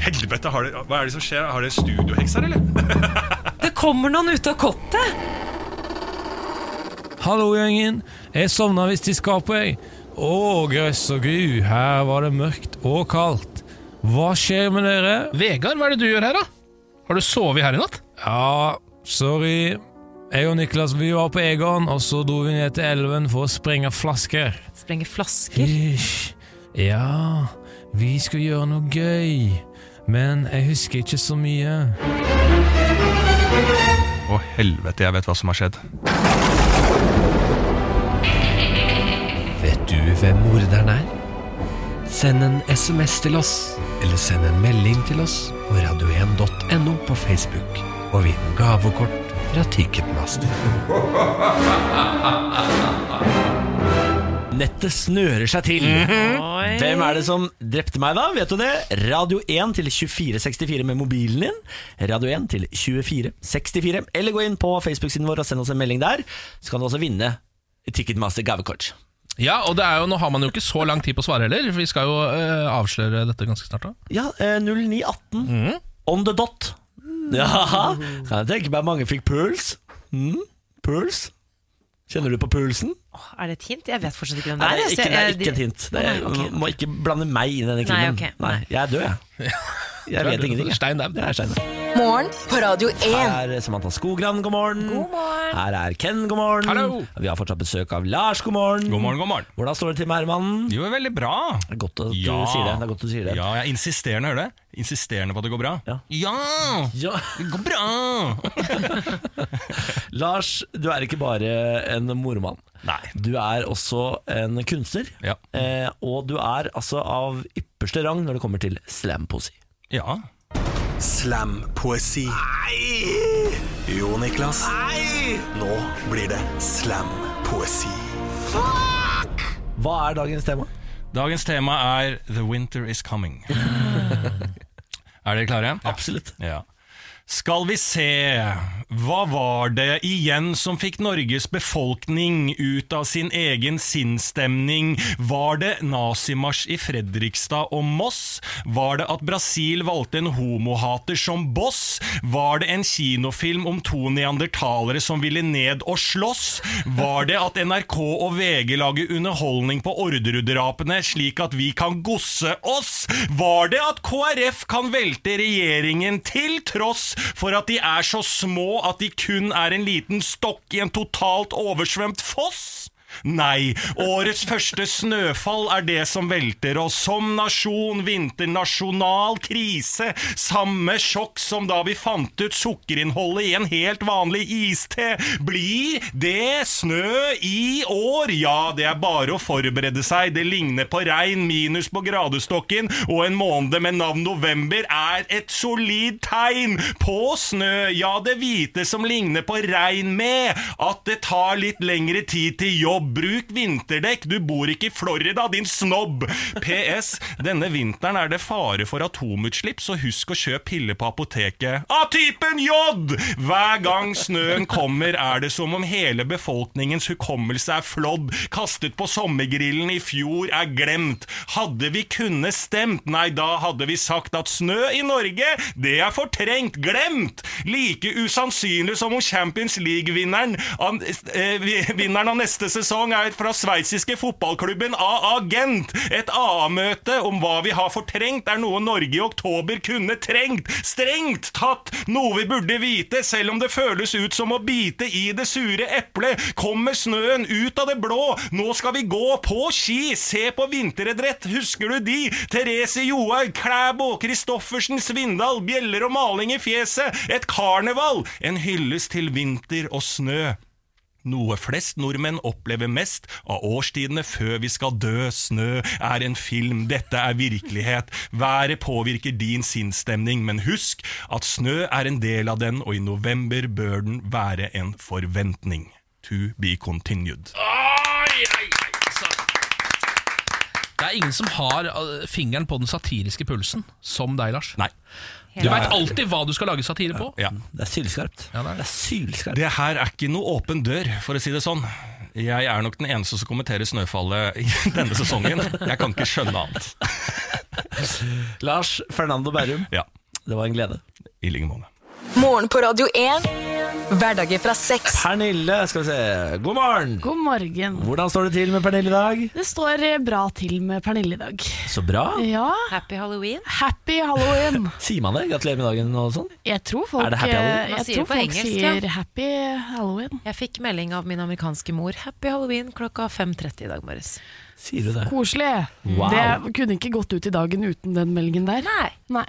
Speaker 16: Helvete, har det, hva er det som skjer? Har dere studiohekser, eller?
Speaker 3: Det kommer noen ut av kottet!
Speaker 18: Hallo, gjengen. Jeg sovna visst i skapet, jeg. Å, grøss og gru, her var det mørkt og kaldt. Hva skjer med dere?
Speaker 2: Vegard, hva er det du gjør her, da? Har du sovet her i natt?
Speaker 18: Ja, sorry. Jeg og Niklas vi var på Egon, og så dro vi ned til elven for å sprenge flasker.
Speaker 3: Sprenge flasker?
Speaker 18: Ish. Ja, vi skulle gjøre noe gøy. Men jeg husker ikke så mye.
Speaker 16: Å, helvete, jeg vet hva som har skjedd.
Speaker 14: Vet du hvem morderen er? Send en SMS til oss, eller send en melding til oss på radio1.no på Facebook, og vinn gavekort fra Ticketmaster.
Speaker 1: Nettet snører seg til.
Speaker 14: Mhm. Oi.
Speaker 1: Hvem er det som drepte meg, da? Vet du det? Radio 1 til 2464 med mobilen din. Radio 1 til 2464. Eller gå inn på Facebook-siden vår og send oss en melding der. Så kan du også vinne Ticketmaster gavekort.
Speaker 2: Ja, og det er jo, nå har man jo ikke så lang tid på å svare heller. for Vi skal jo eh, avsløre dette ganske snart. da
Speaker 1: Ja, eh, 0918. On the dot. Ja, kan jeg tenke meg mange fikk puls. Mm. Puls. Kjenner du på pulsen?
Speaker 3: Er det et hint? Jeg vet fortsatt ikke hvem det
Speaker 1: Nei,
Speaker 3: er.
Speaker 1: det er
Speaker 3: så
Speaker 1: ikke, det er
Speaker 3: jeg-
Speaker 1: ikke et hint. Det er,
Speaker 3: Å, nei, ok.
Speaker 1: Må ikke blande meg inn i denne
Speaker 3: Nei,
Speaker 1: krimmen.
Speaker 3: ok,
Speaker 1: Nei, jeg er død,
Speaker 3: *laughs*
Speaker 1: jeg. Jeg
Speaker 2: Du er
Speaker 1: vet
Speaker 2: død,
Speaker 1: ingenting. jeg.
Speaker 2: Stein daud.
Speaker 1: Jeg er stein daud.
Speaker 5: Morgen på Radio 1.
Speaker 1: Her er Samantha Skogran, god morgen. Her er Ken, god morgen.
Speaker 16: Hallo.
Speaker 1: Vi har fortsatt besøk av Lars, god morgen.
Speaker 16: God morgen, god morgen.
Speaker 1: Hvordan står det til med Herman?
Speaker 16: Det går veldig bra.
Speaker 1: Det er godt at du sier det. det, er godt at du sier det.
Speaker 16: Ja, jeg er insisterende, hører du? Insisterende på at det går bra. Ja! Det går bra!
Speaker 1: *laughs* Lars, du er ikke bare en moromann. Du er også en kunstner. Eh, og du er altså av ypperste rang når det kommer til slampoesi.
Speaker 16: Ja.
Speaker 15: Slam-poesi. Jo, Niklas. Nå blir det slam-poesi.
Speaker 1: Hva er dagens tema?
Speaker 16: Dagens tema er The winter is
Speaker 1: *laughs*
Speaker 16: coming. er dere klare?
Speaker 1: Absolutt.
Speaker 16: Ja. Skal vi se Hva var det igjen som fikk Norges befolkning ut av sin egen sinnsstemning? Var det nazimarsj i Fredrikstad og Moss? Var det at Brasil valgte en homohater som boss? Var det en kinofilm om to neandertalere som ville ned og slåss? Var det at NRK og VG lager underholdning på Orderud-drapene, slik at vi kan gosse oss? Var det at KrF kan velte regjeringen til tross for at de er så små at de kun er en liten stokk i en totalt oversvømt foss? Nei, årets første snøfall er det som velter oss som nasjon. Vinternasjonal krise. Samme sjokk som da vi fant ut sukkerinnholdet i en helt vanlig iste. Blir det snø i år? Ja, det er bare å forberede seg. Det ligner på regn, minus på gradestokken, og en måned med navn november er et solid tegn på snø. Ja, det hvite som ligner på regn med at det tar litt lengre tid til jobb. Bruk vinterdekk, du bor ikke i Florida, din snobb! PS. Denne vinteren er det fare for atomutslipp, så husk å kjøpe piller på apoteket av typen J! Hver gang snøen kommer, er det som om hele befolkningens hukommelse er flådd. Kastet på sommergrillen i fjor er glemt. Hadde vi kunne stemt, nei, da hadde vi sagt at snø i Norge, det er fortrengt, glemt! Like usannsynlig som om Champions League-vinneren av- eh, vi- vinneren av neste sesong er fra sveitsiske fotballklubben AA Gent. Et AA-møte om hva vi har fortrengt, er noe Norge i oktober kunne trengt. Strengt tatt! Noe vi burde vite, selv om det føles ut som å bite i det sure eplet. Kommer snøen ut av det blå? Nå skal vi gå på ski! Se på vinteridrett, husker du de? Therese Johaug, Klæbo, Christoffersen, Svindal, bjeller og maling i fjeset. Et karneval! En hyllest til vinter og snø. Noe flest nordmenn opplever mest av årstidene før vi skal dø. Snø er en film, dette er virkelighet. Været påvirker din sinnsstemning, men husk at snø er en del av den, og i november bør den være en forventning. To be continued.
Speaker 2: Det er ingen som har eh, fingeren på den satiriske pulsen som deg, Lars.
Speaker 16: Nei.
Speaker 2: Du veit alltid hva du skal lage satire på.
Speaker 16: Ja.
Speaker 1: Det er sylskarpt. det er sylskarpt.
Speaker 16: Det her er ikke noe åpen dør, for å si det sånn. Jeg er nok den eneste som kommenterer snøfallet i *laughs* denne sesongen. Jeg kan ikke skjønne annet.
Speaker 1: *laughs* Lars Fernando Berrum,
Speaker 16: Ja.
Speaker 1: det var en glede.
Speaker 16: I like måte.
Speaker 5: Morgen på Radio 1. Hverdager fra seks.
Speaker 1: Pernille, skal vi se. God morgen!
Speaker 19: God morgen.
Speaker 1: Hvordan står det til med Pernille i dag?
Speaker 19: Det står eh, bra til med Pernille i dag.
Speaker 1: Så bra.
Speaker 19: Ja.
Speaker 3: Happy Halloween.
Speaker 19: Happy
Speaker 5: *laughs*
Speaker 19: halloween.
Speaker 1: Sier man det? Gratulerer med dagen og sånn?
Speaker 19: Jeg tror folk,
Speaker 1: Er det happy halloween?
Speaker 19: eh,
Speaker 3: Man
Speaker 19: Jeg
Speaker 3: sier det
Speaker 19: tror
Speaker 3: på
Speaker 19: folk
Speaker 3: engelsk,
Speaker 19: sier
Speaker 3: ja.
Speaker 19: happy halloween.
Speaker 3: Jeg fikk melding av min amerikanske mor 'Happy Halloween' klokka 5.30 i dag morges.
Speaker 1: Sier du det?
Speaker 19: Koselig.
Speaker 1: Wow.
Speaker 19: Det kunne ikke gått ut i dagen uten den meldingen der.
Speaker 3: Nei.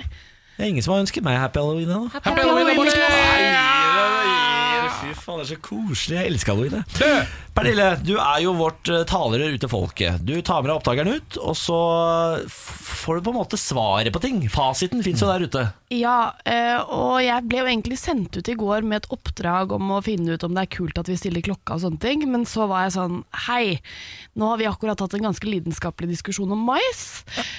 Speaker 1: Det er ingen som har ønsket meg happy halloween ennå.
Speaker 19: Happy halloween,
Speaker 1: Niklas!
Speaker 19: Niklas!
Speaker 1: Nei, Fy faen, det er så koselig. Jeg elsker halloween. jeg. Pernille, du er jo vårt eh, talerør ut til folket. Du tar med deg oppdageren ut, og så f- får du på en måte svaret på ting. Fasiten fins jo der ute.
Speaker 19: Ja, eh, og jeg ble jo egentlig sendt ut i går med et oppdrag om å finne ut om det er kult at vi stiller klokka og sånne ting, men så var jeg sånn Hei, nå har vi akkurat hatt en ganske lidenskapelig diskusjon om mais.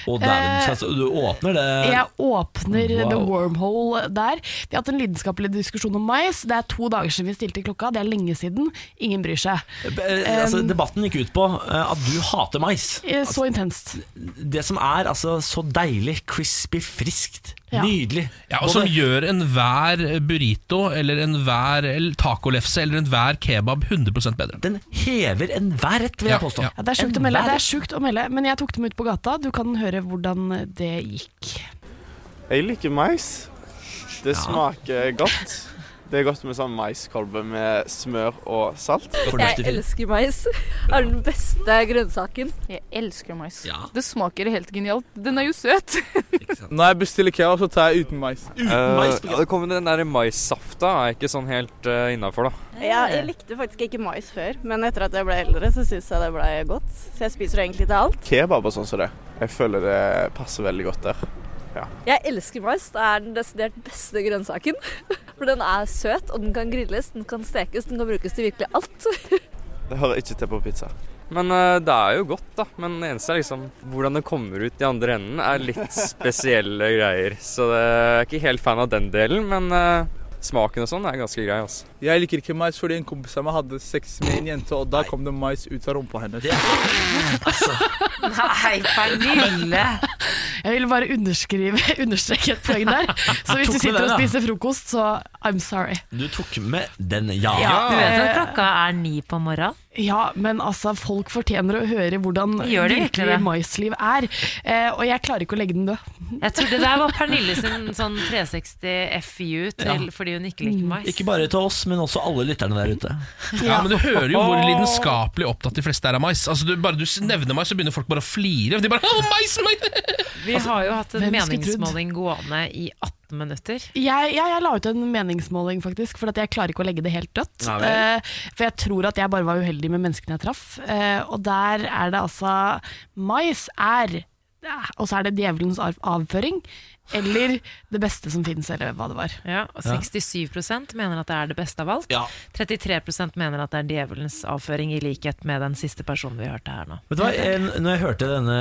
Speaker 1: Og der,
Speaker 19: Eh,
Speaker 1: så- så du åpner det
Speaker 19: jeg åpner
Speaker 1: Wow.
Speaker 19: the wormhole der. Vi har hatt en lidenskapelig diskusjon om mais. Det er to dager siden vi stilte klokka, det er lenge siden. Ingen bryr seg.
Speaker 1: Eh, altså,
Speaker 19: Um,
Speaker 1: Debatten gikk ut på eh, at du hater mais. Altså,
Speaker 19: eh, så intenst.
Speaker 1: Det som er altså så deilig, crispy, friskt, nydelig.
Speaker 2: Ja, og som gjør enhver burrito eller enhver el- tacolefse eller enhver kebab 100 bedre.
Speaker 1: Den hever enhver rett, vil jeg påstå.
Speaker 19: Ja, det er sjukt å melde, det er sjukt å melde, men jeg tok dem ut på gata. Du kan høre hvordan det gikk.
Speaker 20: Jeg liker mais. Det smaker godt. Det er godt med sånn maiskolbe med smør og salt.
Speaker 21: Jeg elsker mais. Det er den beste grønnsaken. Jeg elsker mais. Det smaker helt genialt. Den er jo søt.
Speaker 22: Når jeg bestiller kebab, så tar jeg uten mais.
Speaker 23: mais på kebab?
Speaker 22: Eh, det kommer den der maissafta er ikke sånn helt uh, innafor, da.
Speaker 24: *laughs* Ja, jeg likte faktisk ikke mais før, men etter at jeg ble eldre, så syns jeg det ble godt. Så jeg spiser det egentlig til alt.
Speaker 20: Kebab og sånn som det. Jeg føler det passer veldig godt der. Ja.
Speaker 6: Jeg elsker mais. Det er den desidert beste grønnsaken. *laughs* For den er søt, og den kan grilles, den kan stekes, den kan brukes til virkelig alt.
Speaker 20: Det hører ikke til på pizza.
Speaker 22: Men eh, det er jo godt, da. Men det eneste er liksom hvordan det kommer ut i andre enden, er
Speaker 20: *laughs*
Speaker 22: litt spesielle greier. Så det, jeg er ikke helt fan av den delen, men eh, smaken og sånn er ganske grei, altså.
Speaker 7: Jeg liker ikke mais fordi en kompis av meg hadde sex med en jente, og da kom det mais ut av rumpa hennes.
Speaker 3: Nei, Pernille!
Speaker 19: *laughs* Jeg ville bare underskrive, *laughs* understreke et poeng *laughs* der. Så hvis
Speaker 1: Tok med
Speaker 19: du sitter
Speaker 1: den,
Speaker 19: og
Speaker 1: ja.
Speaker 19: spiser frokost, så I'm sorry.
Speaker 1: Du tok med den, ja.
Speaker 19: Ja, du vet at
Speaker 3: klokka er ni på morgenen.
Speaker 19: Ja, men altså, folk fortjener å høre hvordan
Speaker 3: Gjør de virkelig
Speaker 19: virkelig
Speaker 3: det?
Speaker 19: maisliv er. Eh, og jeg klarer ikke å legge den død.
Speaker 3: Jeg tror det der var Pernille sin sånn 360 FU til,
Speaker 1: Ja.
Speaker 3: fordi hun ikke liker mais.
Speaker 1: Ikke bare til oss, men også alle lytterne der ute.
Speaker 2: Ja, men Du hører jo hvor lidenskapelig opptatt de fleste er av mais. Altså, du, bare du nevner mais, så begynner folk bare å flire. De bare, «Å, mais, mais!
Speaker 3: Vi
Speaker 1: Altså,
Speaker 3: har jo hatt en
Speaker 19: hvem skulle trodd?
Speaker 3: meningsmåling gående i 18 minutter.
Speaker 19: *laughs* Jeg, jeg, jeg la ut en meningsmåling, faktisk, for at jeg klarer ikke å legge det helt dødt.
Speaker 3: Nei vel.
Speaker 19: Eh, for jeg tror at jeg bare var uheldig med menneskene jeg traff. Eh, og der er det altså Mais er ja, Og så er det djevelens arv- avføring. Eller det beste som finnes, eller hva det var.
Speaker 3: Ja, og 67 mener at det er det beste av alt.
Speaker 1: Ja.
Speaker 3: 33 mener at det er djevelens avføring, i likhet med den siste personen vi hørte her nå.
Speaker 1: Vet du hva, jeg, Når jeg hørte denne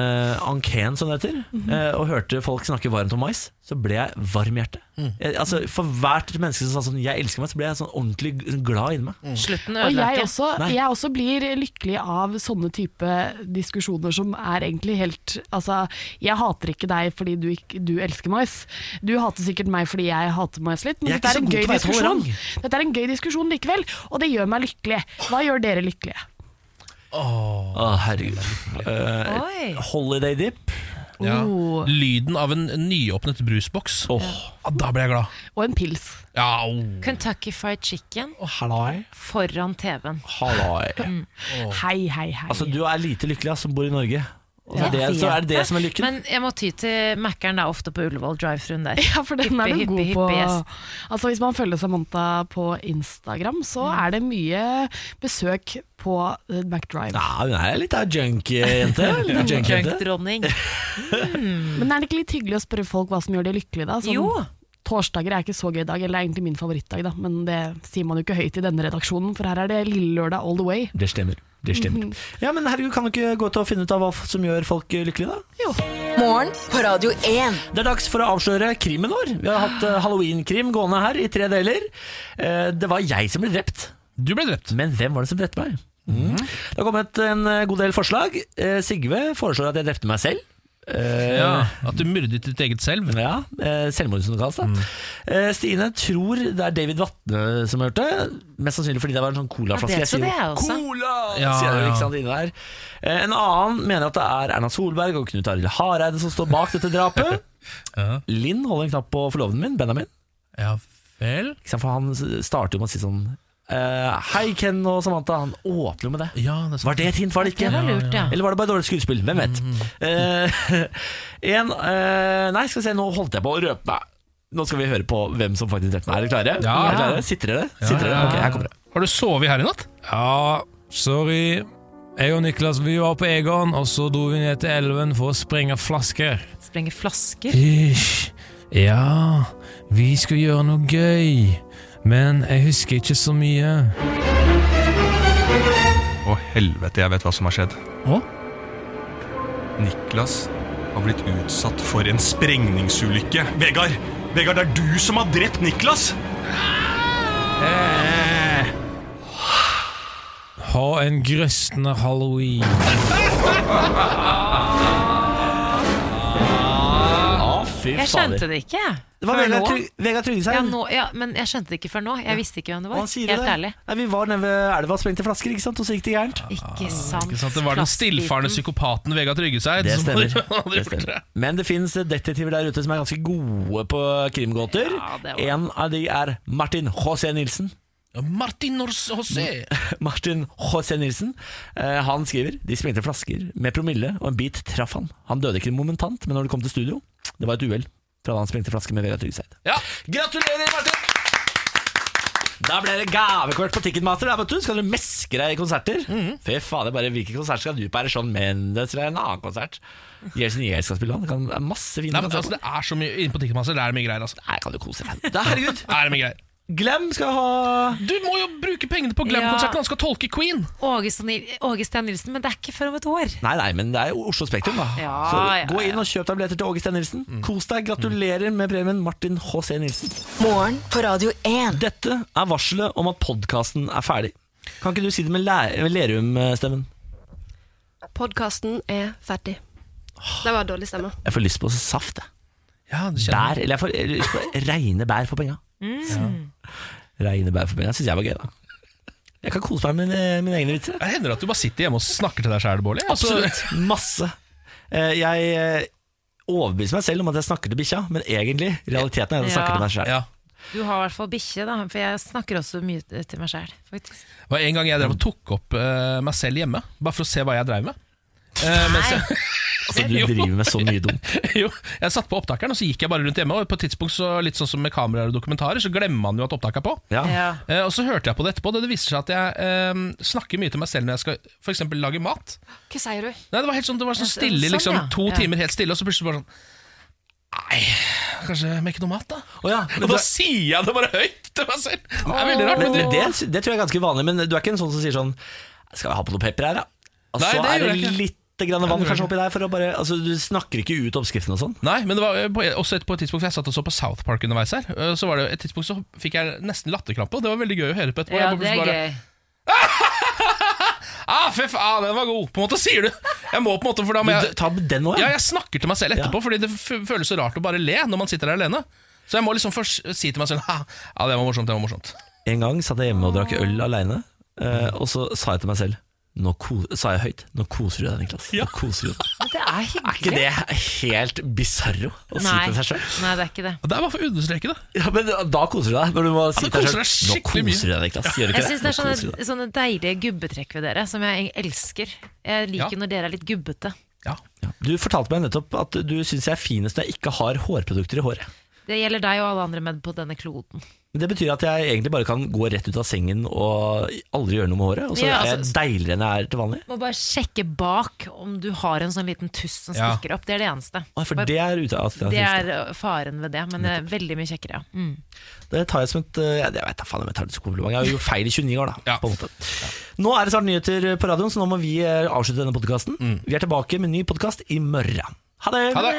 Speaker 1: ankeen, som det heter,
Speaker 3: Mhm.
Speaker 1: eh, og hørte folk snakke varmt om mais, så ble jeg varm i hjertet. Jeg, altså, for hvert menneske som sa sånn 'jeg elsker meg', så ble jeg sånn ordentlig g- glad inni meg.
Speaker 3: Slutten
Speaker 19: Og jeg også,
Speaker 1: Nei.
Speaker 19: jeg også blir lykkelig av sånne type diskusjoner som er egentlig helt Altså, jeg hater ikke deg fordi du, ikke, du elsker mais. Du hater sikkert meg fordi jeg hater mais litt, men
Speaker 1: Jeg er
Speaker 19: dette er,
Speaker 1: ikke
Speaker 19: en
Speaker 1: så god
Speaker 19: gøy
Speaker 1: til å være
Speaker 19: diskusjon.
Speaker 1: tolerant.
Speaker 19: dette er en gøy diskusjon likevel, og det gjør meg lykkelig. Hva gjør dere lykkelige?
Speaker 1: Å, herregud. Eh,
Speaker 19: Oi.
Speaker 1: holiday dip.
Speaker 2: Ja. Lyden av en nyåpnet brusboks. Oh. Ja, da ble jeg glad.
Speaker 19: Og en pils.
Speaker 2: Ja, au.
Speaker 3: Kentucky Fried Chicken
Speaker 1: Halloi.
Speaker 3: foran TV-en.
Speaker 1: Halloi.
Speaker 3: Mm.
Speaker 19: Hei, hei, hei.
Speaker 1: Altså, du er lite lykkelig, ass, som bor i Norge. Og så,
Speaker 3: Jeg
Speaker 1: er det, så
Speaker 3: vet
Speaker 1: er det det som er lykken.
Speaker 3: Men jeg må ty til Mækkern, det er ofte på Ullevål drive-thruen der.
Speaker 19: *laughs* Ja, for den er
Speaker 3: Hyppig,
Speaker 19: du god
Speaker 3: hyppig,
Speaker 19: på.
Speaker 3: hyppig gjest.
Speaker 19: Altså Hvis man følger Samantha på Instagram, så er det mye besøk på eh, McDrive.
Speaker 1: Ja, hun er litt av
Speaker 19: *laughs*
Speaker 1: junkie-jente. Litt av junkie-jente.
Speaker 3: Junkdronning.
Speaker 19: Men er det ikke litt hyggelig å spørre folk hva som gjør de lykkelige, da? Sånn,
Speaker 3: Jo.
Speaker 19: Torsdager er ikke så gøy dag, eller er egentlig min favorittdag, da. Men det sier man jo ikke høyt i denne redaksjonen, for her er det lille lørdag all the way.
Speaker 1: Det stemmer. Det
Speaker 19: *laughs*
Speaker 1: stemmer. Ja, men herregud, kan du ikke gå til å finne ut av hva f- som gjør folk eh, lykkelige, da?
Speaker 5: Morgen på Radio 1.
Speaker 1: Det er dags for å avsløre krimen vår. Vi har hatt eh, halloween-krim gående her i tre deler. Eh, Det var jeg som ble drept.
Speaker 2: Du ble drept.
Speaker 1: Men hvem var det som drepte meg? Mm. Det har kommet en eh, god del forslag. Eh, Sigve foreslår at jeg drepte meg selv. Eh,
Speaker 2: Ja, at du myrdet ditt eget selv. Mm.
Speaker 1: Ja, eh, selvmord som det kalles. da. Eh, Stine tror det er David Vatne som har gjort det. Mest sannsynlig fordi det var en sånn colaflaske.
Speaker 3: Ja, det
Speaker 1: sier
Speaker 3: trodde jeg også.
Speaker 1: Cola!
Speaker 2: Ja,
Speaker 1: sier jeg jo,
Speaker 2: ja.
Speaker 1: ikke sant, inne der. Eh, en annen mener at det er Erna Solberg og Knut Arild Hareide som står bak dette
Speaker 2: *laughs*
Speaker 1: drapet. Linn holder en knapp på forloveden min, Benjamin.
Speaker 2: Ja vel?
Speaker 1: Ikke sant, for han starter jo med å si sånn eh, Hei, Ken og Samantha. Han åpner jo med det. var det et hint, var det ikke?
Speaker 3: Det var lurt, ja.
Speaker 1: Eller var det bare dårlig skuespill? Hvem vet.
Speaker 2: Mm.
Speaker 1: Eh, *laughs* en eh, Nei, skal vi se, nå holdt jeg på å røpe meg. Nå skal vi høre på hvem som faktisk drepte meg. Er dere klare?
Speaker 2: Ja.
Speaker 1: Er dere klare? Sitter dere? Sitter dere? Ok, her kommer det.
Speaker 2: Har du sovet her i natt?
Speaker 18: Ja, sorry. Jeg og Niklas vi var på Egon, og så dro vi ned til elven for å sprenge flasker.
Speaker 3: Sprenger flasker.
Speaker 18: Ish. Ja, vi skulle gjøre noe gøy, men jeg husker ikke så mye.
Speaker 8: Å helvete, jeg vet hva som har skjedd.
Speaker 18: Hå?
Speaker 8: Niklas har blitt utsatt for en sprengningsulykke. Vegard, Vegard, det er du som har drept Niklas!
Speaker 1: Eh,
Speaker 18: Ha en grøsne halloween.
Speaker 12: er
Speaker 1: fy
Speaker 3: Jeg skjønte det ikke. jeg.
Speaker 1: Det var
Speaker 3: Før
Speaker 1: Vegard
Speaker 3: nå.
Speaker 1: Tryg- Vegard Tryggeseid.
Speaker 3: Ja, nå- ja, men jeg skjønte det ikke før nå. Jeg visste ikke hvem det var.
Speaker 1: Og han sier jo
Speaker 3: Helt
Speaker 1: det.
Speaker 3: ærlig.
Speaker 1: Nei, vi var nede ved Ah. elva og sprengte flasker, ikke sant? og så gikk det gærent.
Speaker 3: Ikke sant.
Speaker 2: Ikke sant? Det var den stillfarne psykopaten Vegard Tryggeseid.
Speaker 1: Det
Speaker 2: *laughs* som-
Speaker 1: stemmer.
Speaker 2: Han
Speaker 1: Det
Speaker 2: drepte
Speaker 1: stemmer. Men det fins detektiver der ute som er ganske gode på krimgåter. en av de er Martin H.C. Nilsen.
Speaker 2: Martin Nors José.
Speaker 1: *laughs* Martin H.C. Nilsen eh, Han skriver De sprengte flasker med promille, og en bit traff han. Han døde ikke momentant, men når det kom til studio, det var et uhell fra da han sprengte flasker med Vegard Tryggeseid.
Speaker 2: Ja.
Speaker 1: Gratulerer, Martin! Da ble det gavekort på Ticketmaster. Der, vet du. Skal du meske deg i konserter?
Speaker 2: Mhm.
Speaker 1: Fy fader, bare hvilken konsert skal du på? Er det Shawn Mendes eller en annen konsert? Jason Yale skal spille han. Det kan- Det er masse fine
Speaker 2: Nei, men, altså,
Speaker 1: konserter.
Speaker 2: det er så mye inne på Ticketmaster. Det er mye greier. Altså.
Speaker 1: Nei, kan du kose deg. Da, herregud.
Speaker 2: *laughs* er det mye greier.
Speaker 1: Glem skal ha
Speaker 2: Du må jo bruke pengene på
Speaker 3: Ja.
Speaker 2: Glam-konserten. Han skal tolke Queen.
Speaker 3: Åge Sten Nil- Åge Sten Nilsen, men det er ikke før om et år.
Speaker 1: Nei, nei, men det er jo Oslo Spektrum, da.
Speaker 3: Ja,
Speaker 1: Så
Speaker 3: ja,
Speaker 1: gå inn og kjøp deg billetter til Åge Stein Nilsen.
Speaker 2: Mm.
Speaker 1: Kos deg. Gratulerer med premien, Martin H.C. Nilsen.
Speaker 5: Morgen på Radio 1.
Speaker 1: Dette er varselet om at podkasten er ferdig. Kan ikke du si det med, læ- med eh, Lerum-stemmen?
Speaker 4: Podkasten er ferdig. Det var dårlig stemme.
Speaker 1: Jeg får lyst på saft, jeg.
Speaker 2: Ja,
Speaker 1: bær. Eller jeg får lyst på
Speaker 2: *laughs*
Speaker 1: reine bær for penga. Reine bær for penga syns jeg var gøy, da. Jeg kan kose meg med mine, mine egne vitser.
Speaker 2: Det hender at du bare sitter hjemme og snakker til deg sjæl, Bård. jeg. Altså, *laughs*
Speaker 1: Absolutt. Masse. Eh, Jeg eh, overbeviser meg selv om at jeg snakker til bikkja, men egentlig, realiteten er at jeg
Speaker 3: Ja.
Speaker 1: snakker til meg sjøl.
Speaker 2: Ja.
Speaker 3: Du har i hvert fall bikkje, da, for jeg snakker også mye til meg sjæl.
Speaker 2: Det var en gang jeg drev og tok opp eh, meg selv hjemme, bare for å se hva jeg drev med. Eh, mens jeg-
Speaker 1: Så Altså, du driver med så mye dumt.
Speaker 2: *laughs* jo, jeg satt på opptakeren, og så gikk jeg bare rundt hjemme. Og på et tidspunkt, så, litt sånn som med kameraer og dokumentarer, så glemmer man jo at opptaket er på.
Speaker 3: Ja.
Speaker 2: Eh, og så hørte jeg på det etterpå, og det viser seg at jeg eh, snakker mye til meg selv når jeg skal for eksempel lage mat.
Speaker 4: Hva sier du?
Speaker 2: Nei, det var helt sånn, det var sånn
Speaker 4: Ja,
Speaker 2: stille,
Speaker 4: sånn,
Speaker 2: liksom,
Speaker 4: ja.
Speaker 2: to
Speaker 4: Ja.
Speaker 2: timer helt stille, og så plutselig bare sånn Nei, kanskje med ikke noe mat, da? og da sier jeg det bare høyt til meg selv! Det er veldig rart.
Speaker 1: Men det,
Speaker 2: men
Speaker 1: det, det tror jeg er ganske vanlig, men du er ikke en sånn som sier sånn Skal jeg ha på noe pepper her, da? Og
Speaker 2: Nei,
Speaker 1: så
Speaker 2: det
Speaker 1: er
Speaker 2: gjør
Speaker 1: det
Speaker 2: jeg ikke.
Speaker 1: litt grann
Speaker 2: Ja,
Speaker 1: vann
Speaker 2: det gjør jeg
Speaker 1: kanskje oppi der for å bare Altså, du snakker ikke ut oppskriften og sånn.
Speaker 2: Nei, men det var eh, på, også et, på et tidspunkt for Jeg satt og så på South Park underveis her. eh, Så var det et tidspunkt så fikk jeg nesten latterkrampe, og det var veldig gøy å høre på etterpå.
Speaker 3: Ja,
Speaker 2: Jeg
Speaker 3: det er
Speaker 2: bare-
Speaker 3: gøy.
Speaker 2: Ah, fy faen, den var god! På en måte sier du Jeg må på en måte, for da må jeg
Speaker 1: Ta den òg,
Speaker 2: Ja, jeg snakker til meg selv etterpå, fordi det f føles så rart å bare le når man sitter der alene. Så jeg må liksom først si til meg selv *laughs* «Ha, Ja, det var morsomt, det var morsomt.
Speaker 1: En gang satt jeg hjemme og drakk øl aleine, eh, og så sa jeg til meg selv nå ko sa jeg høyt Nå koser du deg, Niklas. Nå koser du deg.
Speaker 3: Men det er hyggelig.
Speaker 1: Er ikke det helt bisarro å si
Speaker 3: Nei.
Speaker 1: til seg sjøl?
Speaker 3: Nei, det er ikke det.
Speaker 2: Det er bare for å understreke det.
Speaker 1: Ja, men da koser du deg. Når du må si
Speaker 2: du
Speaker 1: til
Speaker 2: koser deg
Speaker 1: deg selv, Nå
Speaker 2: skikkelig mye.
Speaker 1: koser du deg, Niklas. Gjør du ikke
Speaker 3: Jeg syns det
Speaker 1: Nå
Speaker 3: er sånn
Speaker 1: koser du deg.
Speaker 3: sånne, sånne deilige gubbetrekk ved dere, som jeg elsker. Jeg liker når dere er litt gubbete.
Speaker 1: Du fortalte meg nettopp at du syns jeg er finest når jeg ikke har hårprodukter i håret.
Speaker 3: Det gjelder deg og alle andre med på denne kloden.
Speaker 1: Men Det betyr at jeg egentlig bare kan gå rett ut av sengen og aldri gjøre noe med håret. Og så
Speaker 3: Ja,
Speaker 1: er
Speaker 3: altså-
Speaker 1: jeg deiligere enn jeg er til vanlig.
Speaker 3: Må bare sjekke bak om du har en sånn liten tuss som
Speaker 1: Ja.
Speaker 3: stikker opp. Det er det eneste.
Speaker 1: Å, For det er ute av
Speaker 3: Det er uh, faren ved det, men det er veldig mye kjekkere. ja. Mm.
Speaker 1: Det tar jeg som et eh, Jeg vet da faen om jeg tar det som kompliment. Jeg har gjort feil i 29 år, da. På en måte. Nå er det snart nyheter på radioen, så nå må vi eh, avslutte denne podkasten. Vi er tilbake med en ny podkast i morgen. Ha det!
Speaker 9: Ha det!